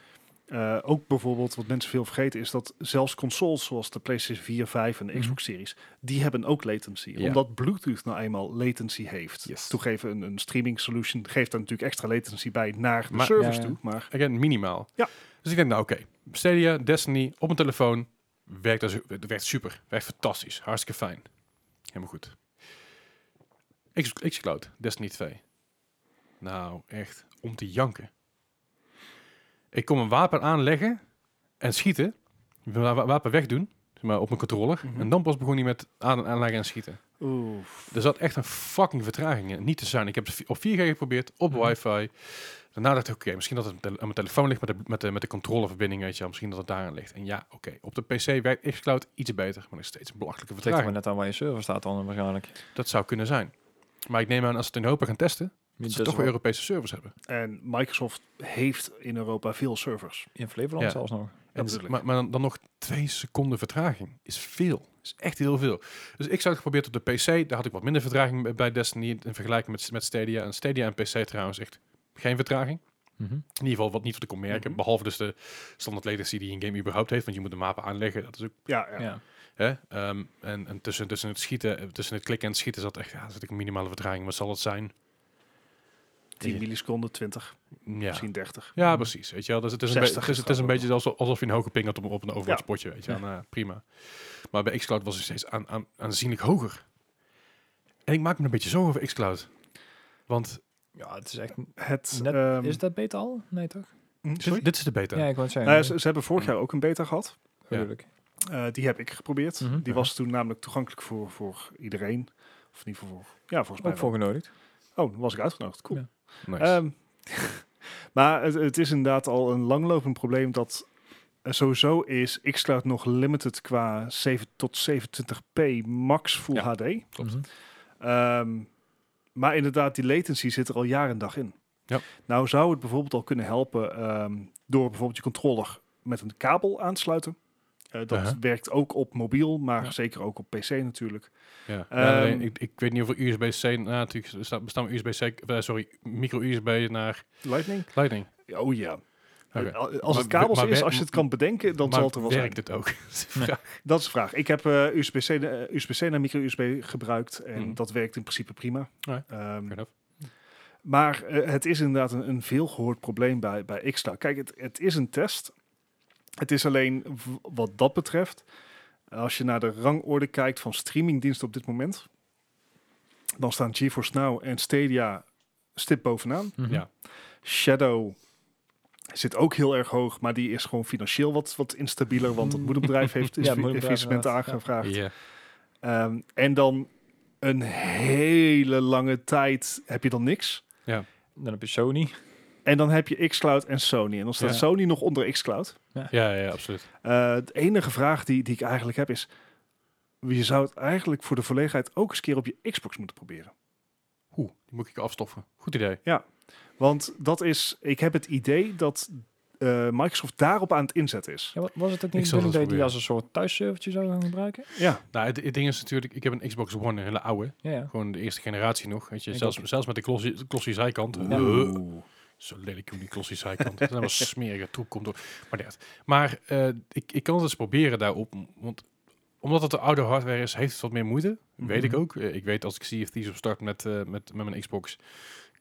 eh, ook bijvoorbeeld, wat mensen veel vergeten, is dat zelfs consoles zoals de PlayStation 4, 5 en de Mhm. Xbox Series, die hebben ook latency. Ja. Omdat Bluetooth nou eenmaal latency heeft. Yes. Toegeven, een, een streaming solution geeft daar natuurlijk extra latency bij naar de Maar- servers Ja, ja. toe. Maar again, minimaal. Ja. Dus ik denk, nou oké, Stadia, Destiny, op mijn telefoon, werkt, als, werkt super, werkt fantastisch, hartstikke fijn. Helemaal goed. X, xCloud, Destiny 2. Nou, echt, om te janken. Ik kon mijn wapen aanleggen en schieten, mijn wa- wapen wegdoen, zeg maar op mijn controller, Mhm. en dan pas begon hij met aan, aanleggen en schieten. oeh, Er zat echt een fucking vertraging in. Niet te zijn. Ik heb het op 4G geprobeerd, op Mhm. wifi. Daarna dacht ik, oké, misschien dat het aan mijn telefoon ligt met de, met de, met de controleverbinding, weet je wel. Misschien dat het daaraan ligt. En ja, oké, op de PC werkt xCloud iets beter, maar nog steeds een belachelijke Het ligt er vertraging. maar net aan waar je server staat dan waarschijnlijk. Dat zou kunnen zijn. Maar ik neem aan, als ze het in Europa gaan testen, dat ze is toch wel- weer Europese servers hebben. En Microsoft heeft in Europa veel servers. In Flevoland Ja. zelfs nog. En, bedoel ik. maar maar dan, dan nog twee seconden vertraging is veel. Is echt heel veel. Dus ik zou het geprobeerd op de PC. Daar had ik wat minder vertraging bij- bij Destiny in vergelijking met, met Stadia. En Stadia en PC trouwens echt geen vertraging. Mhm. In ieder geval wat niet wat ik kon merken. Mhm. Behalve dus de standaard latency die een game überhaupt heeft. Want je moet de mapen aanleggen. Dat is ook, Ja, ja. Ja. hè? Ehm, en en tussen, tussen het schieten, eh, tussen het klikken en het schieten zat echt, ja, zat ik een minimale vertraging. Wat zal het zijn? 10 Ja. milliseconden, 20, Ja. misschien Mhm. 30. Ja, precies. Weet je wel. Dus het is een, 60 be- het is, het is een beetje alsof, alsof je een hoge ping had op, op een Overwatch potje. Weet je. wel. Nou, prima. Maar bij xCloud was het steeds aan, aan, aanzienlijk hoger. En ik maak me een beetje zorgen over xCloud. Want Ja, het is echt... Het, Net- ehm, Is dat beter al? Nee, toch? dit, dit is de beta. Ja, ik wou het zeggen. nou ja, ze, ze hebben vorig jaar ook een beta gehad. Ja. Tuurlijk. Eh, die heb ik geprobeerd. Mhm. Die was toen namelijk toegankelijk voor, voor iedereen. Of niet voor, voor... Ja, volgens mij Ook voor genodigd. wel. Oh, dan was ik uitgenodigd. Cool. Ja. Nice. Ehm, maar het, het is inderdaad al een langlopend probleem dat eh, sowieso is xCloud nog limited qua 7 tot 27p max Full Ja. HD. Klopt. Mhm. Ehm, maar inderdaad, die latency zit er al jaar en dag in. Ja. Nou zou het bijvoorbeeld al kunnen helpen ehm, door bijvoorbeeld je controller met een kabel aansluiten. Eh, dat Aha. werkt ook op mobiel, maar Ja. zeker ook op PC natuurlijk. Ja. Ehm, Ja, alleen, ik, ik weet niet of er USB-C... Nou, natuurlijk er staat- bestaan USB-C... eh, sorry, micro-USB naar Lightning? Lightning. Oh ja. Oké. Eh, Als het Maar- kabels maar is, wer- als je het kan bedenken, dan maar zal het er wel zijn. werkt het ook? Dat is de vraag. Ik heb eh, USB-C, eh, USB-C naar micro-USB gebruikt en Mhm. dat werkt in principe prima. Ja, Ehm, enough. maar eh, het is inderdaad een, een veelgehoord probleem bij, bij Xcloud. Kijk, het, het is een test. Het is alleen w- wat dat betreft, als je naar de rangorde kijkt van streamingdiensten op dit moment, dan staan GeForce Now en Stadia stip bovenaan. Mhm. Ja. Shadow zit ook heel erg hoog, maar die is gewoon financieel wat, wat instabieler, want het moederbedrijf heeft Ja, is het moederbedrijf faillissement inderdaad, ja. aangevraagd. Ja. Ehm, en dan een hele lange tijd heb je dan niks. Dan heb je Sony. En dan heb je xCloud en Sony. En dan staat Ja. Sony nog onder xCloud. Ja, ja, absoluut. Eh de enige vraag die, die ik eigenlijk heb is... Je zou het eigenlijk voor de volledigheid ook eens keer op je Xbox moeten proberen. Oeh, die moet ik afstoffen. Goed idee. Want dat is... Ik heb het idee dat eh, Microsoft daarop aan het inzetten is. Ja, wa- was het ook Ik niet de zal bedoeling dat dat proberen. je die als een soort thuisservertje zou gaan gebruiken? Ja, Nou, het, het ding is natuurlijk... Ik heb een Xbox One, een hele oude. Ja, ja. Gewoon de eerste generatie nog. Weet je, Ik zelfs, ook. zelfs met de glossy, glossy zijkant. Ja. Huh. Zo lelijk hoe die glossy zijkant. Dat is helemaal smerige troep komt door. Maar, niet uit. maar eh, ik, ik kan het eens proberen daarop. Want omdat het de oude hardware is, heeft het wat meer moeite. Weet ik Mhm. ook. Eh, ik weet als ik Sea of Thieves opstart met, eh, met, met mijn Xbox,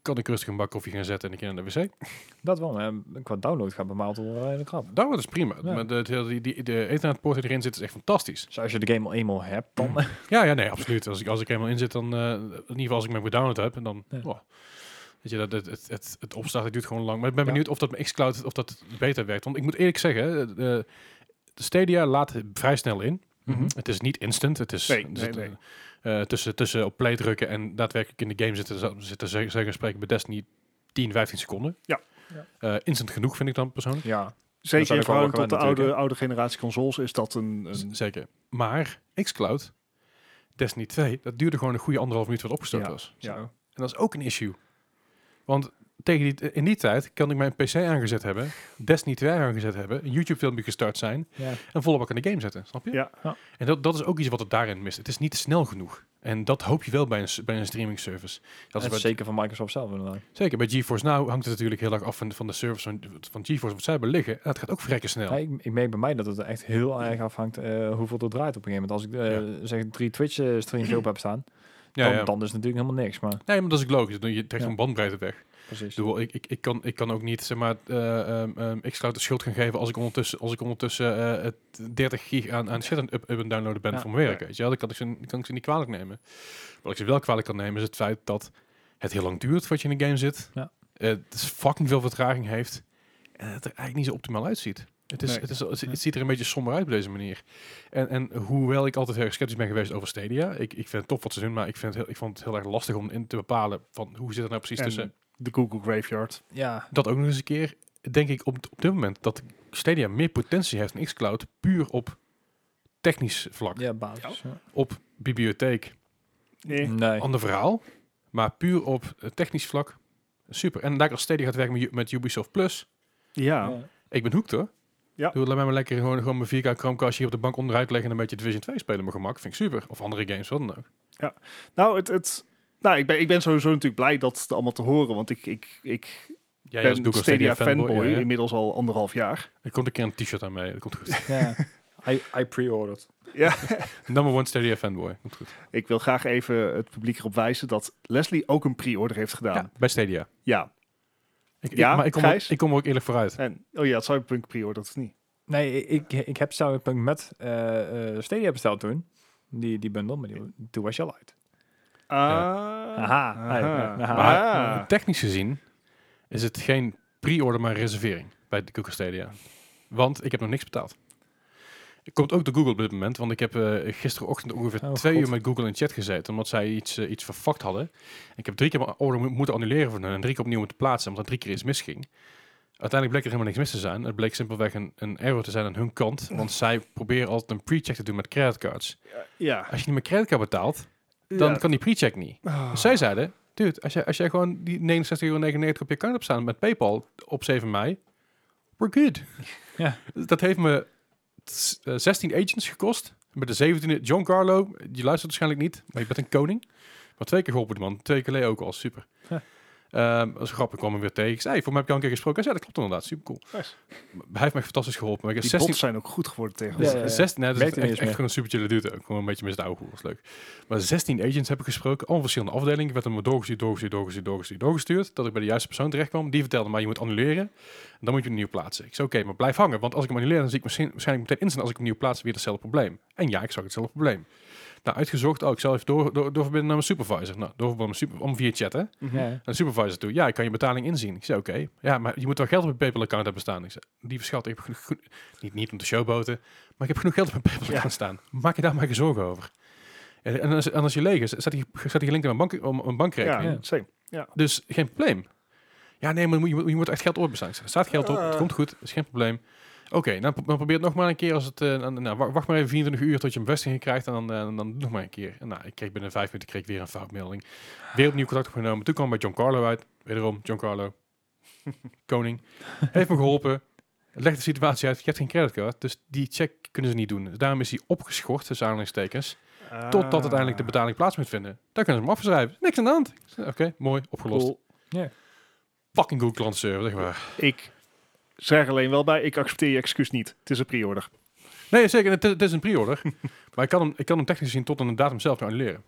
kan ik rustig een bak koffie gaan zetten en ik keer naar de wc. Dat wel, maar eh, qua download gaat bepaald wel redelijk krap. Daarom is prima. Ja. Maar de, de, die, die- de Ethernet-poort die erin zit is echt fantastisch. Dus als je de game al eenmaal hebt, dan... Ja, ja, nee, absoluut. Als ik, als ik er helemaal in zit, dan eh, in ieder geval als ik mijn gedownload heb, en dan Ja. oh. weet je dat het, het, het, het opstarten duurt gewoon lang. Maar ik ben Ja. benieuwd of dat met xCloud of dat beter werkt. Want ik moet eerlijk zeggen, eh, de, de Stadia laat vrij snel in. Mhm. Het is niet instant. Het is Nee, er nee, zit, nee. eh, eh, tussen, tussen op play drukken en daadwerkelijk in de game zitten, zou- zitten zeggen, zeggen spreken bij Destiny 10, 15 seconden. Ja. Ja. Eh, instant genoeg vind ik dan persoonlijk. Ja, Dat zeker zijn in ook wel verhouding tot de gewend natuurlijk, oude, oude generatie consoles is dat een... Z- Mm. een Dus Zeker. Maar xCloud, Destiny 2, dat duurde gewoon een goede anderhalf minuut wat opgestart Ja. was. ja. Zo. En dat is ook een issue. Want tegen die, in die tijd kan ik mijn PC aangezet hebben, Destiny 2 aangezet hebben, een YouTube-filmpje gestart zijn ja. en volop aan de game zetten. Snap je? Ja. Ja. En dat, dat is ook iets wat het daarin mist. Het is niet snel genoeg. En dat hoop je wel bij een, s- bij een streaming service. Dat Dat is is bij, zeker van Microsoft zelf inderdaad. zeker bij GeForce Now hangt het natuurlijk heel erg af van, van de service van, van GeForce, wat zij hebben liggen. En dat gaat ook verrekken snel. Ja, ik, ik merk bij mij dat het echt heel erg afhangt eh, hoeveel er draait op een gegeven moment. Als ik eh, zeg drie Twitch eh, streams op heb staan, ja, dan, ja. dan is het natuurlijk helemaal niks. Maar Nee, maar dat is ook logisch. Dan Je trekt Ja. een bandbreedte weg. precies. Ik, bedoel, ik, ik, ik, kan, ik kan ook niet, zeg maar, eh, ehm, ehm, ik sluit de schuld gaan geven als ik ondertussen, als ik ondertussen eh, het 30 gig aan, aan shit aan up, up en downloaden ben Ja. voor mijn werk. Weet je wel? Dan kan ik, ze, dan kan ik ze niet kwalijk nemen. Wat ik ze wel kwalijk kan nemen is het feit dat het heel lang duurt voordat je in een game zit. Ja. Eh, het is fucking veel vertraging heeft. En het er eigenlijk niet zo optimaal uitziet. Het, is, Nee. het, is, het, het ziet er een beetje somber uit op deze manier. En, en hoewel ik altijd heel erg sceptisch ben geweest over Stadia, ik, ik vind het tof wat ze doen, maar ik, vind het heel, ik vond het heel erg lastig om in te bepalen van hoe zit het nou precies en tussen. de Google Graveyard. Ja, Dat ook nog eens een keer, denk ik op, op dit moment, dat Stadia meer potentie heeft dan xCloud, puur op technisch vlak. ja, basis. ja. Op bibliotheek, Nee. Nee. ander verhaal, maar puur op eh, technisch vlak, super. En daar als Stadia gaat werken met, U- met Ubisoft Plus, Ja. Ja. ik ben hoekt hoor. Ja. Doe, laat mij maar lekker gewoon, gewoon mijn 4K Chromecast hier op de bank onderuit leggen en een beetje Division 2 spelen op mijn gemak. Vind ik super. Of andere games, wat dan ook. Nou, het, het, nou ik, ben, ik ben sowieso natuurlijk blij dat het allemaal te horen, want ik, ik, ik Ja, ben dat doe ik als Stadia fanboy, ja, ja. inmiddels al anderhalf jaar. Er komt een keer een t-shirt aan mee. Dat komt goed. Ja. I, I pre-ordered. Ja. Number one Stadia fanboy. Komt goed. Ik wil graag even het publiek erop wijzen dat Leslie ook een pre-order heeft gedaan. Ja. Ja, bij Stadia. Ik, ik- Ja, maar ik kom, er, Gijs? ik kom er ook eerlijk vooruit. En, oh ja, het Cyberpunk pre-order, dat is niet. Nee, ik, ik heb Cyberpunk met eh, eh, Stadia besteld toen. Die, die bundel, maar die, toen was je al uit. Ah. Aha. Aha. Aha. Maar Ah. technisch gezien is het geen pre-order, maar reservering bij de Google Stadia. Want ik heb nog niks betaald. Komt ook door Google op dit moment, want ik heb eh, gisterochtend ongeveer Oh, twee God. uur met Google in chat gezeten, omdat zij iets, eh, iets verfakt hadden. Ik heb drie keer mijn order mo- moeten annuleren van hen en drie keer opnieuw moeten plaatsen, omdat er drie keer iets misging. Uiteindelijk bleek er helemaal niks mis te zijn. Het bleek simpelweg een, een error te zijn aan hun kant, want zij proberen altijd een pre-check te doen met creditcards. Ja. Als je niet met creditcard betaalt, dan Ja. kan die pre-check niet. Ah. Dus zij zeiden, dude, als jij, als jij gewoon die 69,99 op je account hebt staan met PayPal op 7 mei, we're good. Dus Ja. Dat heeft me t- eh, 16 agents gekost. Met de 17e, John Carlo, die luistert waarschijnlijk niet, maar je bent een koning. Maar twee keer geholpen, die man. Twee keer geleden ook al, super. Ja. Ehm, dat is grappig, ik kwam hem weer tegen. Ik zei, hey, voor mij heb je al een keer gesproken. Hij zei, dat klopt inderdaad, super cool. Nice. Hij heeft mij fantastisch geholpen. Maar ik Die heb bots 16, zijn ook goed geworden tegen Ja, ons. ja, ja. 16, nee, nou, dat is Merkte echt, niet echt eens gewoon een super chille dude. ook. Gewoon een beetje met zijn oude was leuk. Maar 16 agents heb ik gesproken, allemaal verschillende afdelingen. Ik werd hem doorgestuurd, doorgestuurd, doorgestuurd, doorgestuurd, doorgestuurd. Dat ik bij de juiste persoon terecht kwam. Die vertelde mij, je moet annuleren. En dan moet je hem nieuw plaatsen. Ik zei, oké, maar blijf hangen. Want als ik hem annuleer, dan zie ik misschien, waarschijnlijk meteen instant als ik hem nieuw plaats, weer hetzelfde probleem. En ja, ik zag hetzelfde probleem. Nou, uitgezocht. Oh, ik zal even door, door, doorverbinden naar mijn supervisor. Nou, doorverbinden naar mijn super, om via chat, hè. Ja. Naar de supervisor toe. Ja, ik kan je betaling inzien. Ik zei, oké. Ja, maar je moet wel geld op je PayPal-account hebben staan. Ik zei, die verschat, ik heb genoeg... goed- Niet, niet om te showboten, maar ik heb genoeg geld op mijn PayPal-account staan. Maak je daar maar geen zorgen over. En, en als, en als je leeg is, staat die, staat die gelinkt aan mijn bank, om, een bankrekening. Ja, Ja. same. Dus geen probleem. Ja, nee, maar je moet, je moet echt geld op hebben staan. Ik zei, Er staat geld op, het komt goed, is geen probleem. Oké, nou, pro- dan probeer het nog maar een keer. Als het, eh, nou, nou, wa- wacht maar even 24 uur tot je een bevestiging krijgt en dan, eh, dan, dan nog maar een keer. En, nou, ik kreeg binnen vijf minuten kreeg ik weer een foutmelding. Weer opnieuw contact opgenomen. Toen kwam bij Giancarlo uit. Wederom, Giancarlo, koning, heeft me geholpen. Legt de situatie uit, je hebt geen creditcard, dus die check kunnen ze niet doen. Dus daarom is die opgeschort, tussen aanhalingstekens, Ah. totdat uiteindelijk de betaling plaats moet vinden. Daar kunnen ze hem afschrijven. Niks aan de hand. Ik zei, Oké, mooi, opgelost Cool. fucking Google Cloud Server, zeg maar. Ik zeg alleen wel bij, ik accepteer je excuus niet. Het is een pre-order. Nee, zeker. Het, het is een pre-order. maar ik kan, hem, ik kan hem technisch gezien tot aan de datum zelf gaan annuleren.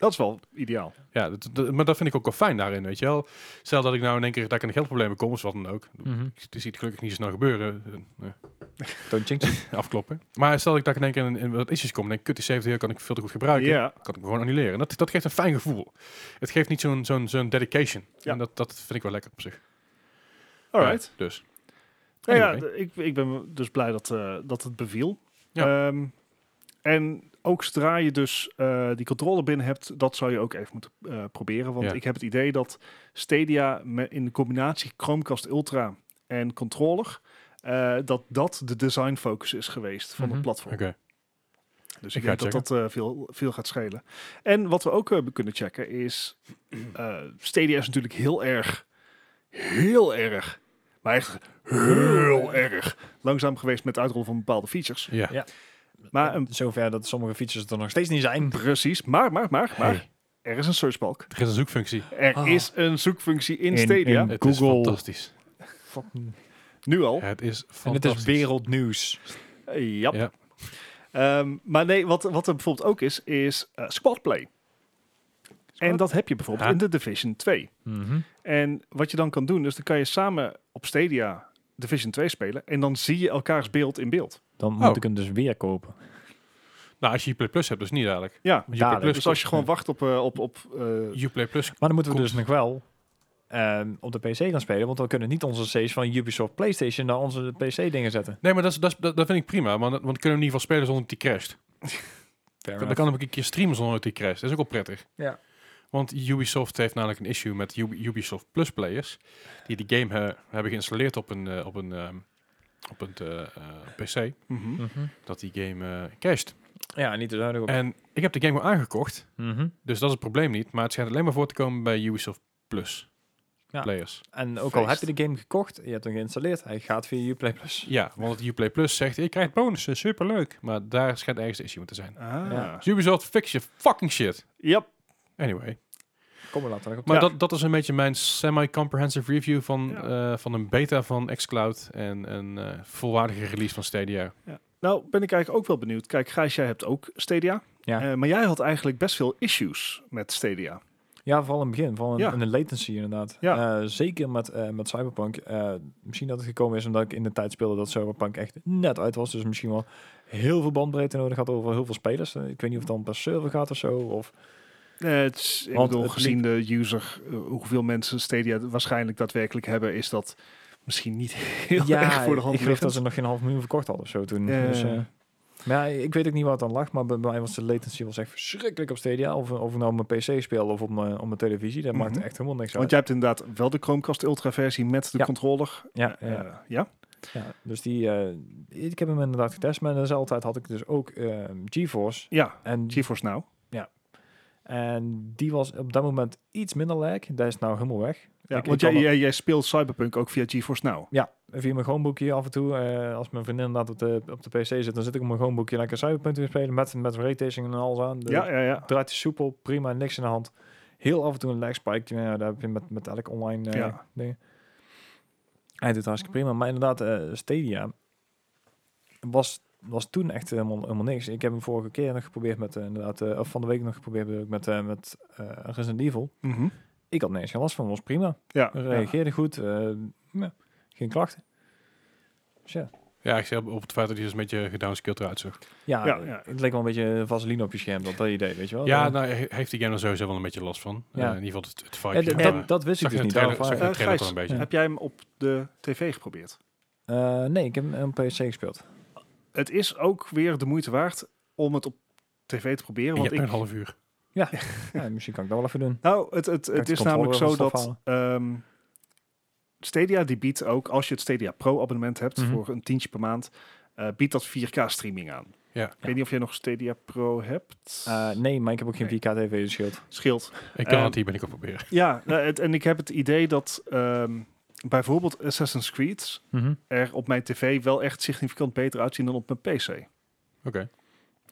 Dat is wel ideaal. Ja, dat, dat- maar dat vind ik ook wel fijn daarin, weet je wel. Stel dat ik nou in één keer dat ik in geldproblemen kom, of wat dan ook. Mhm. Ik zie het gelukkig niet zo snel gebeuren. eh, eh, Don't jinx it. afkloppen. Maar stel dat ik dat ik in één keer in, in wat issues kom, en denk ik, kut, die 70 euro kan ik veel te goed Ja. gebruiken. Kan ik hem gewoon annuleren. Dat, dat geeft een fijn gevoel. Het geeft niet zo'n zo'n zo'n dedication. Ja. En dat, dat vind ik wel lekker op zich. Alright. Ja, dus. Nou ja, Anyway. d- ik, ik ben dus blij dat, eh, dat het beviel. Ja. Ehm, en ook zodra je dus eh, die controle binnen hebt, dat zou je ook even moeten eh, proberen. Want Ja. ik heb het idee dat Stadia me- in de combinatie Chromecast Ultra en controller, eh, dat dat de design focus is geweest van Mhm. het platform. Oké. Dus Ik ik, ga denk dat dat eh, veel, veel gaat schelen. En wat we ook eh, kunnen checken is... eh Stadia is natuurlijk heel erg, heel erg, maar echt heel erg langzaam geweest met het uitrollen van bepaalde features. Ja. Maar ehm, een, Zover dat sommige features er nog steeds niet zijn. precies, maar, maar, maar, maar, er is een searchbalk. Er is een zoekfunctie. Er Ah. is een zoekfunctie in, In- Stadia, in- Het is Google. fantastisch. Fucking- nu al. Het is fantastisch. En het is wereldnieuws. Eh, jap. Ja. Ehm, maar nee, wat, wat er bijvoorbeeld ook is, is eh squadplay. En dat heb je bijvoorbeeld Ja. in de Division 2. En wat je dan kan doen, is dan kan je samen op Stadia Division 2 spelen. En dan zie je elkaars beeld in beeld. Dan Oh. moet ik hem dus weer kopen. Nou, als je Play Plus hebt, dus niet eigenlijk. Ja, Want Dadelijk. Uplay Plus, dus als je gewoon wacht op... eh, op, op eh, Uplay Plus. Maar dan moeten we Komt. dus nog wel ehm, op de PC gaan spelen. Want we kunnen niet onze C's van Ubisoft PlayStation naar onze PC dingen zetten. Nee, maar dat, is, dat, is- dat, dat vind ik prima. Want, want dan kunnen we in ieder geval spelen zonder dat die crasht. Dan kan ik ook een keer streamen zonder dat die crasht. Dat is ook wel prettig. Ja. Want Ubisoft heeft namelijk een issue met Ub- Ubisoft Plus players. Die die game eh, hebben geïnstalleerd op een, eh, op een, ehm, op een eh, eh, PC. mhm. Dat die game eh, crasht. Ja, niet te duidelijk Eh, op. En ik heb de game gewoon aangekocht. Mhm. Dus dat is het probleem niet. Maar het schijnt alleen maar voor te komen bij Ubisoft Plus Ja. players. En ook al heb Feest. je de game gekocht, je hebt hem geïnstalleerd, hij gaat via Uplay Plus. Ja, want Uplay Plus zegt, je krijgt bonussen, superleuk. Maar daar schijnt ergens de issue mee te zijn. Dus Ah. Ja. Ja. Ubisoft, fix je fucking shit. Anyway. Kom maar later nog op. Maar Ja. dat, dat is een beetje mijn semi-comprehensive review van, Ja. eh, van een beta van xCloud en een eh, volwaardige release van Stadia. Nou, ben ik eigenlijk ook wel benieuwd. Kijk, Gijs, jij hebt ook Stadia. Ja. Eh, maar jij had eigenlijk best veel issues met Stadia. Ja, vooral in het begin. Vooral in, Ja. in de latency inderdaad. Ja. Eh, zeker met, eh, met Cyberpunk. Eh, misschien dat het gekomen is omdat ik in de tijd speelde dat Cyberpunk echt net uit was. Dus misschien wel heel veel bandbreedte nodig had over heel veel spelers. Eh, ik weet niet of het dan per server gaat of zo. Of, Eh, het is, ik Want bedoel, het gezien de user, eh, hoeveel mensen Stadia waarschijnlijk daadwerkelijk hebben, is dat misschien niet heel erg voor de hand ik geloof dat liggend. ze nog geen half miljoen verkocht hadden of zo toen. Ja, Dus, ja, ja. eh, maar ja, ik weet ook niet wat dan lag. Maar bij mij was de latency was echt verschrikkelijk op Stadia. Of, of ik nou op mijn PC speel of op mijn, op mijn televisie. Dat maakte Mhm. echt helemaal niks Want uit. jij hebt inderdaad wel de Chromecast Ultra versie met de Ja. controller. ja, ja. Eh, ja? Ja, dus die, eh, ik heb hem inderdaad getest, maar dezelfde tijd had ik dus ook eh, GeForce. ja, En, GeForce Now. en die was op dat moment iets minder lag. Dat is nou helemaal weg. Ja, Ik- ik want kan jij, wel- jij, jij speelt Cyberpunk ook via GeForce Now. Ja, via mijn Chromebook hier af en toe. eh, als mijn vriendin inderdaad op de, op de PC zit, dan zit ik op mijn Chromebook hier lekker Cyberpunk te spelen met, met raytracing en alles aan. Dus De- Ja, ja, ja. Draait hij soepel, prima, niks in de hand. Heel af en toe een lag spike. Ja, daar heb je met, met elk online eh Ja. dingen. Hij doet hartstikke prima. Maar inderdaad, eh, Stadia was, was toen echt helemaal, helemaal niks. Ik heb hem vorige keer nog geprobeerd met, eh, inderdaad, eh, of van de week nog geprobeerd bedoel ik, met, eh, met eh, Resident Evil. Mhm. Ik had niks geen last van, was prima. ja, ja. Reageerde goed, eh, ja, geen klachten. Dus ja, Ja, ik zeg op, op het feit dat hij dus een beetje gedownscaled eruit zag. ja, Ja, Eh, ja. het leek wel een beetje vaseline op je scherm, dat, dat idee, weet je Oh, wel. ja, Dan- nou, he- heeft die game er sowieso wel een beetje last van. Ja. Eh, in ieder geval het, het Ja, vibe. d- Ja, dat, dat wist ik Zag je dus de trailer- niet. daarom vraag zag ik. je Eh, de trailer Gijs, toch een beetje. Heb jij hem op de tv geprobeerd? Eh, nee, ik heb hem op PC gespeeld. Het is ook weer de moeite waard om het op tv te proberen. Je Want hebt ik, een half uur. Ja, misschien kan ik dat wel even doen. Nou, het, het, het de is namelijk zo controller van dat ehm, Stadia die biedt ook, als je het Stadia Pro abonnement hebt Mhm. voor een tientje per maand, eh, biedt dat 4K streaming aan. Ja. Ik weet niet of jij nog Stadia Pro hebt. Eh, nee, maar ik heb ook geen Nee. 4K TV, dus scheelt. Scheelt. Ik kan Ehm, het hier ben ik op proberen. Ja, nou, het, en ik heb het idee dat ehm, bijvoorbeeld Assassin's Creed er op mijn tv wel echt significant beter uitzien dan op mijn PC. Oké.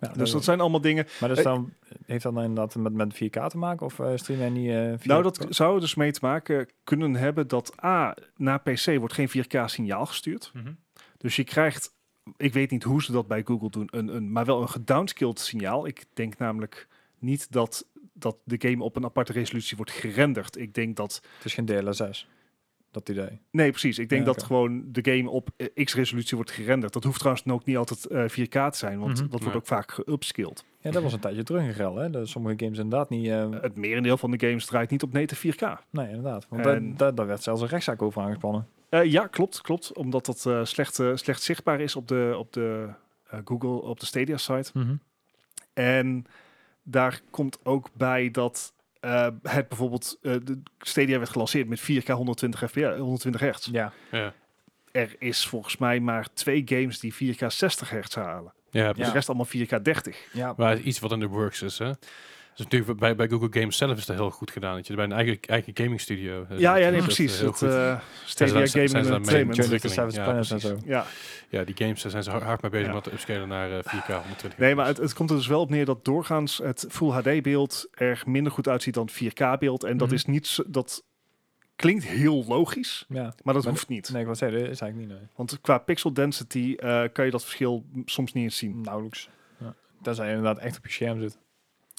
Ja, Dus dat zijn allemaal dingen. Maar dus dan, heeft dat dan inderdaad met, met 4K te maken? Of eh stream jij niet eh via... Nou, dat zou er dus mee te maken kunnen hebben dat A, naar PC wordt geen 4K signaal gestuurd. Dus je krijgt, ik weet niet hoe ze dat bij Google doen, een, een, maar wel een gedownscaled signaal. Ik denk namelijk niet dat, dat de game op een aparte resolutie wordt gerenderd. Ik denk dat, Het is geen DLSS. Dat idee. nee precies, ik denk Ja, dat oké. gewoon de game op eh, X-resolutie wordt gerenderd. Dat hoeft trouwens dan ook niet altijd eh, 4K te zijn, want Mhm. dat wordt Nee. ook vaak geupscaled. Ja, dat was een tijdje terug in rel, hè? Dat sommige games inderdaad niet... eh Het merendeel van de games draait niet op native 4K. nee, inderdaad. Want en- daar, daar, daar werd zelfs een rechtszaak over aangespannen. Eh, ja, klopt, klopt. Omdat dat eh, slecht, eh, slecht zichtbaar is op de, op de eh, Google, op de Stadia-site. En daar komt ook bij dat eh, het bijvoorbeeld, eh, de Stadia werd gelanceerd met 4K 120 fps, 120 eh, hertz. Ja. Ja. Er is volgens mij maar twee games die 4K 60 hertz halen. Ja, Dus De rest allemaal 4K 30. Ja. Maar iets wat in de works is, hè. Dus natuurlijk, bij, bij Google Games zelf is dat heel goed gedaan. Dat je bij een eigen, eigen gaming studio... eh, Ja, ja, dat nee, is precies. heel Dat, goed. eh, Stadia Zijn ze- zijn Gaming ze daarmee- Entertainment. Journey- Journey to Seven Ja, Planets en zo. precies. Ja, ja, die games, daar zijn ze hard, hard mee bezig Ja. met te upscalen naar eh, 4K 120. nee, maar het, het komt er dus wel op neer dat doorgaans het Full HD beeld er minder goed uitziet dan het 4K beeld. En dat Mhm. is niet, zo- dat klinkt heel logisch, Ja. maar dat Maar- hoeft niet. Nee, ik wil zeggen, dat is eigenlijk niet... Nee. Want qua pixel density eh, kan je dat verschil m- soms niet eens zien. Nauwelijks. Ja. Tenzij je inderdaad echt op je scherm zit.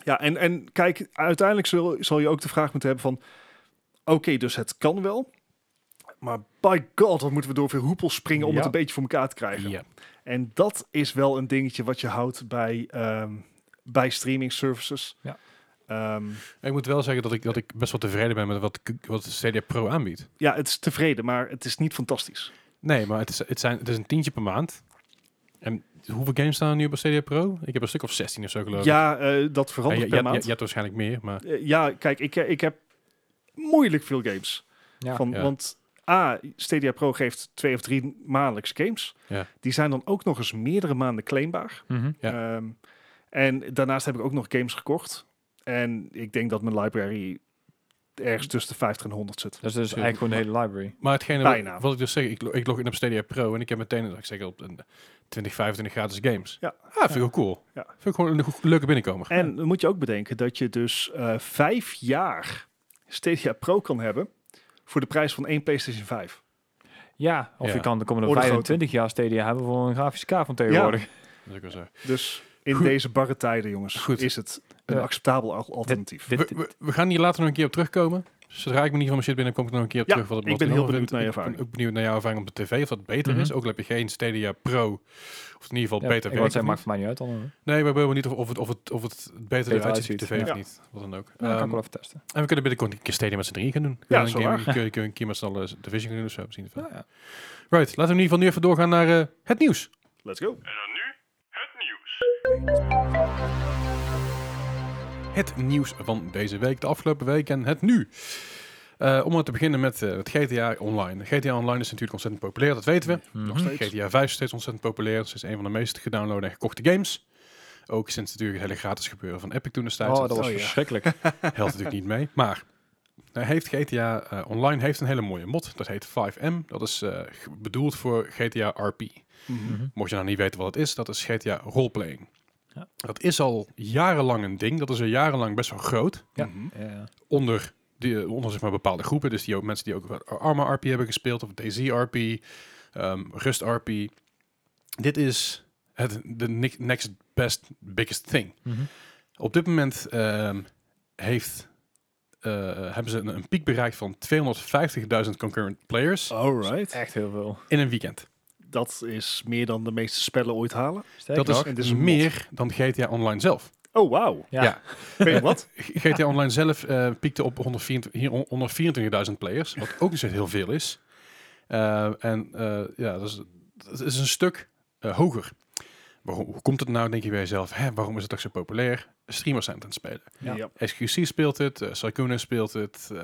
Ja, en, en kijk, uiteindelijk zul, zal je ook de vraag moeten hebben van... Oké, dus het kan wel. Maar by god, wat moeten we door veel hoepels springen om Ja. het een beetje voor elkaar te krijgen. Ja. En dat is wel een dingetje wat je houdt bij, ehm, bij streaming services. Ja. Ehm, Ik moet wel zeggen dat ik, dat ik best wel tevreden ben met wat, wat Stadia Pro aanbiedt. ja, het is tevreden, maar het is niet fantastisch. Nee, maar het is, het, zijn, het is een tientje per maand. En hoeveel games staan er nu op een Stadia Pro? Ik heb een stuk of 16 of zo geloof ik. Ah, Ja, eh, dat Ja, verandert je, per je, je, maand. je hebt waarschijnlijk meer, maar... Eh, ja, kijk, ik, ik heb moeilijk veel games. Ja. Van, Ja. Want A, Stadia Pro geeft twee of drie maandelijks games. Ja. Die zijn dan ook nog eens meerdere maanden claimbaar. Ehm, en daarnaast heb ik ook nog games gekocht. En ik denk dat mijn library ergens tussen de 50 en 100 zit. Dus dat is eigenlijk gewoon de hele library. Maar hetgene wat- Bijna. Wat, ik dus zeg, ik, lo- ik log in op Stadia Pro en ik heb meteen, ik zeg op een 20, 25 gratis games. Ja. Ah, vind ik wel cool. Ja. Vind ik gewoon een go- leuke binnenkomer. En dan moet je ook bedenken dat je dus eh, vijf jaar Stadia Pro kan hebben voor de prijs van één PlayStation 5. Ja, of Ja. je kan de komende Orde groter. 25 jaar Stadia hebben voor een grafische kaart van tegenwoordig. Dat is ook wel zo. Dus in Goed. deze barre tijden, jongens, Goed. is het een Ja. acceptabel al- alternatief. Dit- We, we, we gaan hier later nog een keer op terugkomen. Zodra ik me niet van mijn shit binnen, kom ik er nog een keer op Ja, terug. Wat ik wat ben heel allemaal benieuwd vindt. naar Ik je ben ervaring. ook benieuwd naar jouw ervaring op de tv, of dat beter Mhm. is. Ook al heb je geen Stadia Pro, of in ieder geval Ja, beter ik wou werkt. of zeggen, maakt niet. voor mij niet uit dan. eh, hoor. Nee, maar ik ben wel niet of, of, het, of, het, of het beter eruit ziet op uitziet, de tv ja. of niet. Wat dan ook. Ja, dat kan ik Ehm, wel even testen. en we kunnen binnenkort een keer Stadia met z'n drieën gaan doen. Ja, En is een wel keer- Kun je kun je een keer met z'n allen Division gaan doen of zo. Misschien Ja, ja. Right, laten we in ieder geval nu even doorgaan naar eh, het nieuws. Let's go. Het nieuws van deze week, de afgelopen week en het nu. Eh, om maar te beginnen met eh, het GTA Online. GTA Online is natuurlijk ontzettend populair, dat weten we. Mhm. steeds. GTA 5 is steeds ontzettend populair. Het is een van de meest gedownload en gekochte games. Ook sinds natuurlijk het hele gratis gebeuren van Epic toen destijds. Oh, dat was Oh, ja. verschrikkelijk. helpt natuurlijk niet mee. Maar hij heeft GTA eh, Online heeft een hele mooie mod. Dat heet 5M. Dat is eh, ge- bedoeld voor GTA RP. Hm. Mocht je nou niet weten wat het is, dat is GTA Roleplaying. Ja. Dat is al jarenlang een ding. Dat is al jarenlang best wel groot. Ja. Mhm. Ja. Onder, die, eh, onder zeg maar, bepaalde groepen. Dus die ook, mensen die ook wat Arma RP hebben gespeeld. Of DZ RP. ehm, Rust RP. Dit is het, de ni- next best biggest thing. Mhm. Op dit moment ehm, heeft, eh, hebben ze een, een piek bereikt van 250.000 concurrent players Oh. Alright. Echt heel veel. in een weekend. Dat is meer dan de meeste spellen ooit halen. Sterker dat nog, is, en dit is een meer dan GTA Online zelf. Oh, wauw. Ja. ja. Weet je wat? G- GTA Online zelf eh, piekte op 124 hier- 124.000 players, wat ook niet zo heel veel is. Eh, en eh, ja, dat is, dat is een stuk eh, hoger. Waarom, hoe komt het nou, denk je bij jezelf? Hè, waarom is het ook zo populair? Streamers zijn het aan het spelen. Ja. Ja. SQC speelt het, eh Sykuno speelt het. eh,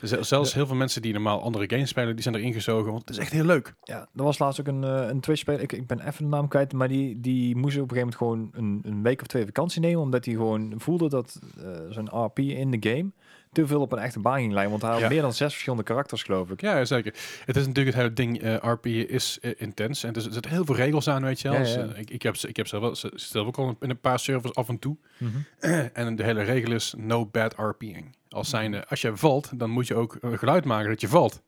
er zijn zelfs heel veel mensen die normaal andere games spelen, die zijn erin gezogen, want het is echt heel leuk. ja, er was laatst ook een, eh, een Twitch-speler. Ik, ik ben even de naam kwijt, maar die, die moest op een gegeven moment gewoon een, een week of twee vakantie nemen. Omdat hij gewoon voelde dat eh, zijn RP in de game te veel op een echte baan ging lijnen. Want hij had Ja. meer dan zes verschillende karakters, geloof ik. Ja, zeker. Het is natuurlijk het hele ding, eh, RP is eh, intens en dus er zitten heel veel regels aan, weet je wel. Ja, Dus, ja. eh, ik, ik heb, ze- ik heb zelf, wel- ze- zelf ook al in een paar servers af en toe. Eh, Mhm. En de hele regel is no bad RP'ing. Als Mhm. zijnde, als je valt, dan moet je ook een geluid maken dat je valt.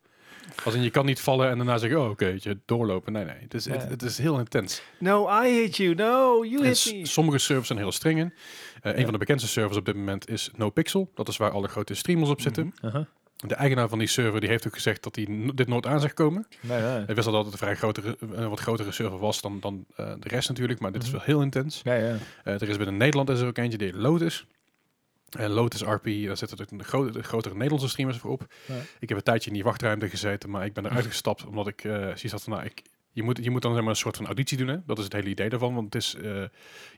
Als in, je kan niet vallen en daarna zeggen, oh oké, weet je doorlopen. Nee, nee, het is, het, Ja. het is heel intens. No, I hate you. No, you En hit s- me. sommige servers zijn heel streng in. Eh, Een Ja. van de bekendste servers op dit moment is NoPixel. Dat is waar alle grote streamers op zitten. Uh-huh. De eigenaar van die server die heeft ook gezegd dat hij no- dit nooit aan zag komen. Nee, nee. Hij wist al dat het een vrij grotere, een wat grotere server was dan, dan eh, de rest natuurlijk. Maar dit Mhm. is wel heel intens. Ja, ja. Eh, er is binnen Nederland is er ook eentje die heet Lotus. En Lotus RP, daar zitten ook de, gro- de grotere Nederlandse streamers voor op. Ja. Ik heb een tijdje in die wachtruimte gezeten, maar ik ben eruit gestapt omdat ik eh zoiets had van, nou, ik, je, moet, je moet dan zeg maar, een soort van auditie doen. Hè? Dat is het hele idee daarvan, want het is, eh, je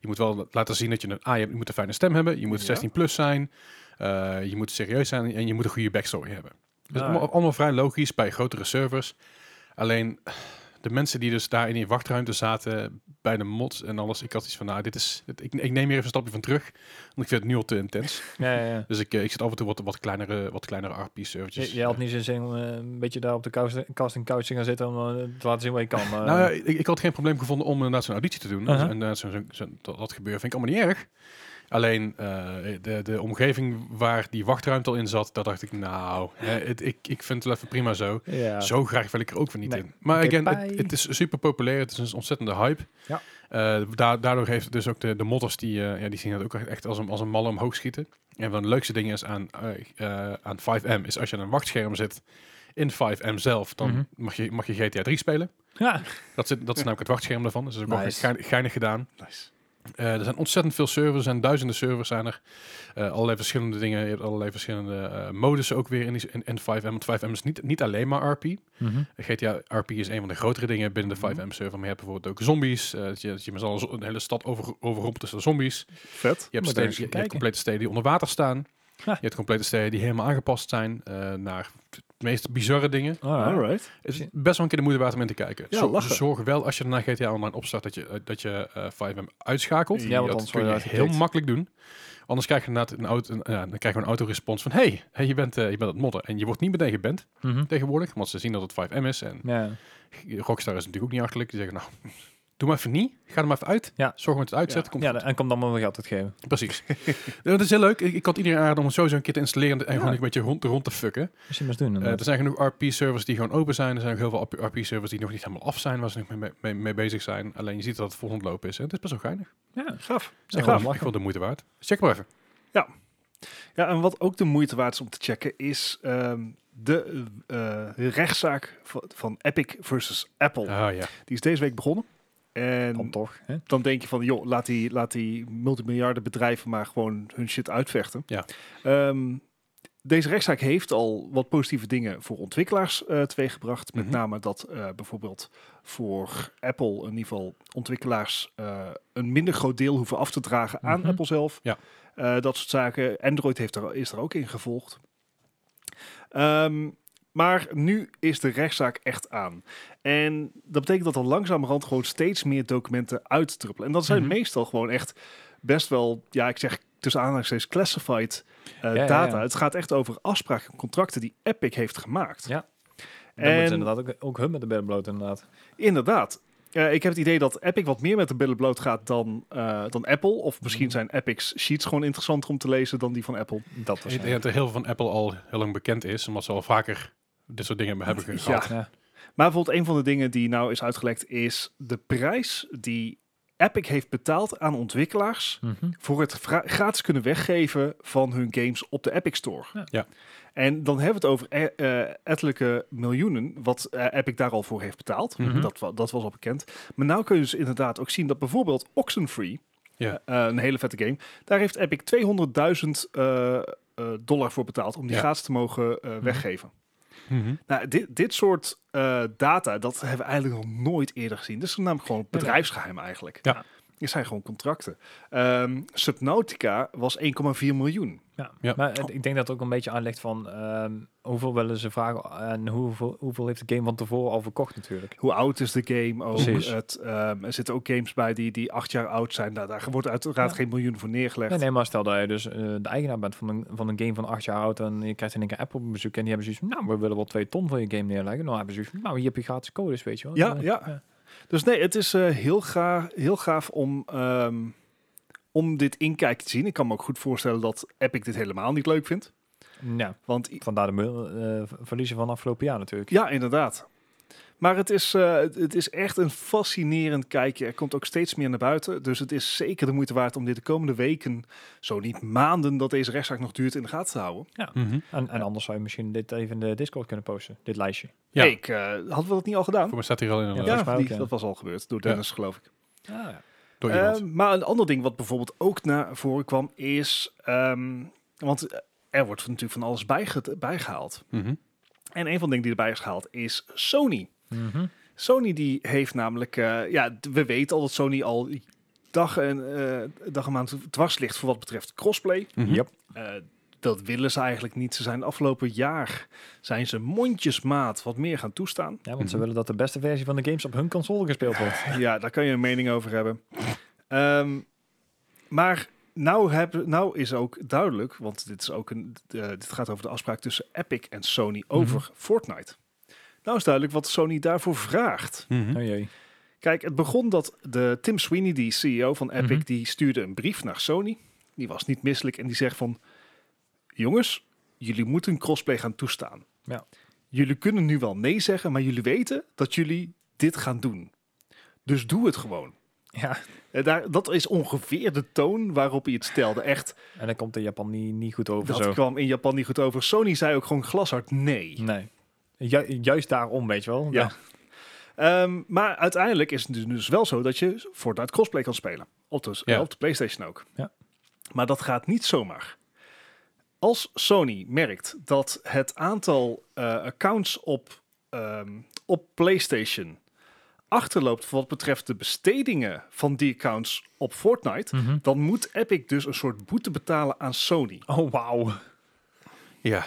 moet wel laten zien dat je een, ah, je, hebt- je moet een fijne stem hebben, je moet Ja. 16 plus zijn, eh, je moet serieus zijn en je moet een goede backstory hebben. Dus Ah, allemaal, ja. allemaal vrij logisch bij grotere servers. Alleen de mensen die dus daar in die wachtruimte zaten bij de mods en alles, ik had iets van, nou, dit is, dit- ik, ik neem hier even een stapje van terug, want ik vind het nu al te intens. ja, ja, ja. Dus ik, eh, ik zit af en toe wat, wat kleinere, wat kleinere Je, RP-servertjes. je had niet zo'n zin om eh, een beetje daar op de kous- casting couch te gaan zitten om eh, te laten zien wat je kan. maar- Nou, ja, ik, ik had geen probleem gevonden om inderdaad zo'n auditie te doen. Uh-huh. En eh, zo'n- zo'n- zo'n- dat, dat gebeuren vind ik allemaal niet erg. Alleen eh, de, de omgeving waar die wachtruimte al in zat, daar dacht ik, nou, eh, het, ik, ik vind het wel even prima zo. eh, ja. Zo graag wil ik er ook weer niet Nee. in. Maar Oké, again, het, bye. het is super populair. Het is een ontzettende hype. Ja. Eh, da- daardoor heeft het dus ook de, de modders, die, eh, ja, die zien dat ook echt als een, als een malle omhoog schieten. En van de leukste dingen is aan, eh, eh, aan 5M, is als je aan een wachtscherm zit in 5M zelf, dan Mhm. mag, je, mag je GTA 3 spelen. Ja. Dat, zit, dat is namelijk het wachtscherm daarvan. Dus dat is ook wel Nice. gein- geinig gedaan. Nice. Eh, er zijn ontzettend veel servers, er zijn duizenden servers zijn er. Eh, allerlei verschillende dingen, je hebt allerlei verschillende eh modussen ook weer in, die- in, in 5M. Want 5M is niet, niet alleen maar RP. Mhm. GTA RP is een van de grotere dingen binnen de 5M-server. Maar je hebt bijvoorbeeld ook zombies. eh, dat je, dat je met z'n allen zo- een hele stad over, overrompelt tussen zombies. Vet. Je hebt, steden, Moet eens je, gaan je hebt kijken. complete steden die onder water staan. Ja. Je hebt complete steden die helemaal aangepast zijn eh, naar de meest bizarre dingen. Alright. Alright. Het is best wel een keer de moeite waard om in te kijken. Ja, Zo- lachen. zorg wel als je daarna GTA Online opstart dat je, eh, dat je eh, 5M uitschakelt. Ja, want dat anders kun je word je heel uitgeknikt. makkelijk doen. Anders krijg je inderdaad een auto, een, ja, dan krijg je een autorespons van... hey, hey, je, bent, eh, je bent aan het modden. En je wordt niet meteen geband Mhm. tegenwoordig. Want ze zien dat het 5M is en Ja. Rockstar is natuurlijk ook niet achterlijk. Die zeggen, nou, Doe maar even niet. Ga er maar even uit. Ja. Zorg dat het uitzet. Komt ja, goed. en kan dan maar mijn geld uitgeven. Precies. Ja, dat is heel leuk. Ik, ik had iedereen aanraden om het sowieso een keer te installeren en gewoon een beetje rond, rond te fucken. Misschien maar eens doen. Eh, inderdaad. er zijn genoeg RP-servers die gewoon open zijn. Er zijn ook heel veel RP-servers die nog niet helemaal af zijn, waar ze nog mee, mee, mee bezig zijn. Alleen je ziet dat het vol ontlopen is. En het is best wel geinig. ja. Gaaf. Het is echt, gaaf. wel, echt wel de moeite waard. Dus check maar even. Ja, en wat ook de moeite waard is om te checken is ehm, de eh, rechtszaak van, van Epic versus Apple. Oh. Ah ja. Die is deze week begonnen. En Dan toch. Hè? dan denk je van, joh, laat die, laat die multimiljarden bedrijven maar gewoon hun shit uitvechten. Ja. Ehm, deze rechtszaak heeft al wat positieve dingen voor ontwikkelaars eh, teweeggebracht. Met Mhm. name dat eh, bijvoorbeeld voor Apple, in ieder geval ontwikkelaars, eh, een minder groot deel hoeven af te dragen aan Mhm. Apple zelf. Ja. Eh, dat soort zaken. Android heeft er, is er ook in gevolgd. Ehm, maar nu is de rechtszaak echt aan. En dat betekent dat er langzamerhand gewoon steeds meer documenten uitdruppelen. En dat zijn Mhm. meestal gewoon echt best wel, ja, ik zeg tussen aanhalingstekens classified eh, ja, data. ja. Het gaat echt over afspraken en contracten die Epic heeft gemaakt. Ja. Dan En- moeten ze inderdaad ook, ook hun met de bedden bloot inderdaad. Inderdaad. Eh, ik heb het idee dat Epic wat meer met de billen bloot gaat dan, eh, dan Apple. Of misschien Mhm. zijn Epic's sheets gewoon interessanter om te lezen dan die van Apple. Dat Ik was denk dat er heel veel van Apple al heel lang bekend is, omdat ze al vaker dit soort dingen hebben ge- Ja. gehad. ja. Maar bijvoorbeeld een van de dingen die nou is uitgelekt is de prijs die Epic heeft betaald aan ontwikkelaars Mhm. voor het gra- gratis kunnen weggeven van hun games op de Epic Store. Ja. Ja. En dan hebben we het over e- eh, ettelijke miljoenen, wat eh, Epic daar al voor heeft betaald. Mhm. dat, wa- dat was al bekend. Maar nou kun je dus inderdaad ook zien dat bijvoorbeeld Oxenfree, Ja. eh, eh, een hele vette game, daar heeft Epic 200.000 eh, eh, dollar voor betaald om die Ja. gratis te mogen eh, weggeven. Mhm. Nou, dit, dit soort eh, data, dat hebben we eigenlijk nog nooit eerder gezien. Dit is namelijk gewoon bedrijfsgeheim eigenlijk. Ja. Dit zijn gewoon contracten. Ehm, Subnautica was 1,4 miljoen. Ja. Ja. Maar het- ik denk dat het ook een beetje aanlegt van ehm, hoeveel willen ze vragen eh, en hoeveel, hoeveel heeft de game van tevoren al verkocht natuurlijk. Hoe oud is de game ook? Precies. Het, ehm, er zitten ook games bij die, die acht jaar oud zijn. Nou, daar wordt uiteraard Ja. geen miljoen voor neergelegd. Nee, nee, maar stel dat je dus eh, de eigenaar bent van een, van een game van acht jaar oud en je krijgt in één keer Apple op bezoek en die hebben zoiets van, nou, we willen wel twee ton voor je game neerleggen. Nou, hebben ze zoiets van, nou, hier heb je gratis codes, weet je wel. Ja, Eh, ja. Dus nee, het is eh, heel, gaaf, heel gaaf om, ehm, om dit inkijk te zien. Ik kan me ook goed voorstellen dat Epic dit helemaal niet leuk vindt. Nou, Want vandaar de mul- eh, v- verliezen van afgelopen jaar natuurlijk. Ja, inderdaad. Maar het is, eh, het- het is echt een fascinerend kijkje. Er komt ook steeds meer naar buiten. Dus het is zeker de moeite waard om dit de komende weken, zo niet maanden, dat deze rechtszaak nog duurt, in de gaten te houden. Mhm. En, en anders zou je misschien dit even in de Discord kunnen posten, dit lijstje. Ja, Ik, eh, hadden we dat niet al gedaan? voor mij staat hier al in een Ja, eh, Ja, volgens mij ook, die- ja. dat was al gebeurd door Ja. Dennis, geloof ik. ja. door iemand. Eh, maar een ander ding wat bijvoorbeeld ook naar voren kwam is... ehm, want eh, er wordt natuurlijk van alles bijge- bijgehaald. Ehm, Mhm. En een van de dingen die erbij is gehaald is Sony. Mhm. Sony die heeft namelijk, eh, ja, d- we weten al dat Sony al dag en, eh dag en maand dwars ligt voor wat betreft crossplay. Mhm. Yep. Eh, dat willen ze eigenlijk niet. Ze zijn afgelopen jaar zijn ze mondjesmaat wat meer gaan toestaan. Ja, want ze willen dat de beste versie van de games op hun console gespeeld wordt. Mhm. Ja, daar kan je een mening over hebben. Ehm, maar nou, hebben, nou is ook duidelijk, want dit, is ook een, eh, dit gaat over de afspraak tussen Epic en Sony over Fortnite. Nou is duidelijk wat Sony daarvoor vraagt. Mhm. Oh jee. Kijk, het begon dat de Tim Sweeney, die CEO van Epic, Mhm. die stuurde een brief naar Sony. Die was niet misselijk en die zegt van... Jongens, jullie moeten crossplay gaan toestaan. Ja. Jullie kunnen nu wel nee zeggen, maar jullie weten dat jullie dit gaan doen. Dus doe het gewoon. Ja, Eh, Daar, dat is ongeveer de toon waarop hij het stelde. Echt, en dan komt in Japan niet, niet goed over dat zo. kwam in Japan niet goed over. Sony zei ook gewoon glashard nee. Nee. Ju- juist daarom, weet je wel. Ja. Ehm, maar uiteindelijk is het dus- dus wel zo dat je Fortnite crossplay kan spelen. Op de, Ja. op de PlayStation ook. Ja. Maar dat gaat niet zomaar. Als Sony merkt dat het aantal eh, accounts op, ehm, op PlayStation achterloopt voor wat betreft de bestedingen van die accounts op Fortnite, Mhm. dan moet Epic dus een soort boete betalen aan Sony. Oh, wauw. Ja.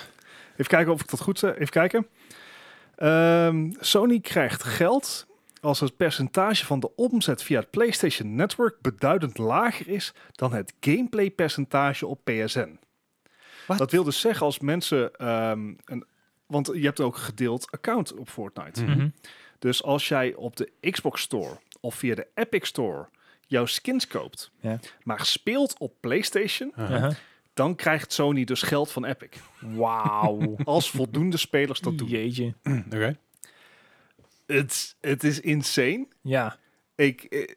Even kijken of ik dat goed zeg. Even kijken. Ehm, Sony krijgt geld als het percentage van de omzet via het PlayStation Network beduidend lager is dan het gameplay percentage op PSN. Wat? Dat wil dus zeggen als mensen ehm, een, want je hebt ook een gedeeld account op Fortnite. Mhm. Mhm. Dus als jij op de Xbox Store of via de Epic Store jouw skins koopt, Ja. maar speelt op PlayStation, Uh-huh. Uh-huh. dan krijgt Sony dus geld van Epic. Wauw. Als voldoende spelers dat doen. Jeetje. Oké. Het het is insane. Ja. Ik, eh,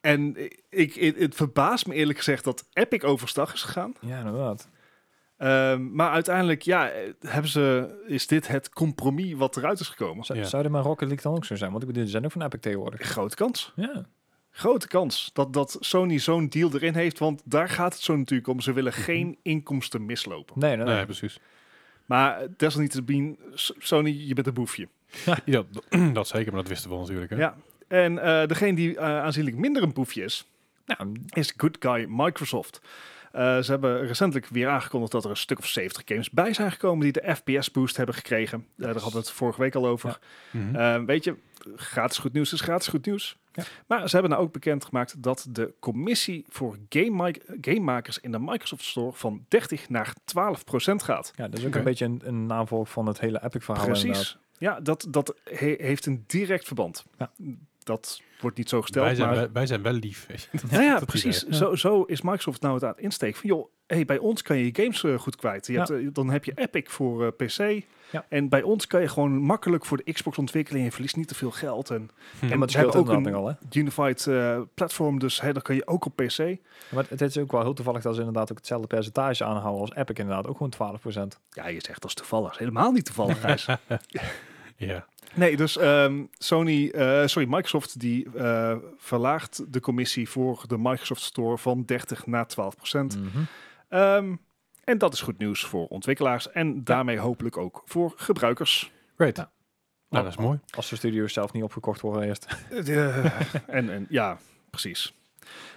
en ik, het- het verbaast me eerlijk gezegd dat Epic overstag is gegaan. Ja, inderdaad. Ehm, maar uiteindelijk ja, eh, hebben ze, is dit het compromis wat eruit is gekomen. Zou, Ja. zou dit maar Rocket League dan ook zo zijn? Want ik bedoel, die zijn ook van Epic tegenwoordig. Grote kans. Ja. Grote kans dat, dat Sony zo'n deal erin heeft. Want daar gaat het zo natuurlijk om. Ze willen geen inkomsten mislopen. Nee, nee, nee. Nee, precies. Maar eh, desalniettemin, S- Sony, je bent een boefje. Ja, d- dat zeker, maar dat wisten we al natuurlijk. Hè? Ja. En eh, degene die eh, aanzienlijk minder een boefje is, Nou, is Good Guy Microsoft. Eh, ze hebben recentelijk weer aangekondigd dat er een stuk of 70 games bij zijn gekomen die de FPS boost hebben gekregen. Eh, daar hadden we het vorige week al over. Mhm. Eh, weet je, gratis goed nieuws is gratis goed nieuws. Hm. Ja. Maar ze hebben nou ook bekendgemaakt dat de commissie voor gamemi- gamemakers in de Microsoft Store van 30 naar 12 procent gaat. ja, dat is ook Oké. een beetje een, een navolg van het hele Epic verhaal. inderdaad. Precies. Ja, dat, dat he- heeft een direct verband. Ja. Dat wordt niet zo gesteld. wij, zijn maar... wel, wij zijn wel lief. weet je. Nou ja, Dat precies. idee. Zo, zo is Microsoft nou het aan het insteken van, joh, hey, bij ons kan je je games eh, goed kwijt. Je Ja. hebt, eh, dan heb je Epic voor eh, PC. Ja. En bij ons kan je gewoon makkelijk voor de Xbox ontwikkelen. Je verliest niet te veel geld. En Ja, Hm. maar het we speelt hebben ook ook een- nogal, hè? unified eh, platform, dus hey, dan kan je ook op PC. Maar het is ook wel heel toevallig dat ze inderdaad ook hetzelfde percentage aanhouden als Epic inderdaad. Ook gewoon 12%. Ja, je zegt dat is toevallig. Helemaal niet toevallig, Gijs. Ja. nee, dus ehm, Sony, eh, sorry, Microsoft die eh, verlaagt de commissie voor de Microsoft Store van 30 naar 12 procent. Mhm. Ehm, en dat is goed nieuws voor ontwikkelaars en daarmee hopelijk ook voor gebruikers. Great. Ja. Oh, Nou, dat is mooi. Als de studio's zelf niet opgekocht worden eerst. en, en ja, precies.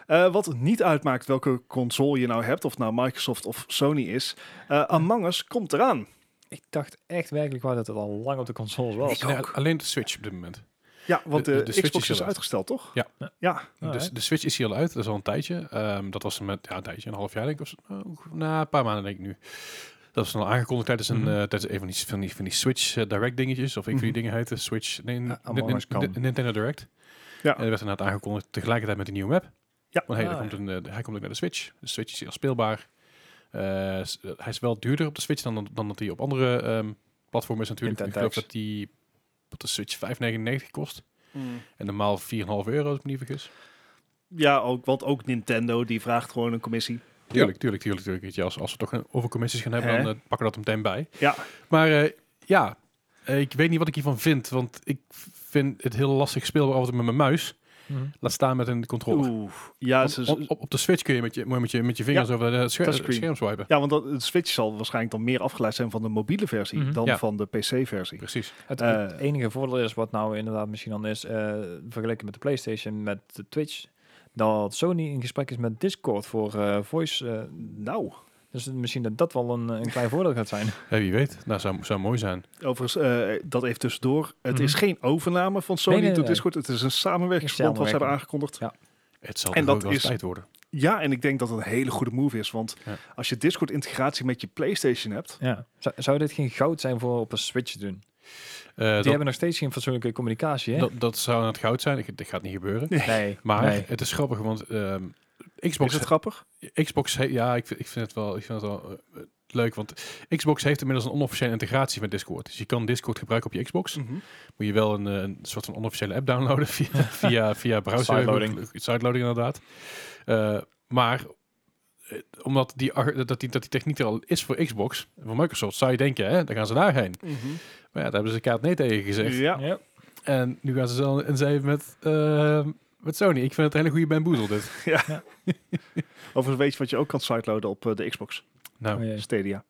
Eh, wat niet uitmaakt welke console je nou hebt, of nou Microsoft of Sony is, eh Among Us komt eraan. Ik dacht echt werkelijk waar dat het al lang op de consoles was. Nee, alleen de Switch op dit moment. Ja, want De- de, de- de Switch Xbox is is al uit. uitgesteld, toch? Ja. Ja, Dus de Switch is hier al uit, dat is al een tijdje. Ehm, dat was met ja, een tijdje, een half jaar denk ik. Of, zo. Oh, na een paar maanden denk ik nu. Dat was dan al aangekondigd tijdens een, Mhm. eh, tijdens een van, die, van, die, van die Switch eh, Direct dingetjes. Of ik van die Mhm. dingen heette. Switch, nee, Ah, Nin- Among Nin- Us kan. Nin- Nintendo Direct. Ja. En dat werd inderdaad aangekondigd tegelijkertijd met een nieuwe map. Ja. Want hey, Ah, er komt een, eh, hij komt ook naar de Switch. De Switch is hier al speelbaar. Eh, s- eh, hij is wel duurder op de Switch dan, dan dat hij op andere ehm platformen is natuurlijk. Ik Nintendo geloof dat, die, dat de Switch 5,99 kost. Mm. En normaal 4,5 euro als ik me niet vergis. ja ook, want ook Nintendo die vraagt gewoon een commissie. Tuurlijk, tuurlijk, tuurlijk, tuurlijk. Weet je, als, als we toch een overcommissies gaan hebben, Hè? dan eh, pakken we dat er meteen bij. Ja, Maar eh, ja, eh, ik weet niet wat ik hiervan vind, want ik vind het heel lastig speelbaar altijd met mijn muis. Mhm. Laat staan met een controller. oeh. Ja, Want ze, op, op, op de Switch kun je met je, moet je met je, met je vingers over het scher- touchscreen. scherm swipen. ja want dat, de Switch zal waarschijnlijk dan meer afgeleid zijn van de mobiele versie Mhm. dan Ja. van de PC-versie. Precies. Het, Eh. het enige voordeel is wat nou inderdaad misschien dan is, eh, vergeleken met de PlayStation, met de Twitch, dat Sony in gesprek is met Discord voor eh, voice. eh, Nou, dus misschien dat dat wel een, een klein voordeel gaat zijn. Hey, wie weet. Nou, zou, zou mooi zijn. Overigens, eh, dat even tussendoor. Het Mhm. is geen overname van Sony Nee, nee, nee, door nee. Discord. Het is een samenwerkingsverband wat ze hebben aangekondigd. Ja. Het zal En toch dat ook wel eens is- tijd worden. Eh, Ja, en ik denk dat het een hele goede move is. Want Ja. als je Discord-integratie met je PlayStation hebt... Ja. Zou, zou dit geen goud zijn voor op een Switch te doen? Eh, Die dat, hebben nog steeds geen fatsoenlijke communicatie, hè? dat, dat zou aan het goud zijn. Ik- Dit gaat niet gebeuren. nee. Maar nee. het is grappig, want ehm, Is Xbox het grappig? Xbox, he- ja, ik vind, ik vind het wel, ik vind het wel eh, eh, leuk, want Xbox heeft inmiddels een onofficiële integratie met Discord. Dus je kan Discord gebruiken op je Xbox. Moet je wel een, eh, een soort van onofficiële app downloaden via, via, via browser. Sideloading. Sideloading, inderdaad. Eh, maar eh, omdat die, ar- dat die, dat die techniek er al is voor Xbox, voor Microsoft, zou je denken, hè, dan gaan ze daarheen. Maar ja, daar hebben ze kaart nee tegen gezegd. Ja. Ja. En nu gaan ze zelf en zij met, eh, met Sony. Ik vind het een hele goede bamboezel, dit. Overigens weet je wat je ook kan sideloaden op eh, de Xbox Nou, Oh, jee. Stadia.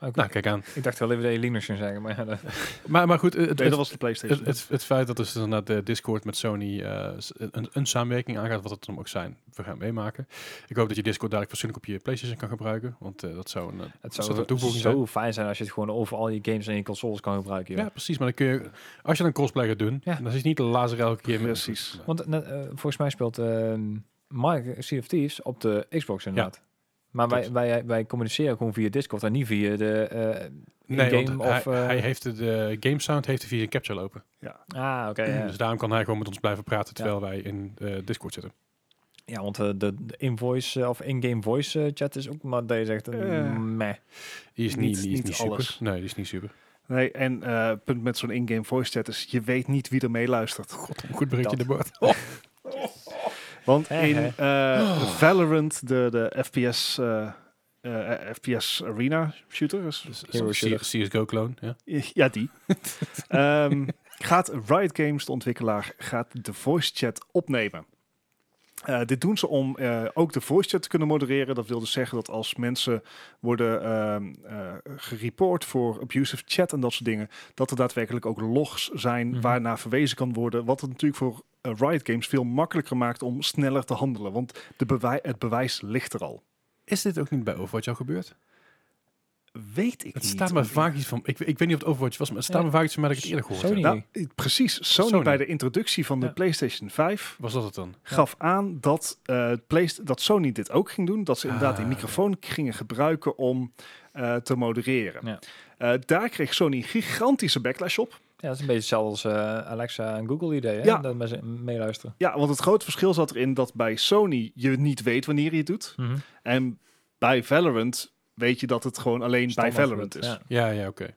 Oké. nou, kijk aan. Ik dacht wel even dat je Linux ging zeggen, maar ja, dat- Maar, maar goed, eh, het, Nee, het- dat was de PlayStation. Het, het, het feit dat dus inderdaad de Discord met Sony eh, s- een, een samenwerking aangaat, wat het dan ook zijn, we gaan meemaken. Ik hoop dat je Discord dadelijk fatsoenlijk op je PlayStation kan gebruiken, want eh, dat zou een, eh, het dat zou een zo toevoeging zijn? fijn zijn als je het gewoon over al je games en je consoles kan gebruiken. joh. Ja, precies. Maar dan kun je, als je dan cosplay gaat doen, Ja. dan zit je niet de lazer elke keer. met- Precies. Nou, eh, Want net, eh, volgens mij speelt ehm Mark Sea of Thieves op de Xbox inderdaad. Maar wij, Klopt. wij, wij communiceren gewoon via Discord en niet via de eh, Nee, want in-game hij, of... eh, hij heeft de, de game sound heeft hij via zijn capture lopen. Ah, oké. ja. Dus daarom kan hij gewoon met ons blijven praten terwijl wij in eh, Discord zitten. Ja, want eh, de, de in-voice eh, of in-game voice eh, chat is ook maar deze echt een Eh. meh. Die is niet, Niet- die is niet niet super. alles. Nee, die is niet super. Nee, en eh, het punt met zo'n in-game voice chat is, je weet niet wie er meeluistert. God, een goed berichtje Dat. de boord. Want Hè, in hè. eh, Valorant, de, de FPS, eh, eh, FPS Arena shooter, is, Hero shooter. CSGO-clone, ja. ja die, Ehm, gaat Riot Games, de ontwikkelaar, gaat de voice chat opnemen. Eh, dit doen ze om eh, ook de voice chat te kunnen modereren. Dat wil dus zeggen dat als mensen worden ehm eh, gereport voor abusive chat en dat soort dingen, dat er daadwerkelijk ook logs zijn Mhm. waarnaar verwezen kan worden. Wat het natuurlijk voor eh, Riot Games veel makkelijker maakt om sneller te handelen. Want de bewij- het bewijs ligt er al. Is dit ook niet bij Overwatch jou gebeurd? Weet ik Het niet. staat me vaak iets van... Ik, ik weet niet of het Overwatch was, maar het staat Ja. me vaak iets van dat ik het eerder gehoord heb. Sony. Nou, eh, precies. Sony, Sony. bij de introductie van de Ja. PlayStation 5 Was dat het dan? gaf aan dat, eh, Playst- dat Sony dit ook ging doen. Dat ze inderdaad die Ah, microfoon gingen gebruiken om eh, te modereren. Ja. Eh, daar kreeg Sony gigantische backlash op. Ja, dat is een beetje hetzelfde als eh, Alexa en Google idee, hè? Ja. Dat mensen meeluisteren. Ja, want het grote verschil zat erin dat bij Sony je niet weet wanneer je het doet. En bij Valorant weet je dat het gewoon alleen Standaard bij Valorant is. Ja. Ja, ja, oké. Ja,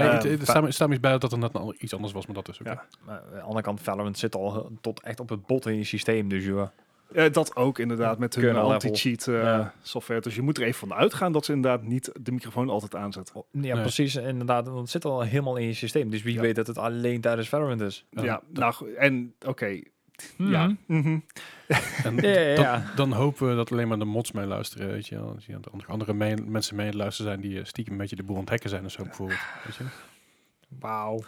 Nee, eh, het- het- va- staat me- staat me iets bij dat er net een ander- iets anders was, maar dat is oké. Ja. Maar aan de andere kant, Valorant zit al eh, tot echt op het bot in je systeem, dus joh. Eh, dat ook inderdaad met hun Kernel level. anti-cheat eh, Ja. software. Dus je moet er even van uitgaan dat ze inderdaad niet de microfoon altijd aanzetten. Ja, Nee. precies, inderdaad, want het zit al helemaal in je systeem. Dus wie Ja. weet dat het alleen tijdens Valorant is. Ja, ja, nou goed, en oké. Mhm. Ja. Mhm. En Ja, ja, dan- ja. Dan hopen we dat alleen maar de mods meeluisteren, weet je wel. Dat je andere- andere mee- mensen meeluisteren zijn die eh, stiekem een beetje de boel aan het hacken zijn en zo bijvoorbeeld. Weet je? Wauw.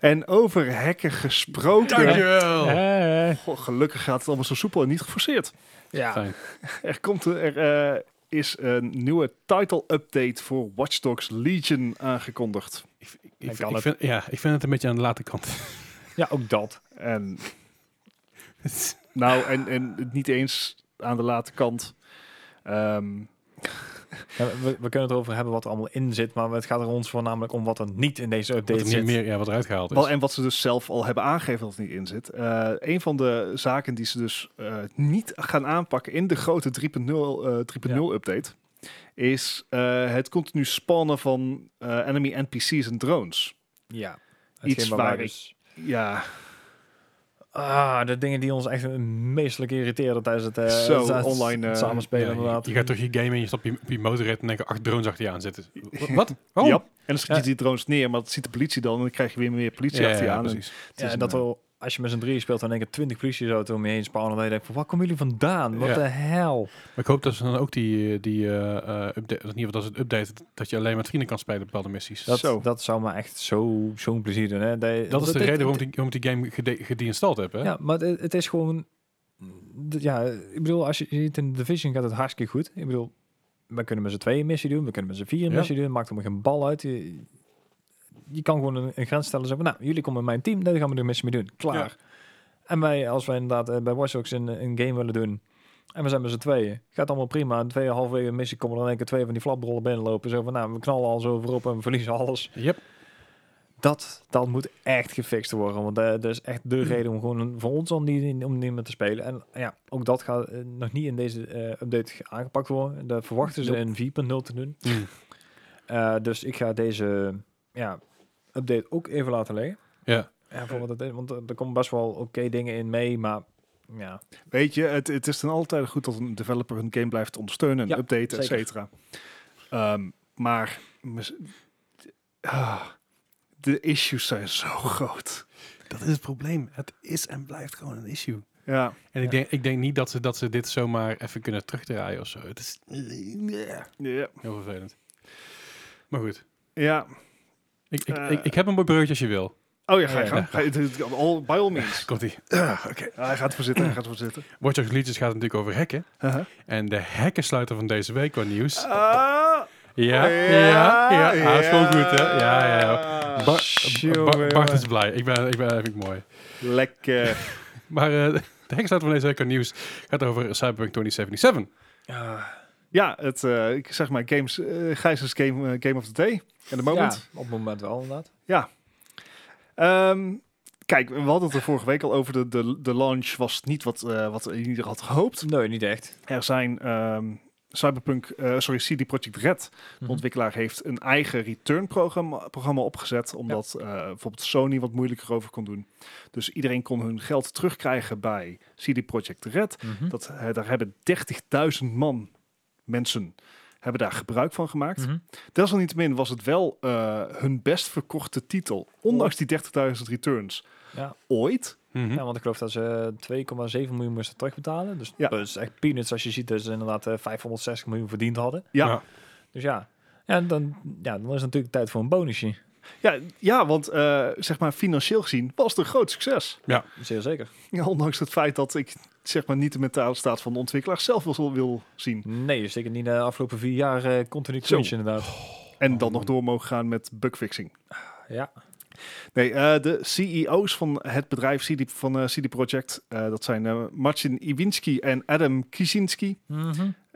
En over hekken gesproken. Dankjewel! Eh, Goh, gelukkig gaat het allemaal zo soepel en niet geforceerd. Ja. Fijn. Er, komt, er eh, is een nieuwe title update voor Watch Dogs Legion aangekondigd. Ik, ik, Hij ik, kan ik het. vind, ja, ik vind het een beetje aan de late kant. ja, ook dat. En, nou, en, en niet eens aan de late kant. Ehm, Ja, we, we kunnen het erover hebben wat er allemaal in zit, maar het gaat er ons voornamelijk om wat er niet in deze Wat update er zit. niet meer ja, wat eruit gehaald is. wel, en wat ze dus zelf al hebben aangegeven dat het niet in zit. Eh, een van de zaken die ze dus eh, niet gaan aanpakken in de grote 3.0 eh, 3.0 update... is eh, het continu spannen van eh, enemy NPC's en drones. Ja. Iets Hetgeen waar wij ik- dus- Ja, Ah, de dingen die ons echt meestelijk irriteerden tijdens het, eh, Zo, het- het online, eh, Ja, samenspelen. je- inderdaad. je, gaat toch je game in, je stapt je- op je motorrit en denk je acht drones achter je aan zitten. Wa- Wat? Oh. Waarom? Ja. En dan schiet je Ja. die drones neer, maar dat ziet de politie dan. En dan krijg je weer meer politie Ja, achter je ja, aan. precies. Het Ja, is en een, dat eh, wel, als je met z'n drieën speelt, dan denk ik 20 politieauto's om je heen spawnen. Dan denk ik van, waar komen jullie vandaan? Wat Ja. de hel? Maar ik hoop dat ze dan ook die, eh, die eh, eh, update, in ieder geval dat ze het update, dat je alleen met vrienden kan spelen op bepaalde missies. Dat, Zo. dat zou me echt zo- zo'n plezier doen. Hè? Dat, Dat is de het- reden waarom ik die, waarom ik die game gede- gedeinstalled heb, hè? Ja, maar het, het is gewoon... d- Ja, ik bedoel, als je ziet in Division gaat het hartstikke goed. Ik bedoel, we kunnen met z'n tweeën een missie doen. We kunnen met z'n vier een Ja. missie doen. Maakt er maar geen bal uit. Je, je kan gewoon een, een grens stellen. en Zeggen, nou, jullie komen in mijn team. Daar gaan we de missie mee doen. Klaar. Ja. En wij, als wij inderdaad eh, bij Watch Dogs een, een game willen doen... En we zijn met z'n tweeën. Gaat allemaal prima. En twee halverwege een missie komen er in één keer twee van die flaprollen binnenlopen. Zo van, nou, we knallen alles overop en we verliezen alles. Yep. Dat, dat moet echt gefixt worden. Want eh, dat is echt Hmm. de reden om gewoon een- voor ons om niet, om niet meer te spelen. En ja, ook dat gaat eh, nog niet in deze eh, update ge- aangepakt worden. Dat verwachten ze Nope. Hmm. in 4.0 te doen. Eh, dus ik ga deze ja, update ook even laten liggen. Ja. Ja, Eh. voor wat het is, want eh, er er komen best wel oké dingen in mee, maar ja. Weet je, het, het is dan altijd goed dat een developer hun game blijft ondersteunen en Ja, updaten, et zeker. cetera. Ehm, maar mis- ah, de issues zijn zo groot. Dat is het probleem. Het is en blijft gewoon een issue. Ja, En ik, denk, ik denk niet dat ze, dat ze dit zomaar even kunnen terugdraaien of zo. Het is ja, heel vervelend. Maar goed, ja. ik, ik, Eh. ik, ik heb een mooi breukje als je wil. Oh ja, ga je Ja. gang. Ga je- dit- all- by all means. Komt-ie. Ah, hij gaat ervoor zitten, hij gaat ervoor zitten. Watch Dogs Legion gaat natuurlijk over hacken. Uh-huh. En de hackensluiter van deze week qua nieuws. Ah, Ja, ja, ja. Hij is gewoon goed, hè? Ja, ja, ja. ja. Ba- Tjonge, Ba- Bart jonge. is blij. Ik ben, ik ben, vind ik mooi. Lekker. Maar eh, De heksluiter van deze week aan nieuws gaat over Cyberpunk 2077. Ja, het, eh, ik zeg maar, games, eh Gijs is game, eh, game of the Day. En de moment. Ja, op het moment wel, inderdaad. Ehm, kijk, we hadden het er vorige week al over. De, de, de launch was niet wat, eh wat ieder had gehoopt. Nee, niet echt. Er zijn ehm, Cyberpunk, eh, sorry, CD Projekt Red, de Mhm. ontwikkelaar, heeft een eigen return-programma programma opgezet. Omdat eh, bijvoorbeeld Sony wat moeilijker over kon doen. Dus iedereen kon hun geld terugkrijgen bij CD Projekt Red. Mhm. Dat, eh, daar hebben 30.000 man, mensen, hebben daar gebruik van gemaakt. Mhm. Desalniettemin was het wel eh, hun best verkochte titel. Ondanks die 30.000 returns. Ja. Ooit. Mhm. Ja, want ik geloof dat ze eh, 2,7 miljoen moesten terugbetalen. Dus Ja. dat is echt peanuts als je ziet dat ze inderdaad eh, 560 miljoen verdiend hadden. Ja. Ja. Dus ja. Ja, dan, ja, dan is het natuurlijk tijd voor een bonusje. Ja, ja want eh, zeg maar financieel gezien was het een groot succes. Zeer zeker. Ja, ondanks het feit dat ik zeg maar niet de mentale staat van de ontwikkelaar zelf wil, wil zien. Nee, zeker niet de afgelopen vier jaar eh, continu Zo. crunch inderdaad. En dan nog door mogen gaan met bugfixing. Ja. Nee, eh, de CEO's van het bedrijf CD, van eh, CD Projekt, eh, dat zijn eh, Marcin Iwinski en Adam Kizinski.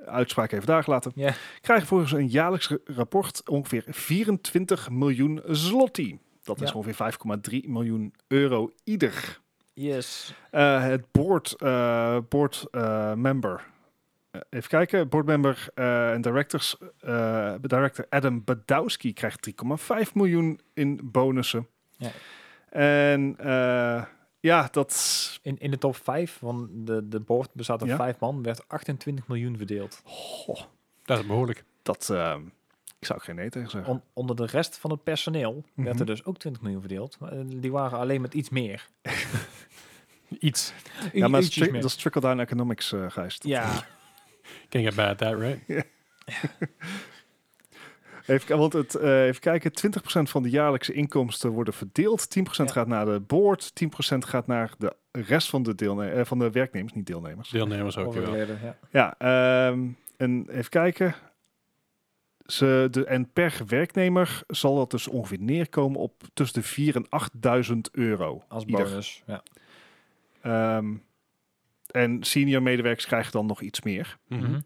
uitspraak even daar gelaten. Ja. Krijgen volgens een jaarlijks ra- rapport ongeveer 24 miljoen zloty. Dat is Ja. ongeveer 5,3 miljoen euro ieder. Yes. Eh, het board, eh, board eh, member. Eh, even kijken, board member eh, en directors. eh, director Adam Badowski krijgt 3,5 miljoen in bonussen. Ja. En eh, ja, dat. In, in de top 5, want de, de board bestaat uit Ja. vijf man, werd 28 miljoen verdeeld. Goh, Dat is behoorlijk. dat eh, ik zou ook geen nee tegen zeggen. On- onder de rest van het personeel werd Mhm. er dus ook 20 miljoen verdeeld. Maar, eh, die waren alleen met iets meer. Iets. ja, I- maar dat is, ietsjes tri- meer. dat is trickle-down economics, eh Gijs. Dat- Ja, Can get bad at that, right? Even, k- want het, eh, even kijken, 20% van de jaarlijkse inkomsten worden verdeeld. 10% Ja. gaat naar de board, 10% gaat naar de rest van de, deelne- eh, van de werknemers, niet deelnemers. Deelnemers ook wel. overleden, ja. Ja, ehm, en even kijken. Ze, de, en per werknemer zal dat dus ongeveer neerkomen op tussen de 4.000 en 8.000 euro. Als ieder. bonus. Ja. Ehm, en senior medewerkers krijgen dan nog iets meer. Mhm.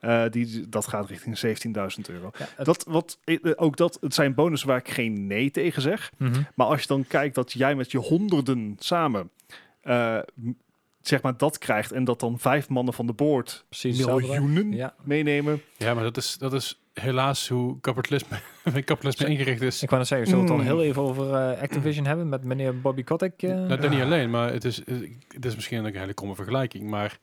Eh, die, dat gaat richting 17.000 euro. Ja, het- Dat, wat, eh, ook dat, het zijn bonussen waar ik geen nee tegen zeg. Mhm. Maar als je dan kijkt dat jij met je honderden samen eh, m- zeg maar dat krijgt en dat dan vijf mannen van de board Precies. hetzelfde. miljoenen Ja, meenemen. Ja, maar dat is, dat is helaas hoe kapitalisme, kapitalisme ingericht is. ik wou net zeggen, zullen we het Mm. dan heel even over eh, Activision hebben met meneer Bobby Kotick? eh? Nou, dat niet alleen, maar het is, het is misschien ook een hele komme vergelijking. Maar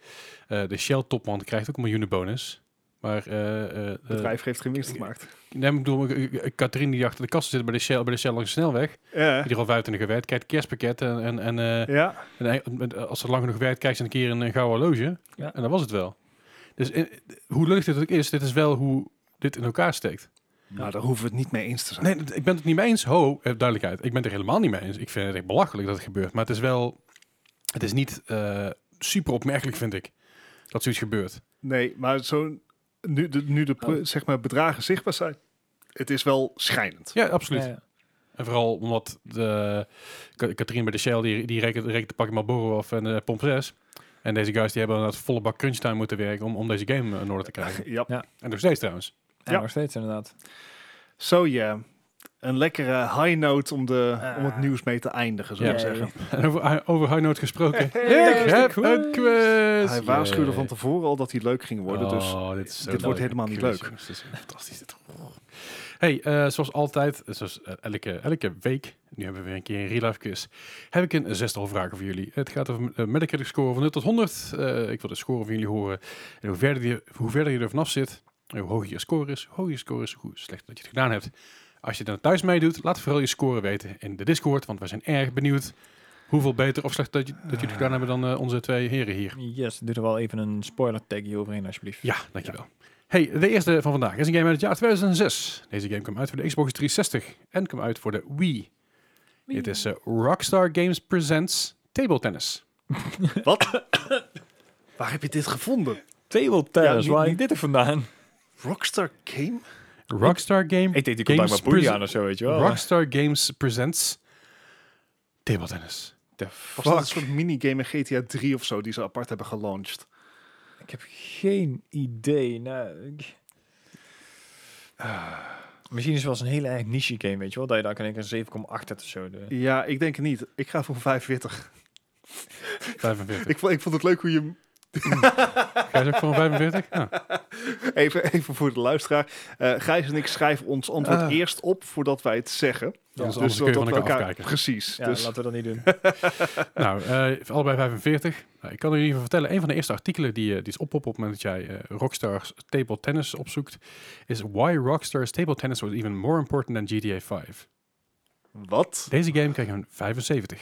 eh, de Shell-topman krijgt ook een miljoenen bonus. Maar eh, eh, eh, Het bedrijf heeft geen winst gemaakt. nee, maar ik bedoel, eh, eh, Katrien die achter de kast zit bij de Shell, bij de Shell langs de snelweg. Ja. Die er al 25 werkt, krijgt kerstpakket. En, en, en, eh, Ja. en hij- en als ze lang genoeg werkt, krijgt ze een keer een, eh, gouden horloge. Ja. En dat was het wel. Dus eh, hoe leuk dit ook is, dit is wel hoe dit in elkaar steekt. Nou, daar hoeven we het niet mee eens te zijn. Nee, dat- ik ben het niet mee eens. Ho, eh, duidelijkheid. Ik ben het er helemaal niet mee eens. Ik vind het echt belachelijk dat het gebeurt. Maar het is wel... Het is niet eh, super opmerkelijk, vind ik. Dat zoiets gebeurt. Nee, maar zo, nu de, nu de pro- zeg maar, bedragen zichtbaar zijn, het is wel schijnend. Ja, absoluut. Ja, ja. En vooral omdat de, Ka- Katrien bij de Shell, die, die rekent, rekent de pakken Marlboro af en eh Pomp 6. En deze guys die hebben aan het volle bak crunch time moeten werken om, om deze game eh, in orde te krijgen. Ja. En nog steeds trouwens. Ja, Ja. nog steeds inderdaad. Zo ja, een lekkere high note om, de, Ah. om het nieuws mee te eindigen, zou ik Ja. zeggen. En over, over High Note gesproken. Hey, ik heb een quiz! Hij waarschuwde van Yay. tevoren al dat hij leuk ging worden, dus Oh, dit, is zo dit wordt leuk. helemaal niet Quiz, leuk. jongens, dit is fantastisch. Dit. Hey, eh, zoals altijd, eh, zoals eh, elke, elke week, nu hebben we weer een keer een real life quiz, heb ik een zestal vragen voor jullie. Het gaat over eh, een Metacritic score van 0 tot 100. Eh, ik wil de score van jullie horen. En hoe verder je, hoe verder je er vanaf zit, en hoe hoger je score is, hoe hoger je score is, hoe slecht dat je het gedaan hebt. Als je dan thuis meedoet, laat vooral je score weten in de Discord, want wij zijn erg benieuwd hoeveel beter of slecht dat, je, dat jullie het gedaan hebben dan eh, onze twee heren hier. Yes, doe er wel even een spoiler tagje overheen alsjeblieft. Ja, dankjewel. Hey, de eerste van vandaag is een game uit het jaar 2006. Deze game kwam uit voor de Xbox 360 en kwam uit voor de Wii. Dit is eh, Rockstar Games Presents Table Tennis. waar heb je dit gevonden? Table Ja, tennis, niet- waar niet- ik dit er vandaan? Rockstar Game? Rockstar, game, Ik oh. deed die Games contact met Boeien presen- aan of zo, weet je wel. Rockstar Games Presents Table Tennis. the Was dat een fuck? soort minigame in GTA 3 of zo die ze apart hebben gelaunched? Ik heb geen idee. Nou, ik- Ah. Misschien is het wel eens een hele eigen niche game, weet je wel. Dat je daar kan ik een 7,8 hebt of zo. De- Ja, ik denk het niet. Ik ga voor 45. 45. Ik vond, ik vond het leuk hoe je... Ga je ook voor een 45? Nou, Even, even voor de luisteraar. Eh Gijs en ik schrijven ons antwoord Ah. eerst op voordat wij het zeggen. Dus dan is anders kun je dat van we elkaar afkijken. Precies. Ja, dus laten we dat niet doen. Nou, eh, allebei 45. Nou, ik kan er in ieder geval vertellen, een van de eerste artikelen die, eh, die is oppopt op het moment dat jij eh, Rockstar's table tennis opzoekt, is Why Rockstar's table tennis was even more important than GTA 5. wat? Deze game kreeg een 75.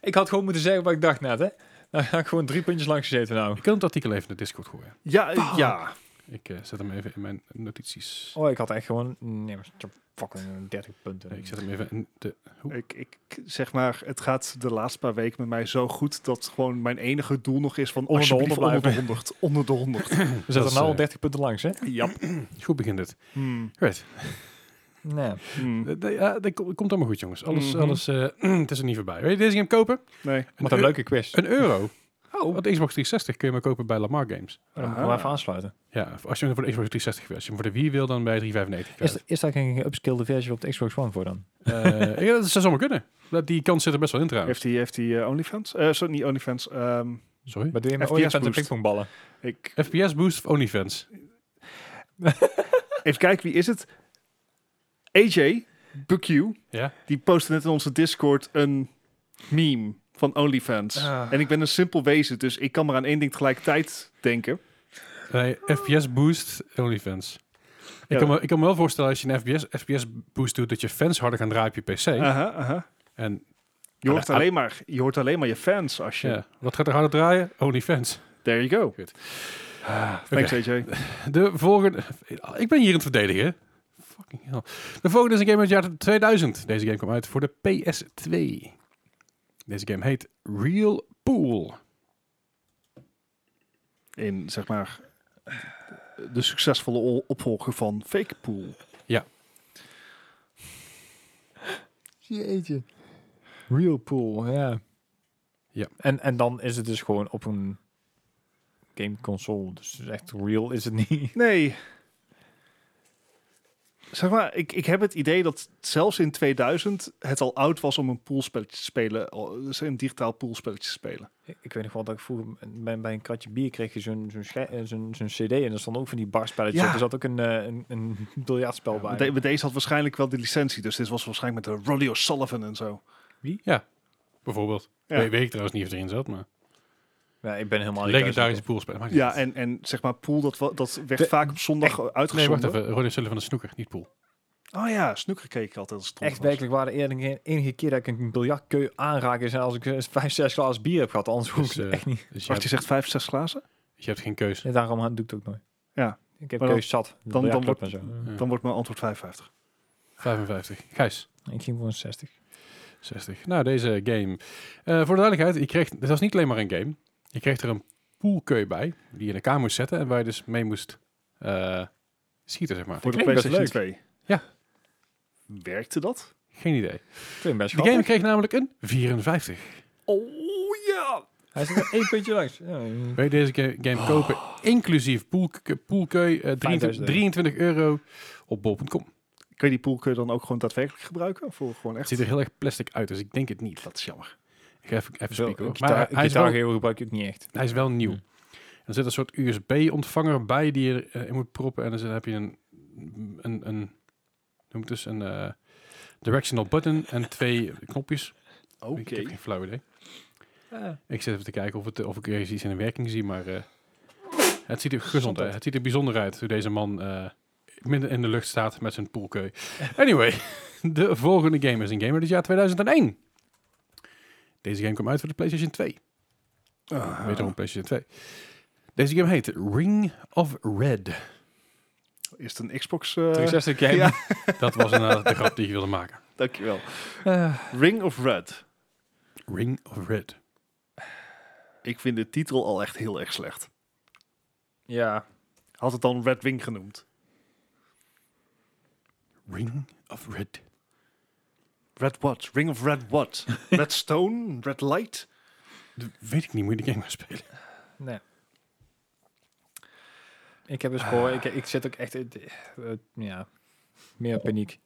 ik had gewoon moeten zeggen wat ik dacht net, hè. Nou, had ik gewoon drie puntjes langs gezeten nou. Ik kan het artikel even in de Discord gooien. Ja, eh, ja. Ik eh, zet hem even in mijn notities. Oh, ik had echt gewoon... Nee, maar fucking 30 punten. Nee, Eh, ik zet hem even in de... hoe? Ik, ik zeg maar, het gaat de laatste paar weken met mij zo goed dat gewoon mijn enige doel nog is van Onder de alsjeblieft 100 onder de 100. Onder de 100. We dat zetten is, nou al eh, 30 punten langs, hè? Ja. Goed begint het. Hmm. Right. Nee. Hmm. De- de- ja, dat ko- komt allemaal goed, jongens. Alles, Mhm. alles eh, het is er niet voorbij. Wil je deze game kopen? Nee. Wat een eu- leuke quiz. Een euro. Oh. Op de Xbox 360 kun je hem kopen bij Lamar Games. Dan moeten we even aansluiten. Ja, of als je hem voor de Xbox 360 wil. Als je hem voor de Wii wil, dan bij je 395 Is, kwijt. is daar geen geupskillede versie op de Xbox One voor dan? Eh, ja, dat zou zomaar kunnen. Dat- Die kans zit er best wel in trouwens. Heeft hij heeft hij eh, OnlyFans? Eh sorry, niet OnlyFans. Ehm, Sorry? Maar doe je met FPS OnlyFans en boost. pingpongballen? ik, FPS Boost of OnlyFans? even kijken, wie is het? AJ, BQ, Ja? die postte net in onze Discord een meme van OnlyFans. Ah. En ik ben een simpel wezen, dus ik kan maar aan één ding tegelijkertijd denken. Nee, FPS Boost, OnlyFans. Ja. Ik, kan me, ik kan me wel voorstellen als je een FPS, FPS Boost doet, dat je fans harder gaan draaien op je PC. Aha, aha. En Je, hoort Ah, alleen maar, je hoort alleen maar je fans als je... ja, wat gaat er harder draaien? OnlyFans. There you go. Goed. Ah, Thanks, AJ. De volgende... Ik ben hier aan het verdedigen. Fucking hell. De volgende is een game uit het jaar 2000. Deze game kwam uit voor de PS2. Deze game heet Real Pool. in zeg maar de succesvolle o- opvolger van Fake Pool. Jeetje. Real pool, ja. Ja. En, en dan is het dus gewoon op een gameconsole. Dus echt real is het niet. Nee. Zeg maar, ik, ik heb het idee dat zelfs in 2000 het al oud was om een poolspelletje te spelen, al- dus een digitaal poolspelletje te spelen. Ik ik weet nog wel dat ik vroeger bij, bij een kratje bier kreeg je zo'n zo'n schij- eh, zo'n zo'n cd en er stond ook van die barspelletjes Ja. op. Er zat ook een, eh, een, een biljartspel bij. Maar de- maar deze had waarschijnlijk wel de licentie, dus dit was waarschijnlijk met de Roddy O'Sullivan en zo. Bijvoorbeeld. Ja. Oh, We- Weet ik trouwens niet of het erin zat, maar... ja, ik ben helemaal niet thuis Legendarische op poolspeler. maakt niet Ja, uit. en, en zeg maar, pool, dat, wa- dat werd De- vaak op zondag Nee, uitgezonden. wacht even. Ronnie Sullivan van de snoeker, niet pool. Oh ja, snooker keek ik altijd als het dit. Echt rond was. werkelijk waar de enige, enige keer dat ik een biljartkeu aanraak is als ik eh, vijf, zes glas bier heb gehad. Anders hoef ik Dus, het eh, echt niet. Dus je, Wacht, je hebt, zegt vijf, zes glazen? dus je hebt geen keus. Ja, daarom doe ik het ook nooit. Ja. Ik heb Maar dan- keus zat. dan Dan, dan wordt- en zo. Ja. Dan wordt mijn antwoord 55. 55. Gijs, Ik ging voor een 60. 60. Nou, deze game. Eh, voor de duidelijkheid, je kreeg, het was niet alleen maar een game. Je kreeg er een poolkeu bij, die je in elkaar moest zetten en waar je dus mee moest eh, schieten, zeg maar. Voor de klinkt best PlayStation 2. Ja. Werkte dat? Geen idee. Klinkt best De grappig. game kreeg namelijk een 54. Oh ja! Hij zit er één puntje langs. Ja, mm. Wil je deze ga- game kopen, inclusief poolke- poolkeu, eh, 23, 5000 euro. 23 euro op bol.com. Kun je die pool kun je dan ook gewoon daadwerkelijk gebruiken? Voor gewoon Het echt? ziet er heel erg plastic uit, dus ik denk het niet. Dat is jammer. Ik ga even, even Wel, spieken, hoor. Gitaar, hij is wel- gitaargeheel gebruik ik ook niet echt. Hij is wel nieuw. Hmm. Er zit een soort USB-ontvanger bij die je erin moet proppen. En dus dan heb je een, een, een noem het dus, een eh, directional button en twee knopjes. Oké. Ik heb geen flauw idee. Ik zit even te kijken of, het, of ik er eens iets in de werking zie, maar eh, het, ziet er gezond, uit. het ziet er bijzonder uit hoe deze man eh, midden in de lucht staat met zijn poolkeu. Anyway, de volgende game is een game uit het jaar 2001. Deze game kwam uit voor de PlayStation 2. Oh. Ah. Wederom PlayStation 2. Deze game heet Ring of Eh, Red. Is het een Xbox? eh, 360 game. ja. Dat was inderdaad de grap die ik wilde maken. Dankjewel. Ah. Eh, Ring of Red. Ring of Red. Ik vind de titel al echt heel erg slecht. ja. Had het dan Red Wing genoemd? Ring of Red. Red what? Ring of red what? red stone? Red light? Dat weet ik niet, moet je die game maar spelen. Nee. Ik heb een score. Ik, ik zit ook echt... eh, eh, eh, ja, Oh. meer paniek.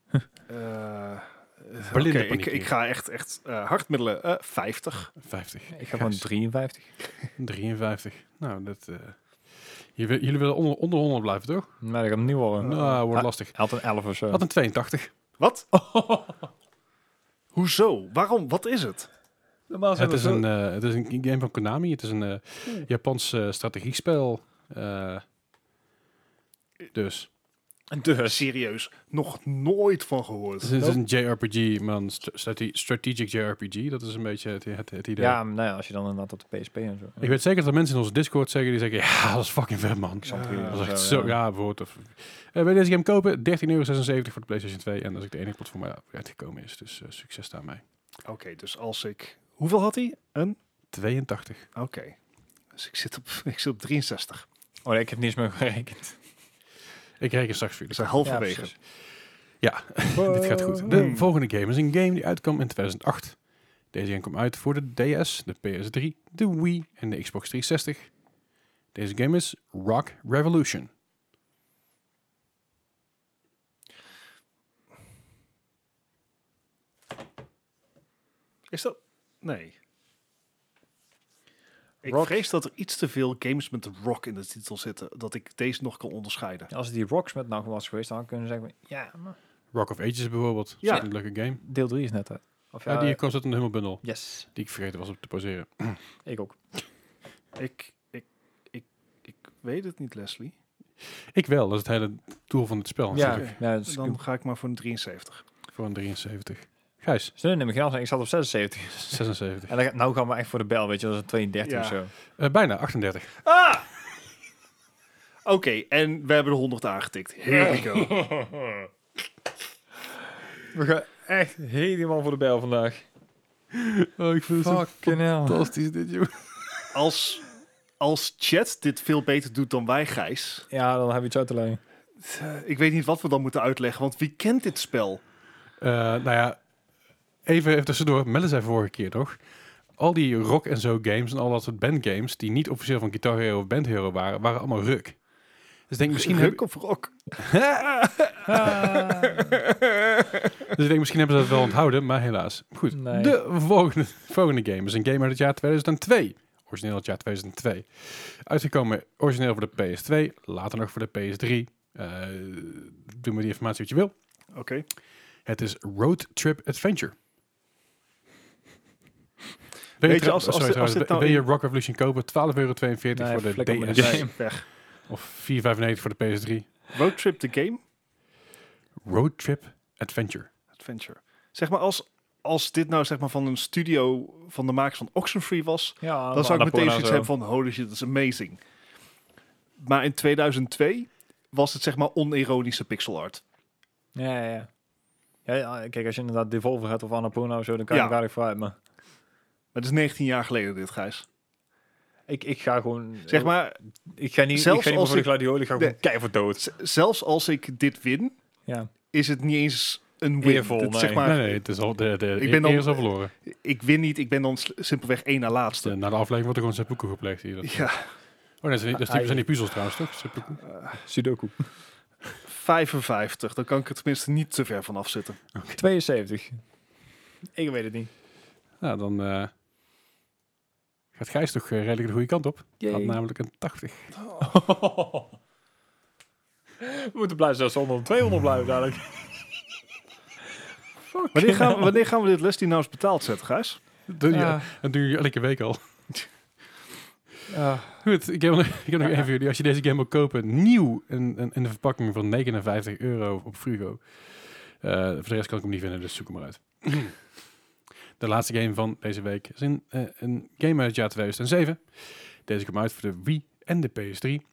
Eh, Oké, Blinde ik, paniek ik hier. ga echt, echt eh, hardmiddelen. Eh, 50. 50, Ik ga gewoon 53. 53. Nou, dat... eh, je wil- jullie willen onder, onder 100 blijven, toch? Maar dat gaat nieuw worden. nou, wordt ah. lastig. Hij had een 11 of zo. Had een 82. Wat? Hoezo? Waarom? Wat is het? Normaal Het is, een, eh, het is een game van Konami. Het is een eh, Hmm. Japans eh, strategiespel. eh, dus... Dus. Serieus, nog nooit van Het is, gehoord. het is een JRPG, maar een stra- strate- strategic JRPG. Dat is een beetje het, het, het idee. Ja, nou ja, als je dan inderdaad op de PSP en zo. Ik weet zeker dat er mensen in onze Discord zeggen, die zeggen, ja, dat is fucking vet, man. zal het Ja, hier Dat wel is echt zo, zo, ja, bijvoorbeeld. Of, Eh, wil je deze game kopen? 13,76 euro voor de PlayStation 2. En dat is ook de enige platform waar uitgekomen is. Dus eh, succes daarmee. Oké, dus als ik... Hoeveel had hij? Een? 82. Oké. Dus ik zit, op, ik zit op 63. Oh, nee, ik heb niets meer gerekend. Ik reken straks voor Dus jullie. halverwege. Ja, dit gaat goed. De volgende game is een game die uitkwam in 2008. Deze game kwam uit voor de DS, de PS3, de Wii en de Xbox 360. Deze game is Rock Revolution. Is dat... Nee. Ik Rock. vrees dat er iets te veel games met rock in de titel zitten, dat ik deze nog kan onderscheiden. Als die Rocksmith nou was geweest, dan kunnen ze zeggen... Ja, maar Rock of Ages bijvoorbeeld. Ja. Ja. een leuke game. deel 3 is net uit. Of Ja, ja, die kwam zit in de hummelbundel. yes, Die ik vergeten was op te poseren. ik ook. Ik, ik, ik, ik weet het niet, Leslie. Ik wel, dat is het hele doel van het spel. Ja, natuurlijk. ja dus Dan ga ik maar voor een 73. Voor een 73. Gijs, Ze nemen geen afstand. Ik zat op 76. 76. En dan, ga- nou gaan we echt voor de bel, weet je. Dat is een 32 Ja. of zo. Eh, bijna, 38. Ah! Oké, en we hebben de 100 aangetikt. Here we go. We gaan echt helemaal voor de bel vandaag. Oh, ik vind Fucking hell. fantastisch dit, joh. Als, als chat dit veel beter doet dan wij, Gijs. Ja, dan heb je iets uit te leggen. eh, Ik weet niet wat we dan moeten uitleggen, want wie kent dit spel? nou ja, even, even tussendoor. Melle zei vorige keer, toch? Al die rock en zo games en al dat soort bandgames... die niet officieel van Guitar Hero of Band Hero waren... waren allemaal ruk. Dus ik denk misschien... heb- of rock? Dus ik denk, misschien hebben ze dat wel onthouden, maar helaas. Goed, Nee. de volgende, volgende game is een game uit het jaar 2002. Origineel uit het jaar 2002. Uitgekomen origineel voor de PS2, later nog voor de PS3. Eh, doe met die informatie wat je wil. Oké. Het is Road Trip Adventure. je, trouw- als- als Oh, sorry, dit- als trouwens, dit nou wil je in- Rock Revolution kopen? 12,42 euro Nee, voor flikker de maar DS. erbij. Weg. Of 4,95 voor de PS3. Roadtrip the game? Road Trip Adventure. Adventure. Zeg maar, als, als dit nou zeg maar van een studio van de makers van Oxenfree was... Ja, dan zou ik meteen iets zoiets hebben van, holy shit, dat is amazing. Maar in 2002 was het zeg maaronironische pixel art. Ja, ja, ja. Ja, ja, kijk, als je inderdaad Devolver hebt of Annapurna of zo, dan kan Ja. je daar vooruit. Maar Maar het is 19 jaar geleden dit, Gijs. ik, ik ga gewoon... Zeg maar, Ik ga niet, zelfs ik ga niet meer als voor de ik- gladiolen, ik ga gewoon Nee. keihard dood. z- zelfs als ik dit win, Ja. is het niet eens een win. Eervol, Het- nee. zeg maar, nee, nee, het is al, de, de, Ik ben dan- eer is al verloren. Ik win niet, ik ben dan s- simpelweg één na laatste. De- eh, na de aflevering wordt er gewoon seppuku gepleegd hier. Dat- Ja, Oh nee, dat zijn die, dat zijn die- zijn die puzzels trouwens, toch? Seppuku. Sudoku. 55. Dan kan ik er tenminste niet te ver van afzitten. 72. Ik weet het niet. Nou, dan eh, gaat Gijs toch eh, redelijk de goede kant op. Yay. Had namelijk een 80. We moeten blij zijn als we onder de 200 blijven dadelijk. Wanneer gaan, we- wanneer gaan we dit les die nou eens betaald zetten, Gijs? Dat doe je- dat doe je elke week al. Goed, ik heb nog, ik heb nog één voor jullie. Als je deze game wil kopen, nieuw in, in, in de verpakking van 59 euro op Frugo. Eh, voor de rest kan ik hem niet vinden, dus zoek hem maar uit. de laatste game van deze week is een, eh, een game uit het jaar 2007. Deze kwam uit voor de Wii en de PS3.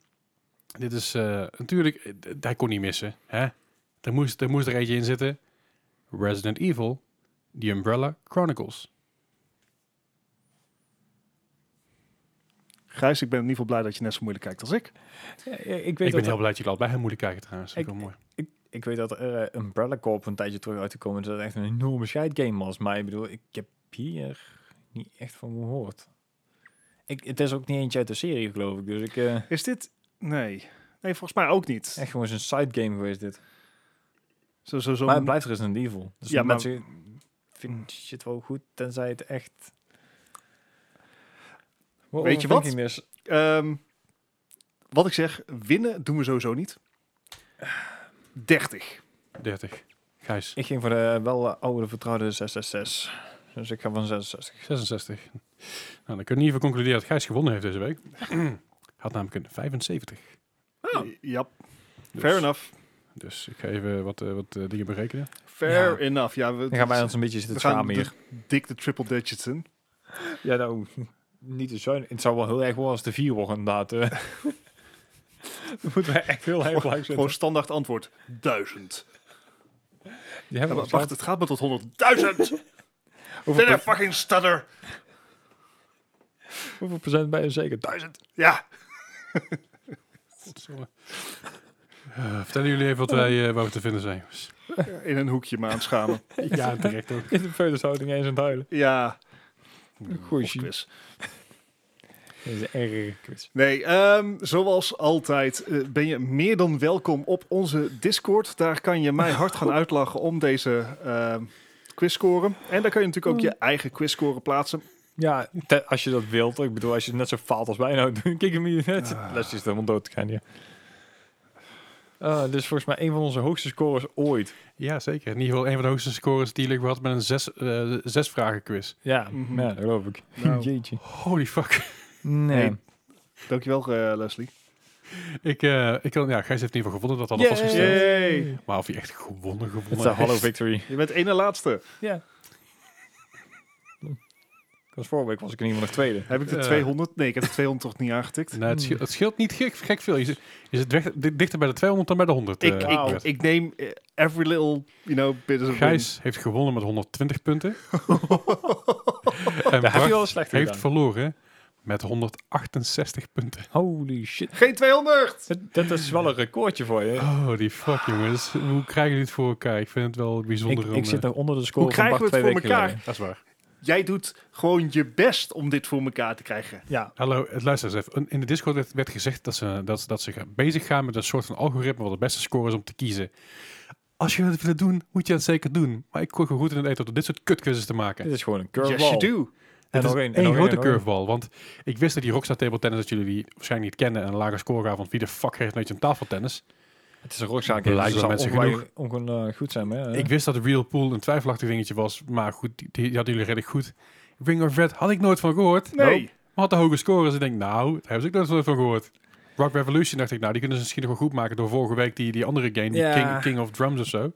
Dit is eh, natuurlijk, eh, d- hij kon niet missen. Hè? Er, moest, er moest er eentje in zitten. Resident Evil, The Umbrella Chronicles. Gijs, ik ben in ieder geval blij dat je net zo moeilijk kijkt als ik. ik, weet Ik ben dat- heel blij dat je er al bij hem moeilijk kijken trouwens. Dat is Ik- wel mooi. ik, ik weet dat er eh, Umbrella Corp een tijdje terug uitgekomen is. Dat het echt een enorme scheidgame was. Maar ik bedoel, ik heb hier niet echt van gehoord. Ik, het is ook niet eentje uit de serie, geloof ik. Dus ik... eh, Is dit... Nee. Nee, volgens mij ook niet. echt gewoon zo'n side game geweest dit. Zo, zo, zo Maar het blijft Resident Evil. Dus Ja, ja, maar- mensen vinden shit wel goed, tenzij het echt... Wow, Weet je wat? overthinking is. Ehm, wat ik zeg, winnen doen we sowieso niet. 30. 30. Gijs. Ik ging voor de wel eh, oude vertrouwde 666. Dus ik ga van 66. 66. Nou, dan kunnen we in ieder geval concluderen dat Gijs gewonnen heeft deze week. Had namelijk een 75. Oh. Ja, Dus, fair enough. Dus ik ga even wat, eh, wat eh, dingen berekenen. Fair Ja. enough. Ja, we, Dan gaan wij ons een beetje zitten we gaan schamen hier. de- dik de triple digits in. Ja, nou, niet te zuinig. Het zou wel heel erg worden als de vier wordt inderdaad. eh. Dan moeten wij echt heel erg blij zijn. Gewoon standaard antwoord. 1000. Die hebben we al wacht, gehad. het gaat maar tot 100.000. Hoeveel, Did pro- I fucking stutter? hoeveel procent bij je zeker? Duizend. Ja. Eh, vertellen jullie even wat wij, eh, waar we te vinden zijn. jongens. In een hoekje me aanschamen. Ja, direct ook. In de feudeshouding eens aan het huilen. ja. Goeie of shit. quiz. Dit is een erg quiz. Nee, ehm, zoals altijd eh, ben je meer dan welkom op onze Discord. Daar kan je mij hard gaan uitlachen om deze ehm quizscoren. En daar kan je natuurlijk ook je eigen quizscore plaatsen. Ja, te- als je dat wilt. Ik bedoel, als je het net zo faalt als wij nou doen. Kijk hem hier net. Ah. Les is helemaal dood te gaan hier. Ah, dit is volgens mij een van onze hoogste scores ooit. Ja, zeker. In ieder geval een van de hoogste scores die jullie gehad met een zes, eh, zes vragen quiz. Ja, Mhm. ja dat geloof ik. Nou. Jeetje. Holy fuck. Nee. Hey. Dankjewel, eh, Leslie. Ik, eh, ik kan, ja, Gijs heeft in ieder geval gewonnen, dat hadden we Dus, vastgesteld. Yay. Maar of hij echt gewonnen, Het gewonnen is een hallo heeft. victory. eh, Je bent één na laatste. Ja. was vorige week was ik in ieder geval nog tweede. Heb ik de Eh. 200? Nee, ik heb de 200 toch niet aangetikt. Nee, het, scheelt, het scheelt niet gek, gek veel. Je zit, je zit weg- di- dichter bij de 200 dan bij de 100. Ik, eh, ik, Bert. ik neem eh, every little, you know, bit of Gijs heeft gewonnen met 120 punten. en Daar heb je Bart wel slecht heeft gedaan. verloren met 168 punten. Holy shit. Geen 200! Dat, dat is wel een recordje voor Ah, je. Holy fuck, jongens. Hoe krijgen jullie het voor elkaar? Ik vind het wel Ik, bijzonder om... ik zit eh, nog onder de score Hoe van krijgen Bart we het twee voor weken elkaar? geleden. Dat is waar. Jij doet gewoon je best om dit voor elkaar te krijgen. Ja. Hallo, eh, luister eens even. In de Discord werd, werd gezegd dat ze, dat, dat ze gaan- bezig gaan met een soort van algoritme wat de beste score is om te kiezen. Als je het willen doen, moet je dat zeker doen. Maar ik kon gewoon goed in het eten om dit soort kutkussens te maken. Dit is gewoon een yes, curveball. you do. Het is nog één en nog grote en nog één. curveball. Want ik wist dat die Rockstar Table Tennis, dat jullie die waarschijnlijk niet kennen, en een lage score gaven. Want wie de fuck geeft nooit een tafeltennis? Het is een rockzaak. Blijkbaar Dus het zal mensen ongeveer- ongeveer, eh, goed zijn, maar ja. Ik wist dat de Real Pool een twijfelachtig dingetje was. Maar goed, die, die hadden jullie redelijk goed. Ring of Red had ik nooit van gehoord. Nee. Nope. Maar had de hoge score. Dus ik denk, nou, daar hebben ze ook nooit van gehoord. Rock Revolution dacht ik, nou, die kunnen ze misschien nog wel goed maken door vorige week die, die andere game, die Ja. King, King of Drums of zo.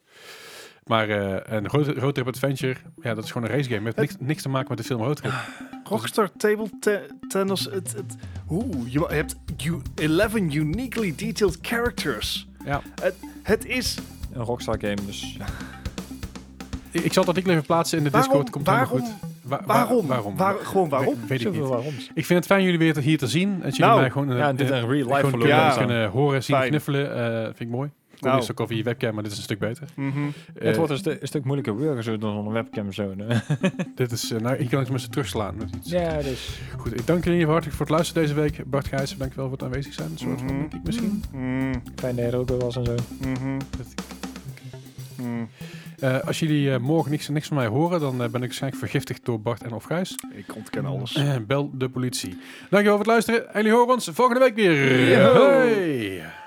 Maar eh een Road, Road Trip Adventure, ja, dat is gewoon een race game. Het heeft niks, niks te maken met de film Road Trip. Rockstar Table te- Tennis. Het, het, oeh, je ma- hebt u- 11 uniquely detailed characters. Ja. Het, het is. Een rockstar game, dus... Ik, ik zal dat ik even plaatsen in de Waarom- Discord. Komt helemaal waarom- goed. Wa- wa- Waarom? Waarom? Waar- gewoon waarom? Weet, weet ik Zoveel niet. waaroms. Ik vind het fijn jullie weer te- hier te zien. Dat jullie Nou, mij gewoon, eh, Ja, en dit eh, een real life gewoon verloren. kunnen, Ja. Ja. kunnen horen, zien, Fijn. knuffelen. eh, vind ik mooi. Ik Nou. nou. ook al via je webcam, maar dit is een stuk beter. Mhm. Eh, Het wordt een, stu- een stuk moeilijker werken zo dan een webcam zo. hè. dit is, eh, nou, hier kan ik tenminste terugslaan. Met iets. Ja, dus... Goed, ik dank jullie in ieder geval hartelijk voor het luisteren deze week. Bart Gijs, dankjewel voor het aanwezig zijn. Een soort van, Mhm. denk ik misschien. mhm. Mm, Fijn dat je er ook wel was en zo. mhm, Dat- mm. Eh, als jullie eh, morgen niks, niks van mij horen, dan eh, ben ik waarschijnlijk vergiftigd door Bart en of Gijs. Ik ontken alles. Eh, bel de politie. Dankjewel voor het luisteren. En jullie horen ons volgende week weer. Yo. Hoi.